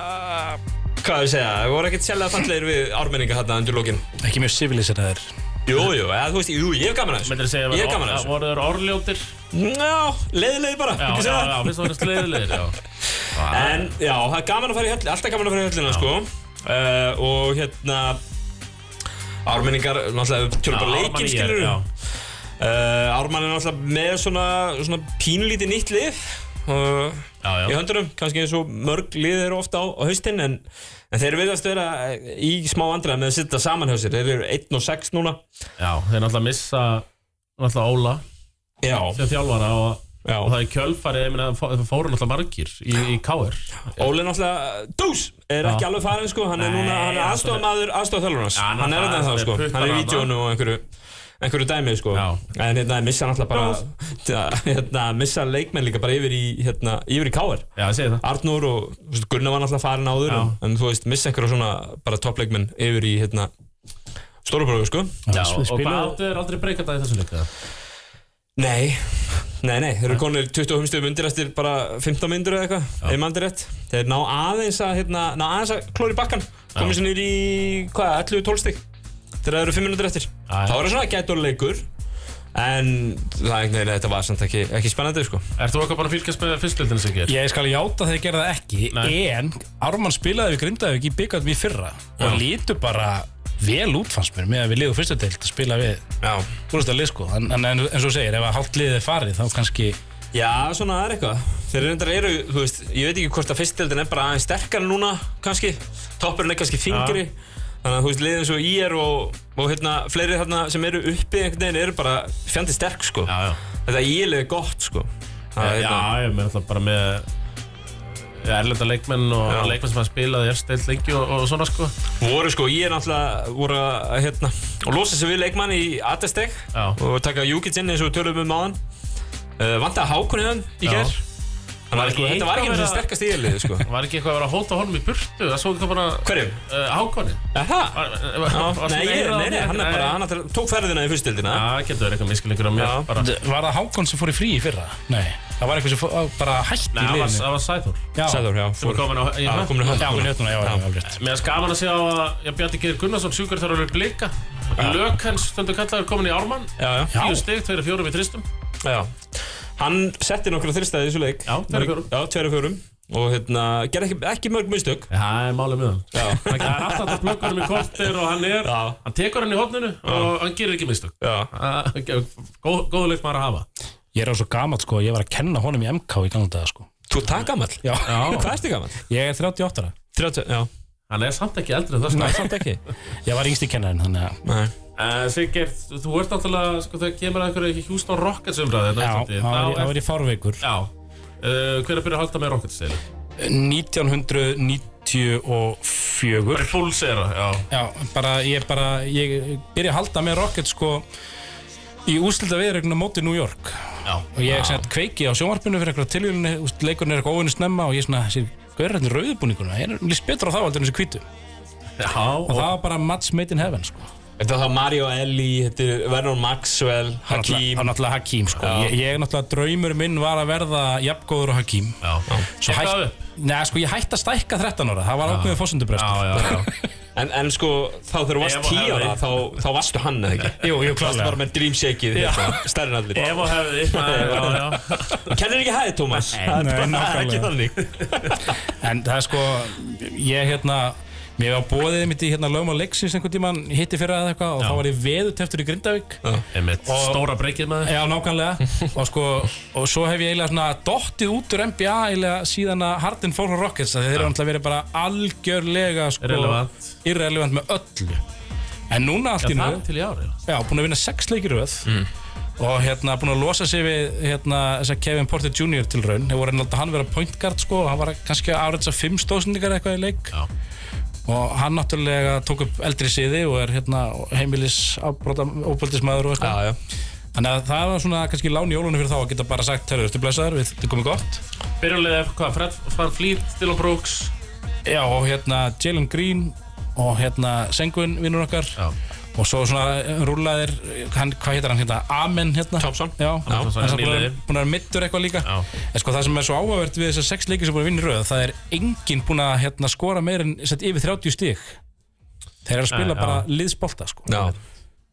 Speaker 3: uh, hvað á ég að segja, þeir voru ekkert sérlega fallegir við ármenningar þarna undir lókin
Speaker 5: ekki mjög civiliseraðir
Speaker 3: Jú, jú, eða, þú veist, jú, ég hef gaman að
Speaker 2: Myndir
Speaker 3: þessu
Speaker 2: segja að
Speaker 3: Ég hef
Speaker 2: voru-
Speaker 3: gaman að
Speaker 2: að
Speaker 3: þessu
Speaker 2: voru þeir orðljótir?
Speaker 3: Já, leiðilegir bara,
Speaker 2: Já,
Speaker 3: ekki
Speaker 2: já,
Speaker 3: segja
Speaker 2: já,
Speaker 3: það
Speaker 2: finnst það að vera sleiðilegir, já.
Speaker 3: En já, það er gaman að fara í höllina, alltaf gaman að fara í höllina sko uh, Og hérna Ármenningar, náttúrulega, við tölum bara
Speaker 2: Ármann
Speaker 3: leikinn
Speaker 2: IR,
Speaker 3: skilur
Speaker 2: já.
Speaker 3: uh, Ármann er náttúrulega með svona, svona pínlítið nýtt lið uh,
Speaker 2: Já, já.
Speaker 3: Í höndunum, kannski eins og mörg lið eru ofta á, á haustinn en, en þeir virðast vera í smá andra með að sitta saman hjá sér Þeir eru 1 og 6 núna
Speaker 2: Já, þeir náttúrulega missa náttúrulega Óla
Speaker 3: Já,
Speaker 2: sem þjálfara og,
Speaker 3: já
Speaker 2: og það er kjölfari, ég meina, það fó- það fóru náttúrulega margir í, í KR. Já,
Speaker 3: Óli er náttúrulega, dús, er
Speaker 2: Já.
Speaker 3: ekki alveg farin sko, hann er
Speaker 2: Nei,
Speaker 3: núna, hann er
Speaker 2: hann-
Speaker 3: aðstofamaður, aðstofþjálfarnas,
Speaker 2: Já, hann er
Speaker 3: hann er
Speaker 2: það,
Speaker 3: þetta þá
Speaker 2: hann er
Speaker 3: sko, hann er í
Speaker 2: puttar
Speaker 3: vídjónu og einhverju, einhverju dæmi sko,
Speaker 2: Já.
Speaker 3: en hérna missa hann alltaf bara, það- hérna missa leikmenn líka bara yfir í, hérna, yfir í káar.
Speaker 2: ég segi það.
Speaker 3: Arnur og þú veist, Gunnar var alltaf farin áður,
Speaker 2: Já.
Speaker 3: en, en þú veist, missa einhverju svona bara toppleikmenn yfir í, hérna, Stórubröðu sko.
Speaker 2: Já, og hvað áttu þeir aldrei breyka það í þessu leika?
Speaker 3: Nei, nei, nei, þeir eru konir 25 stöðum undir eftir bara 15 myndur eða eitthvað, ef maður er rétt. Þeir ná aðeins að, hérna, ná aðeins að klóri bakkan, komið sér niður í, hvað, 11-12 stygg, þegar það eru 5 minútur eftir.
Speaker 2: Já,
Speaker 3: Það voru svona gætur leikur En það einhvern veginn þetta var samt ekki, ekki spennandi sko
Speaker 2: Ert þú eitthvað bara að fylgjast með fyrstöldinu sem ger?
Speaker 5: Ég skal játa þegar ég gerði það ekki
Speaker 2: Nei.
Speaker 5: En Ármann spilaði við Grindavík í byggandum í fyrra Og lítu bara vel út fannst mér Með að við liðum fyrstu deilt að spila við
Speaker 3: Já
Speaker 5: Úrstu að lið sko En, en, en eins og þú segir, ef að hálft liðið er farið Þá kannski
Speaker 3: Já, svona það er eitthvað Þeir reyndar eru, þú veist, ég veit ekki hvort að fyrstildin er bara aðeins sterkar núna, kannski Toppurinn er kannski þingri Þannig að þú veist, liðin svo í er og, og hérna, fleiri þarna sem eru uppi einhvern veginn eru bara fjandi sterk sko
Speaker 2: Já, já.
Speaker 3: Þetta í er gott sko Það er
Speaker 2: Já,
Speaker 3: hérna-
Speaker 2: ég er alltaf bara með ja, erlenda leikmenn og
Speaker 3: Já.
Speaker 2: leikmenn sem hafa spilað í efstild lengi og, og svona sko
Speaker 3: voru sko, ég er náttúrulega voru að hérna, og losa sig við leikmann í Atesteg
Speaker 2: Já.
Speaker 3: og taka Júkits inn eins og við tölum um áðan uh, vantaði Hákon hérna í
Speaker 2: Já.
Speaker 3: gerð þannig að
Speaker 2: ekki
Speaker 3: sko, þetta var
Speaker 2: eitthvað
Speaker 3: ekki eins og
Speaker 2: verið að-
Speaker 3: sterkast íðlið sko.
Speaker 2: Var ekki eitthvað að vera að hóta honum í burtu? Það svo ekki bara
Speaker 3: hverjum?
Speaker 2: Uh, Hákonni
Speaker 3: Aha.
Speaker 2: Var- var-
Speaker 3: Já,
Speaker 2: var- varstu
Speaker 3: nei,
Speaker 2: með
Speaker 3: ég,
Speaker 2: eyrað á
Speaker 3: nei, nei,
Speaker 2: mér?
Speaker 3: hann er bara hann er- tók ferðina í fyrstildina
Speaker 2: Já, getur verið eitthvað miskilningur á mér
Speaker 3: Já.
Speaker 2: bara.
Speaker 5: Var það Hákon sem fór í frí í fyrra? Nei, það var eitthvað sem fór, bara hætti
Speaker 2: Nei,
Speaker 5: í
Speaker 2: það var,
Speaker 5: liðinu
Speaker 2: það var Sæþór
Speaker 5: Já,
Speaker 3: Sæður, já,
Speaker 2: sem er
Speaker 3: fór-
Speaker 2: komin á í
Speaker 3: Já,
Speaker 2: höfn.
Speaker 3: komin á
Speaker 5: já,
Speaker 3: höfn
Speaker 5: við njöttum það, já, já, já,
Speaker 2: Mér er gaman að sjá að já, Bjarni Geir Gunnarsson, sjúkur þar alveg blika Lök hans, stundu kallaður, komin í Ármann
Speaker 3: já, já,
Speaker 2: Tíu stig, tveir og fjórum í tristum
Speaker 3: já hann setti nokkra þristæði í þessu leik
Speaker 2: Já, tveir og fjórum.
Speaker 3: já, tveir og fjórum og hérna, gerði ekki, ekki mörg mistök
Speaker 2: Það er málið með hann Það er alltaf að blökka honum í kortir og hann er
Speaker 3: Já.
Speaker 2: Hann tekur hann í hodninu og hann gerir ekki mistök
Speaker 3: já,
Speaker 2: Góð, Góðu leik maður að hafa
Speaker 5: Ég er á svo gamalt sko, ég var að kenna honum í MK í gangi dag sko
Speaker 3: þú takk gamall
Speaker 5: Já,
Speaker 3: hvað erstu gamall?
Speaker 5: ég er 38 ára
Speaker 3: 30, já,
Speaker 2: Hann er samt ekki eldri en það
Speaker 3: Nei,
Speaker 2: sko.
Speaker 3: samt ekki
Speaker 5: Ég var yngst í kennarinn, þannig að
Speaker 3: Nei.
Speaker 2: Eh, Siggeir, þú ert náttúrulega sko, þegar kemur að einhverju Hjústón Rockets umræði
Speaker 5: Já, þá var ég- þá var ég fárveikur
Speaker 2: Já Uh, hver að byrja að halda með Rockets þeirri?
Speaker 5: 1994
Speaker 2: Fúls er það, já
Speaker 5: Já, bara, ég bara, ég byrja að halda með Rocket sko í úrslita viðregnum móti New York
Speaker 2: Já,
Speaker 5: og ég sem sagt, kveiki á sjónvarpinu fyrir eitthvað tilvílunni, leikurinn er eitthvað óvinni snemma og ég svona, þessi gaurarinn rauðbúninguna, ég er líst betur á þá heldur en þessi hvítu og
Speaker 2: já og,
Speaker 5: það var bara match made in heaven sko
Speaker 3: Þetta er þá Mario Eli, þetta er Vernon Maxwell,
Speaker 5: Hakim.
Speaker 3: Hakim
Speaker 5: náttúrulega Hakim sko
Speaker 3: Já.
Speaker 5: ég, ég náttúrulega draumur minn var að verða jafngóður og Hakim
Speaker 2: já.
Speaker 5: Svo
Speaker 2: Gekk
Speaker 5: hætt-
Speaker 2: það upp?
Speaker 5: Nei, sko, ég hætti að stækka 13 ára það var ákveðið fósundubrest
Speaker 2: Já, já, já
Speaker 3: en, en sko, þá þegar þú varst
Speaker 2: Ef og
Speaker 3: 10 ára,
Speaker 2: hefði.
Speaker 3: þá, þá varstu hann eða ekki
Speaker 5: Jú, jú,
Speaker 3: Þú varst bara
Speaker 5: klálega
Speaker 3: með Dream Shakeið, hérna, stærri en allir
Speaker 2: Ef og hefði Já, já, já
Speaker 3: Kennir ekki hæði, Tómas?
Speaker 5: Nei,
Speaker 3: Það er bara-
Speaker 5: nei,
Speaker 3: það er ekki þannig
Speaker 5: En það er sko, ég hérna Mér var bóðið mitt í hérna lögum á leiksins einhvern tímann hitti fyrir eða eitthvað og þá var ég veðuteftur í Grindavík
Speaker 2: Einmitt, stóra breykið með þér
Speaker 5: Já, nákvæmlega og sko, og svo hef ég eiginlega svona dottið út úr NBA eiginlega síðan að Harden fór frá Rockets að þeir eru alltaf verið bara algjörlega sko,
Speaker 2: Irrelevant.
Speaker 5: irrelevant með öllu En núna allt í
Speaker 2: Það
Speaker 5: nú
Speaker 2: er til í ári
Speaker 5: Já, búin að vinna sex leikir röð og hérna búin að losa sig við hérna þess að Kevin Porter Jr. til raun hefur voru náttúrulega hann vera point guard sko og hann var kannski árið þess að fimm stóðsendingar eitthvað í leik
Speaker 2: Já.
Speaker 5: og hann náttúrulega tók upp eldri siði og er hérna heimilis ábrota óbjöldismæður og eitthvað
Speaker 3: Já, já
Speaker 5: þannig að það var svona kannski lán í ólunum fyrir þá að geta bara sagt herru, ertu blessaður, við þetta er komið gott
Speaker 2: Byrjulega, hvað, Fred Van Fleet, Dylan Brooks
Speaker 5: Já, og hérna Jalen Green og hérna Sengun vinnur okkar
Speaker 2: Já.
Speaker 5: og svo svona rúlaðir hann, hvað heitir hann hérna, Amen hérna
Speaker 3: Thompson.
Speaker 2: Já,
Speaker 5: já, hann
Speaker 2: Thompson er
Speaker 5: er búin að-
Speaker 2: nýliði.
Speaker 5: búin að vera mittur eitthvað líka
Speaker 2: Já.
Speaker 5: en sko það sem er svo áhugavert við þessar sex leikir sem búin að vinna í röð það er enginn búin að hérna, skora meir en sett yfir 30 stík þeir eru að spila
Speaker 2: Nei, já.
Speaker 5: bara liðsbolta sko.
Speaker 3: Já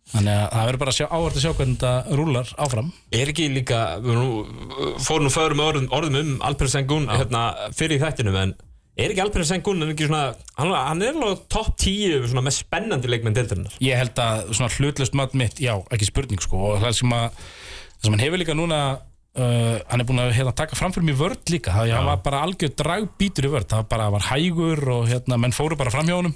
Speaker 5: þannig að það verður bara að sjá, áhugavert að sjá hvernig þetta rúlar áfram
Speaker 3: Er ekki líka, við nú, fórum nú förum orðum, orðum um Alper Sengun hérna, fyrir í þættinum en er ekki Alper Sengun er ekki svona, hann, hann er alveg topp 10 svona með spennandi leikmenn deildarinnar
Speaker 5: Ég held að svona hlutlust mat mitt, já, ekki spurning sko og það sem að, það sem hann hefur líka núna uh, hann er búin að hérna, taka framförum í vörd líka, það hann var bara algjör dragbítur í vörd, það var bara var hægur og hérna, menn fóru bara fram hjá honum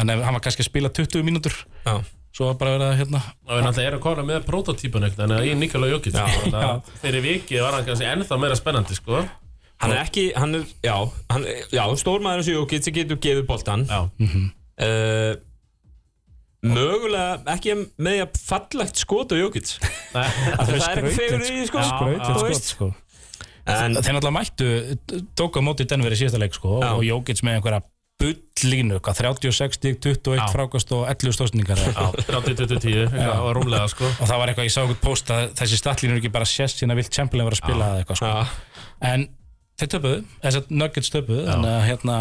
Speaker 5: þannig að hann var kannski að spila 20 mínútur
Speaker 3: Já,
Speaker 5: svo var bara verið að hérna
Speaker 2: og við náttúrulega erum komin með prototípun ekkert en ég er Nikola Jokic þannig að fyrir vikið var hann kannski ennþá meira spennandi sko.
Speaker 3: hann er ekki, hann er, já, hann, já stórmaður eins og Jókits getur gefið boltan
Speaker 2: já,
Speaker 3: uh, Mögulega ekki með að fallegt skot á Jókits
Speaker 2: Nei,
Speaker 3: Það er ekki fegur í því, sko
Speaker 5: skrautlegt
Speaker 3: Þú
Speaker 5: skot
Speaker 3: veist.
Speaker 5: sko
Speaker 3: En
Speaker 5: þeir náttúrulega mættu, tóka á móti Denver í síðasta leik sko
Speaker 3: Já.
Speaker 5: og Jókits með einhverja bullínu, hvað 36 stík, 21
Speaker 2: Já.
Speaker 5: frákast og 11 stóðsningar
Speaker 2: já, 30-20-10 og rúmlega sko
Speaker 5: og það var eitthvað, ég sá eitthvað post að þessi statlínu er ekki bara sérst síðan að vilt Chamberlain var að spila eða eitthvað sko.
Speaker 3: Já,
Speaker 5: en þeir töpuðu, þess að Nuggets töpuðu þannig að hérna,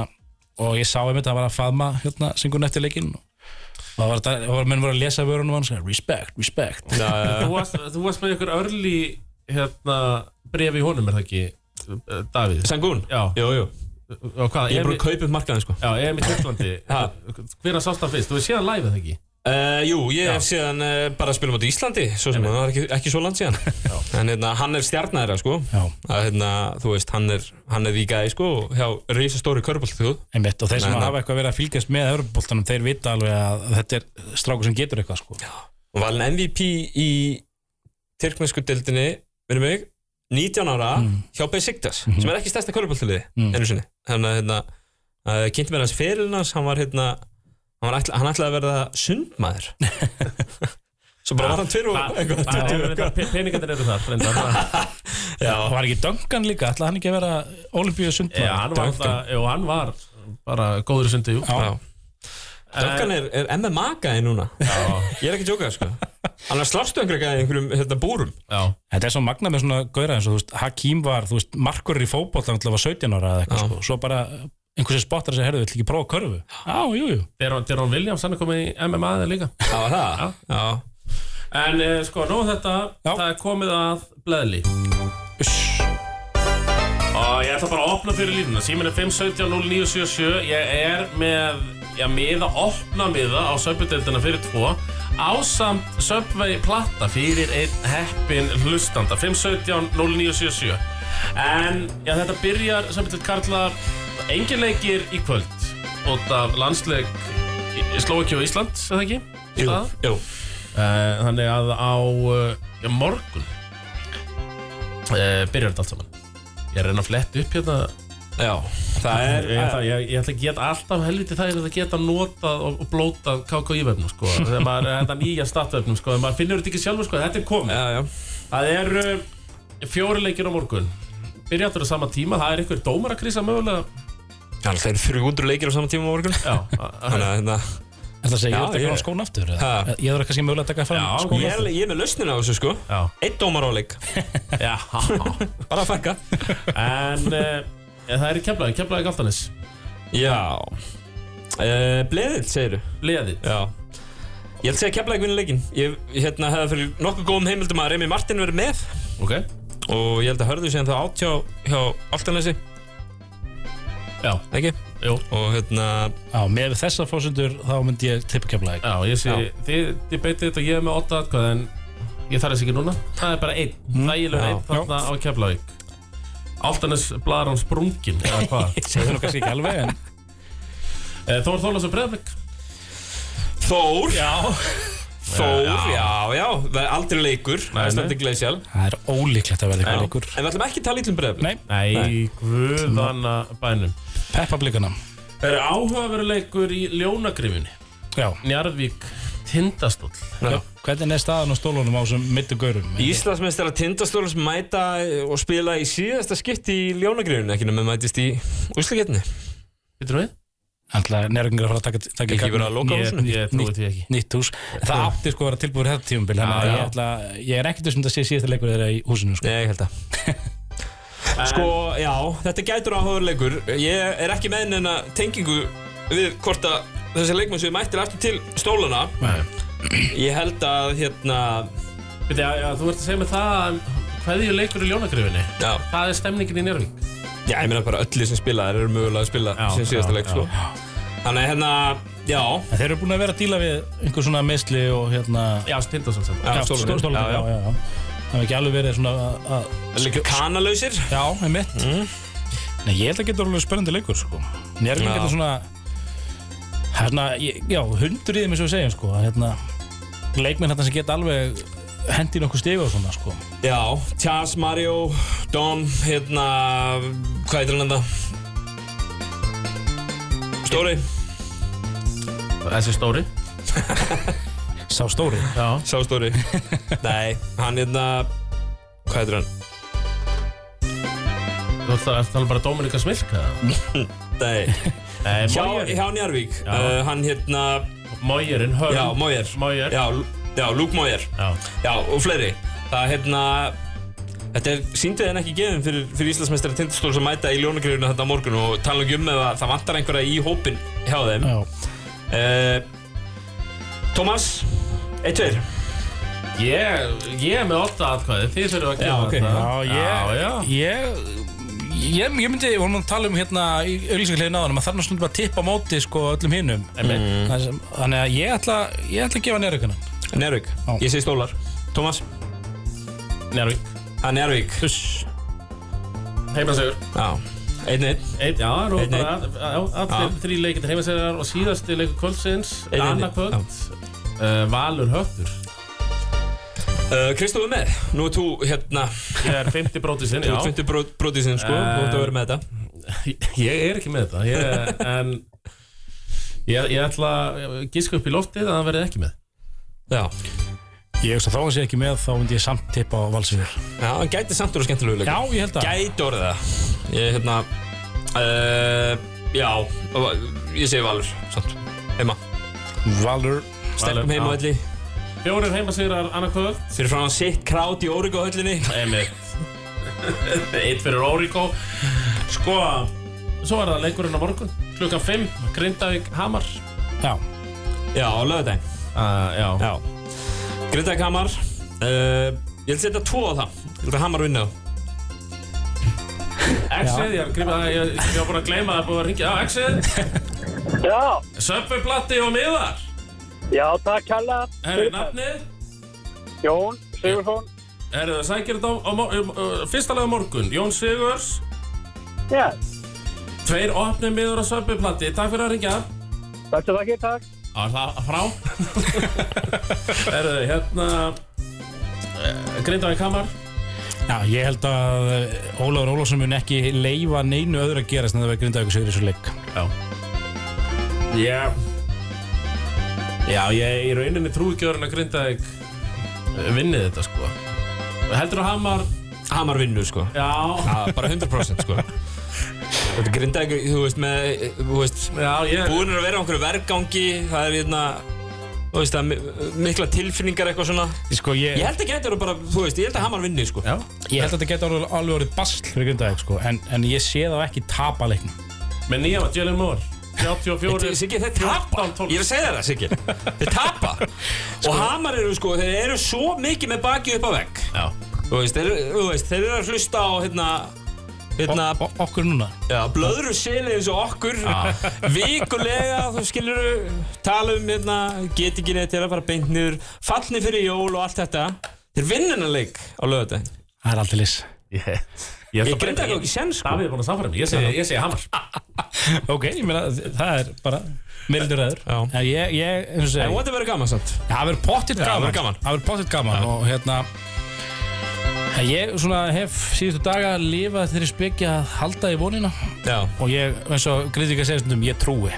Speaker 5: og ég sá einmitt að það var að faðma hérna, syngun eftir leikinn og og það var, það var menn voru að lesa vörunum hans respect, respect
Speaker 3: Já, já, já.
Speaker 2: Þú varst, þú varst með ykkur örli hérna, brefi í honum, er það ekki, eh, Davíð?
Speaker 3: Sangún?
Speaker 2: Já.
Speaker 3: Jú, jú.
Speaker 2: Og hvað,
Speaker 3: Ég er bara
Speaker 2: EM
Speaker 3: að kaupa upp markaðin, sko.
Speaker 2: Já, EM í Tjörnlandi.
Speaker 3: Ha.
Speaker 2: Hvernig sást það fyrst? Þú hefði séð hann live, eða ekki?
Speaker 3: Uh, jú, ég hef síðan uh, bara að spila á Íslandi, svo sem það var ekki, ekki svo land síðan. En hérna, hann er stjarnæðra, sko.
Speaker 5: Já.
Speaker 3: Að, hérna, þú veist, hann er, hann er í gæði, sko, hjá reisastóri körbóltuð.
Speaker 5: einmitt, og þeir sem
Speaker 3: Nei, nei.
Speaker 5: hafa eitthvað verið að fylgjast með Evropoltanum, þeir vita alveg að þetta er strákur sem getur eitthvað sko.
Speaker 3: Og var hann MVP í tyrkmennsku deildinni, minnum mig, 19 ára hjá Besiktas, sem er ekki stærsta körbóltuðið,
Speaker 5: Mm.
Speaker 3: ennu sinni. Þannig að, hérna, uh, kynnti mér hans fyrirlinas, hann var, hérna, hann, var ætla, hann ætlaði að verða sundmaður. Svo bara var hann tveir og eitthvað.
Speaker 2: Það er reyndar- pe- Peningarnir eru þar, reyndar.
Speaker 3: Já.
Speaker 5: og var ekki Duncan líka, ætlaði hann ekki að vera olimpíu sundmaður?
Speaker 2: Já, hann var, alltaf- jú, hann var bara góður í sundi, jú.
Speaker 5: Já.
Speaker 3: Já. Duncan er, er MMA gæði núna Ég er ekki að djóka sko Hann er slástöngri gæði í einhverjum hérna, búrum
Speaker 2: Já.
Speaker 5: Þetta er svo magna með svona gauðra eins og þú veist, Hakim var, þú veist, markur í fótboll hann var 17 ára eða eitthvað
Speaker 3: Já.
Speaker 5: sko. svo bara einhversi spottar sem herðu, vill ekki prófa körfu Já, jú, jú,
Speaker 2: Deron Deron Williams, hann er komið í MMA þegar líka.
Speaker 3: Já, var það? Já,
Speaker 2: En eh, sko, nóg um þetta,
Speaker 5: Já.
Speaker 2: það er komið að Bleðli
Speaker 5: uss
Speaker 2: Og ég ætla bara að opna fyrir línuna Símin er 517-0977 Ég er með, já, miða, opna miða á söpbudeldina fyrir tvo Ásamt söpvei platta fyrir einn heppin hlustanda 517-0977 En, já, þetta byrjar söpbudeld Karla Engin leikir í kvöld Út af landsleik Slóki og Íslands, eða ekki?
Speaker 3: jú,
Speaker 2: Það?
Speaker 3: jú.
Speaker 2: Eh, Þannig að á uh, morgun uh, byrjar þetta allt saman Ég er að reyna að fletta upp hérna
Speaker 3: Já. Það
Speaker 2: Ég,
Speaker 3: er
Speaker 2: ég, ætla- ég, ég ætla að geta alltaf helviti það Ég ætla að geta notað og, og blótað KKI-vefnum sko Þegar maður er þetta nýja startvefnum sko Þegar maður finnur þetta ekki sjálfur sko Þetta er komið
Speaker 3: Já, já
Speaker 2: Það eru uh, fjóri leikir á morgun Byrja alltaf á sama tíma Það er einhver dómarakrísa mögulega
Speaker 3: Það er alltaf 300 leikir á saman tíma á morgun
Speaker 2: Já, að-
Speaker 3: Þannig að hérna
Speaker 5: Er það að segja,
Speaker 3: Já,
Speaker 5: ég ætla ekki
Speaker 3: ég-
Speaker 5: að fara skóna aftur? eða?
Speaker 3: Ha.
Speaker 5: Ég þarf kannski mögulega að taka fram
Speaker 2: Já,
Speaker 3: sko,
Speaker 5: skóna
Speaker 3: ég er, ég er með lausnin á þessu sko
Speaker 2: já,
Speaker 3: Eitt dómar á leik
Speaker 2: já
Speaker 3: Bara að fækka
Speaker 2: En uh, það er í keflaði, keflaði Galtanis
Speaker 3: Já uh, Bleðil, segirðu
Speaker 2: Bleðið
Speaker 3: Já Ég held að segja keflaði vinna leikinn Ég hérna, hefði fyrir nokkuð góðum heimildum að Remi Martin verið með
Speaker 2: Ok,
Speaker 3: Og ég held að hörðu séðan það átjá hjá Altanleysi,
Speaker 2: já,
Speaker 3: ekki?
Speaker 2: jú
Speaker 3: Og hérna,
Speaker 5: Já, með þessar fósundur þá myndi ég tippa kemlaði
Speaker 2: Já, ég sé,
Speaker 3: Já.
Speaker 2: þið, þið beitið þetta og ég er með 8 atkvæð en ég þarf þess ekki núna Það er bara einn, mm. þægilegur
Speaker 3: Hmm? Já.
Speaker 2: einn þarna á Keflavík Altanes blaðar hann sprungin eða hvað
Speaker 5: Segðu nú kannski ekki alveg en
Speaker 2: Eh, Þór Þólas og Breðablik
Speaker 3: Þór Já Þór, já, já, það er aldrei leikur Það
Speaker 2: nei.
Speaker 3: er stendur glæsjál
Speaker 5: það er ólíklegt að verða
Speaker 3: En
Speaker 5: eitthvað leikur
Speaker 3: við ætlum ekki að tala um ítlum breyðabli
Speaker 5: Nei,
Speaker 2: Nei, guðanna bænum
Speaker 5: peppa blikuna
Speaker 2: Það eru áhugaveru leikur í ljónagrifinni
Speaker 5: Já,
Speaker 2: Njarðvík Tindastóll
Speaker 5: já. hvernig er staðan á stólunum á þessum mittugaurum?
Speaker 3: Íslandsmeistar að tindastólus mæta og spila í síðasta skipti í ljónagrifinu ekki nema mætist í úsleiketni
Speaker 2: Vittur við?
Speaker 5: Ætla, nærgengur að fara að taka, taka
Speaker 3: Ekki verið að loka á
Speaker 5: nýtt-
Speaker 3: húsinu?
Speaker 2: Ég
Speaker 5: nýtt-
Speaker 2: trúi því ekki
Speaker 5: nýtt hús En það átti sko að vera tilbúið þetta tímubil þannig að
Speaker 2: Já,
Speaker 5: ég,
Speaker 2: já.
Speaker 5: ætla, ég er ekkert þessum að sé síðasta leikur þeirra í húsinu sko.
Speaker 3: Nei, ég held að
Speaker 2: En-
Speaker 3: Sko, já, þetta gætur áhugaður leikur Ég er ekki með neina tengingu við hvort að þessi leikmenn sem mættir aftur til stólana Ég held að, hérna,
Speaker 2: Viti, já, já, Þú ert að segja mig það Hvað er leikur í ljónagrifinni?
Speaker 3: já
Speaker 2: Það er stemningin í Njarðvík
Speaker 3: Já, ég meina bara öllu sem spila þeir eru mögulega að spila
Speaker 2: Já,
Speaker 3: sem síðasta
Speaker 2: já,
Speaker 3: leik, sko. Þannig að hérna, já,
Speaker 5: En þeir eru búin að vera að díla við einhver svona meðsli og hérna
Speaker 2: Já, Tindastóll sem
Speaker 3: já,
Speaker 5: Já,
Speaker 3: stólunum.
Speaker 5: stólunum,
Speaker 3: já,
Speaker 5: já, já, já. Það hefur ekki alveg verið svona að- að
Speaker 3: já. Líka kanalausir.
Speaker 5: Já, einmitt
Speaker 3: Mhm.
Speaker 5: Nei, ég held að geta alveg spennandi leikur sko. Njörgum
Speaker 3: Já.
Speaker 5: getur svona hérna, ég- já, hundur í þeim eins og við segjum sko. hérna, leikmenn hérna sem geta alveg hendi nokkuð stigu og svona sko.
Speaker 3: Já, Chas, Mario, Dom, hérna, hvað heitir hann enda? Stóri,
Speaker 2: Þessi stóri
Speaker 5: sá stóri
Speaker 2: Já
Speaker 3: sá Stóri. Nei, hann hérna, hvað heitir hann?
Speaker 2: Þú ætlar að tala bara Dominika Smilka?
Speaker 3: Nei,
Speaker 2: Nei,
Speaker 3: hjá,
Speaker 2: Mójerinn
Speaker 3: hjá Njarvík,
Speaker 2: Já.
Speaker 3: uh, hann hérna,
Speaker 2: Mójerinn, Hörn
Speaker 3: já, Mójer,
Speaker 2: Mójer
Speaker 3: já, Lú- já, Luke Mójer.
Speaker 2: Já.
Speaker 3: Já, og fleiri Það er hérna Þetta er síndið en ekki gefin fyrir, fyrir Íslandsmeistara tindastóri sem mæta í ljónagreifinu þetta á morgun og tala ekki um ef að það vantar einhverja í hópin hjá þeim
Speaker 5: Já,
Speaker 3: uh, Tómas, 1-2
Speaker 2: Ég, ég er með 8 atkvæði, þið þurfum að gefa
Speaker 5: ok.
Speaker 2: þetta
Speaker 5: Já, ég,
Speaker 2: já, já.
Speaker 5: ég, ég, ég myndi, við vorum að tala um hérna í auðlýsinglegin aðanum að þarna stundum bara að tippa á móti sko öllum hinnum.
Speaker 2: Einmitt.
Speaker 5: Þannig að ég ætla, ég ætla að gefa nærökuna.
Speaker 3: Nervík,
Speaker 5: Já.
Speaker 3: ég segi stólar Tómas,
Speaker 2: Njárvík
Speaker 3: það er Nervík
Speaker 2: Tuss Heimasegur
Speaker 3: Já, 1-1
Speaker 2: Einn, já, nú
Speaker 3: Einn,
Speaker 2: bara að- að- allir þrý leikir heimasegar og síðasti leikur kvöldsins
Speaker 3: Einn, einn,
Speaker 2: Anna kvöld uh, Valur Höttur
Speaker 3: Uh, Kristof er með, nú er þú hérna
Speaker 2: Ég er 50 brótisinn,
Speaker 3: Þú
Speaker 2: já
Speaker 3: ert fyndir brotisinn sko,
Speaker 2: Eh.
Speaker 3: þú ert að vera með þetta
Speaker 2: Ég er ekki með þetta ég, En ég, ég ætla að gíska upp í loftið að það verði ekki með
Speaker 3: Já,
Speaker 5: Ég veist að þá að sé ekki með, þá myndi ég samt tippa á valsýður.
Speaker 3: já, hann gæti samt úr að skemmtilegu leik
Speaker 5: Já, ég held að.
Speaker 3: Gæti orðið það Ég hérna uh, Já, ég segi Valur Samt, heima
Speaker 5: Valur.
Speaker 3: Sterkum
Speaker 2: Valur,
Speaker 3: heima
Speaker 2: já.
Speaker 3: öllu
Speaker 2: Fjórir heimasegurar Anna kvöld
Speaker 3: Fyrir frá hann sitt krát í Óryggu höllinni
Speaker 2: Einmitt Eitt fyrir Óriko Sko Svo er það leikurinn á morgun Klukkan 5 Grindavík Hamar
Speaker 5: Já.
Speaker 3: Já, á lögudaginn
Speaker 2: uh, Já
Speaker 3: Já Grindag Hamar uh, Ég held að setja tvo á það Ég held að Hamar vinna það
Speaker 2: Exið Ah, Ég var búin að gleyma það búin að ringja Já, Exið
Speaker 6: Já,
Speaker 2: Söpveiplatti og miðar
Speaker 6: já, takk hella
Speaker 2: Herri, nafnið
Speaker 6: Jón Sigurðsson
Speaker 2: Herri, það sækir þetta á, á, mo- um, uh, Fyrsta lega morgun Jón Sigurs
Speaker 6: Já,
Speaker 2: Tveir opnið miður á söpveiplatti Takk fyrir að ringja
Speaker 6: takk sem takkir, takk
Speaker 2: Á, hla- frá Herri, hérna eh, Grindavík Hamar
Speaker 5: Já, ég held að eh, Ólafur Ólafsson mun ekki leifa neinu öðru að gerast en það verður grindað ykkur sigur í þessu leik.
Speaker 2: Já Já Já, ég í rauninni trúi ekki orðin að Grindavík vinni þetta sko Heldur þú Hamar
Speaker 3: Hamar vinnu sko
Speaker 2: Já,
Speaker 3: Já, bara 100% sko Þetta er Grindag, þú veist, með eh, Þú veist,
Speaker 2: já, ég
Speaker 3: búin að vera á einhverju vergangi Það er hérna Þú veist, það er mi- mikla tilfinningar eitthvað svona
Speaker 5: Sko, ég,
Speaker 3: Ég held að geta eru bara, þú veist, ég held að Hamar vinni sko
Speaker 2: Já,
Speaker 5: ég held að þetta geta alveg- alveg orðið basl fyrir grindaðið, sko, en, en ég sé það ekki tapa leiknum.
Speaker 2: með nýja var Jalen Moore 84
Speaker 3: Siggi, þeir tapa
Speaker 2: 14, 12.
Speaker 3: Ég er að segja þér það, Siggi Þeir tapa Og Hamar eru sko, þeir eru svo mikið með baki upp á vegg
Speaker 2: Já,
Speaker 3: Þú veist, þeir, þú veist, þeir eru að hlusta á hérna Hérna,
Speaker 5: O okkur núna.
Speaker 3: já, blöðru seli eins og okkur Vikulega, þú skilur Tala um hérna, get ekki neitt til að fara beint niður Fallni fyrir jól og allt þetta Þeir vinna hennar leik á lögðardaginn
Speaker 5: Það er aldrei liss.
Speaker 2: ég Ég,
Speaker 3: Ég grinda ekki ekki senn sko
Speaker 2: Davíð er búin að samfæra mig, ég segi, ég segi Hamar
Speaker 5: Ok, ég meina, það er bara meildur eður.
Speaker 3: Já.
Speaker 5: En ég, ég, eins og
Speaker 3: En
Speaker 5: segja,
Speaker 3: what er verið gaman samt
Speaker 5: það verður pottitt
Speaker 3: það
Speaker 5: gaman.
Speaker 3: verður gaman.
Speaker 5: Það verður pottitt gaman og hérna, en ég svona hef síðustu daga lifað þeirri spekja að halda í vonina
Speaker 3: Já,
Speaker 5: og ég, eins og Grindvík að segja stundum, ég trúi.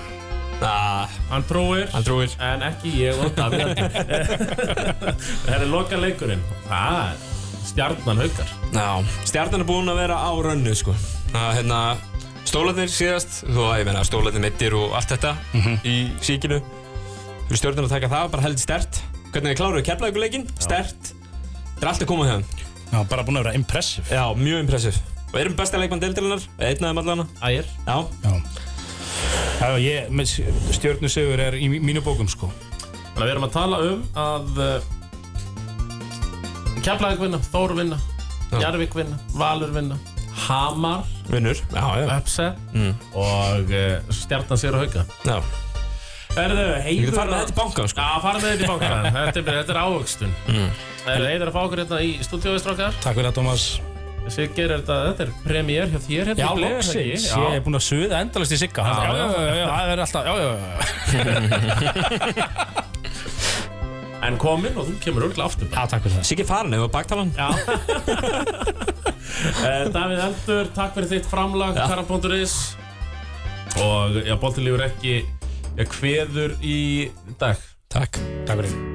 Speaker 3: ah,
Speaker 2: Hann trúir
Speaker 3: hann trúir
Speaker 2: En ekki ég og Davíð Það er loka leikurinn Það er stjarnan haukar
Speaker 3: Já, stjarnan er búin að vera á rönnu sko. að, hérna, Stólarnir síðast þú að ég meina stólarnir mittir og allt þetta í síkinu Við stjórnum að taka það, bara heldur stert Hvernig við kláruðu keflaðuguleikin, stert Það er allt að koma hjá þeim
Speaker 5: Já, bara búin að vera impressiv.
Speaker 3: Já, mjög impressiv Og erum besta leikmann deildarinnar, einn af þeim allana
Speaker 2: Ægir
Speaker 3: Já,
Speaker 5: Já. Já, ég, með stjörnusegur er í mí- mínu bókum, sko.
Speaker 2: Þannig að við erum að tala um að uh, Keflavík vinna, Þór vinna, Jarvík vinna, Valur vinna, Hamar,
Speaker 3: vinnur Já, já,
Speaker 2: Upset
Speaker 5: Mm.
Speaker 2: og uh, Stjarnan sér að hauka.
Speaker 3: já
Speaker 2: Erðu,
Speaker 3: Ég
Speaker 2: heiður
Speaker 3: getur farið með þetta í bankan sko
Speaker 2: Já, farið með þetta í bankan. þetta, er, þetta er ávöxtun. Mm. Erðu, heiður að fá okkur hérna í stúdíóistrákar.
Speaker 5: Takk fyrir það, Tómas.
Speaker 2: Siggeir, er þetta, þetta er premier hjá þér hérna. í
Speaker 5: Já,
Speaker 2: Gler, er það
Speaker 5: loksins.
Speaker 2: ekki?
Speaker 5: Ég er búin að suða endalast í sigga. Já, já, já, já, það er alltaf, já, já, já.
Speaker 2: Já. En komin og þú kemur örgulega aftur.
Speaker 5: Já, takk fyrir það.
Speaker 3: Siggi farin, hefur baktalan
Speaker 2: Já Eh, Davíð Eldur, takk fyrir þitt framlag Karan.is Og já, Bóltilífur ekki já, Kveður í dag
Speaker 3: Takk
Speaker 5: Takk fyrir.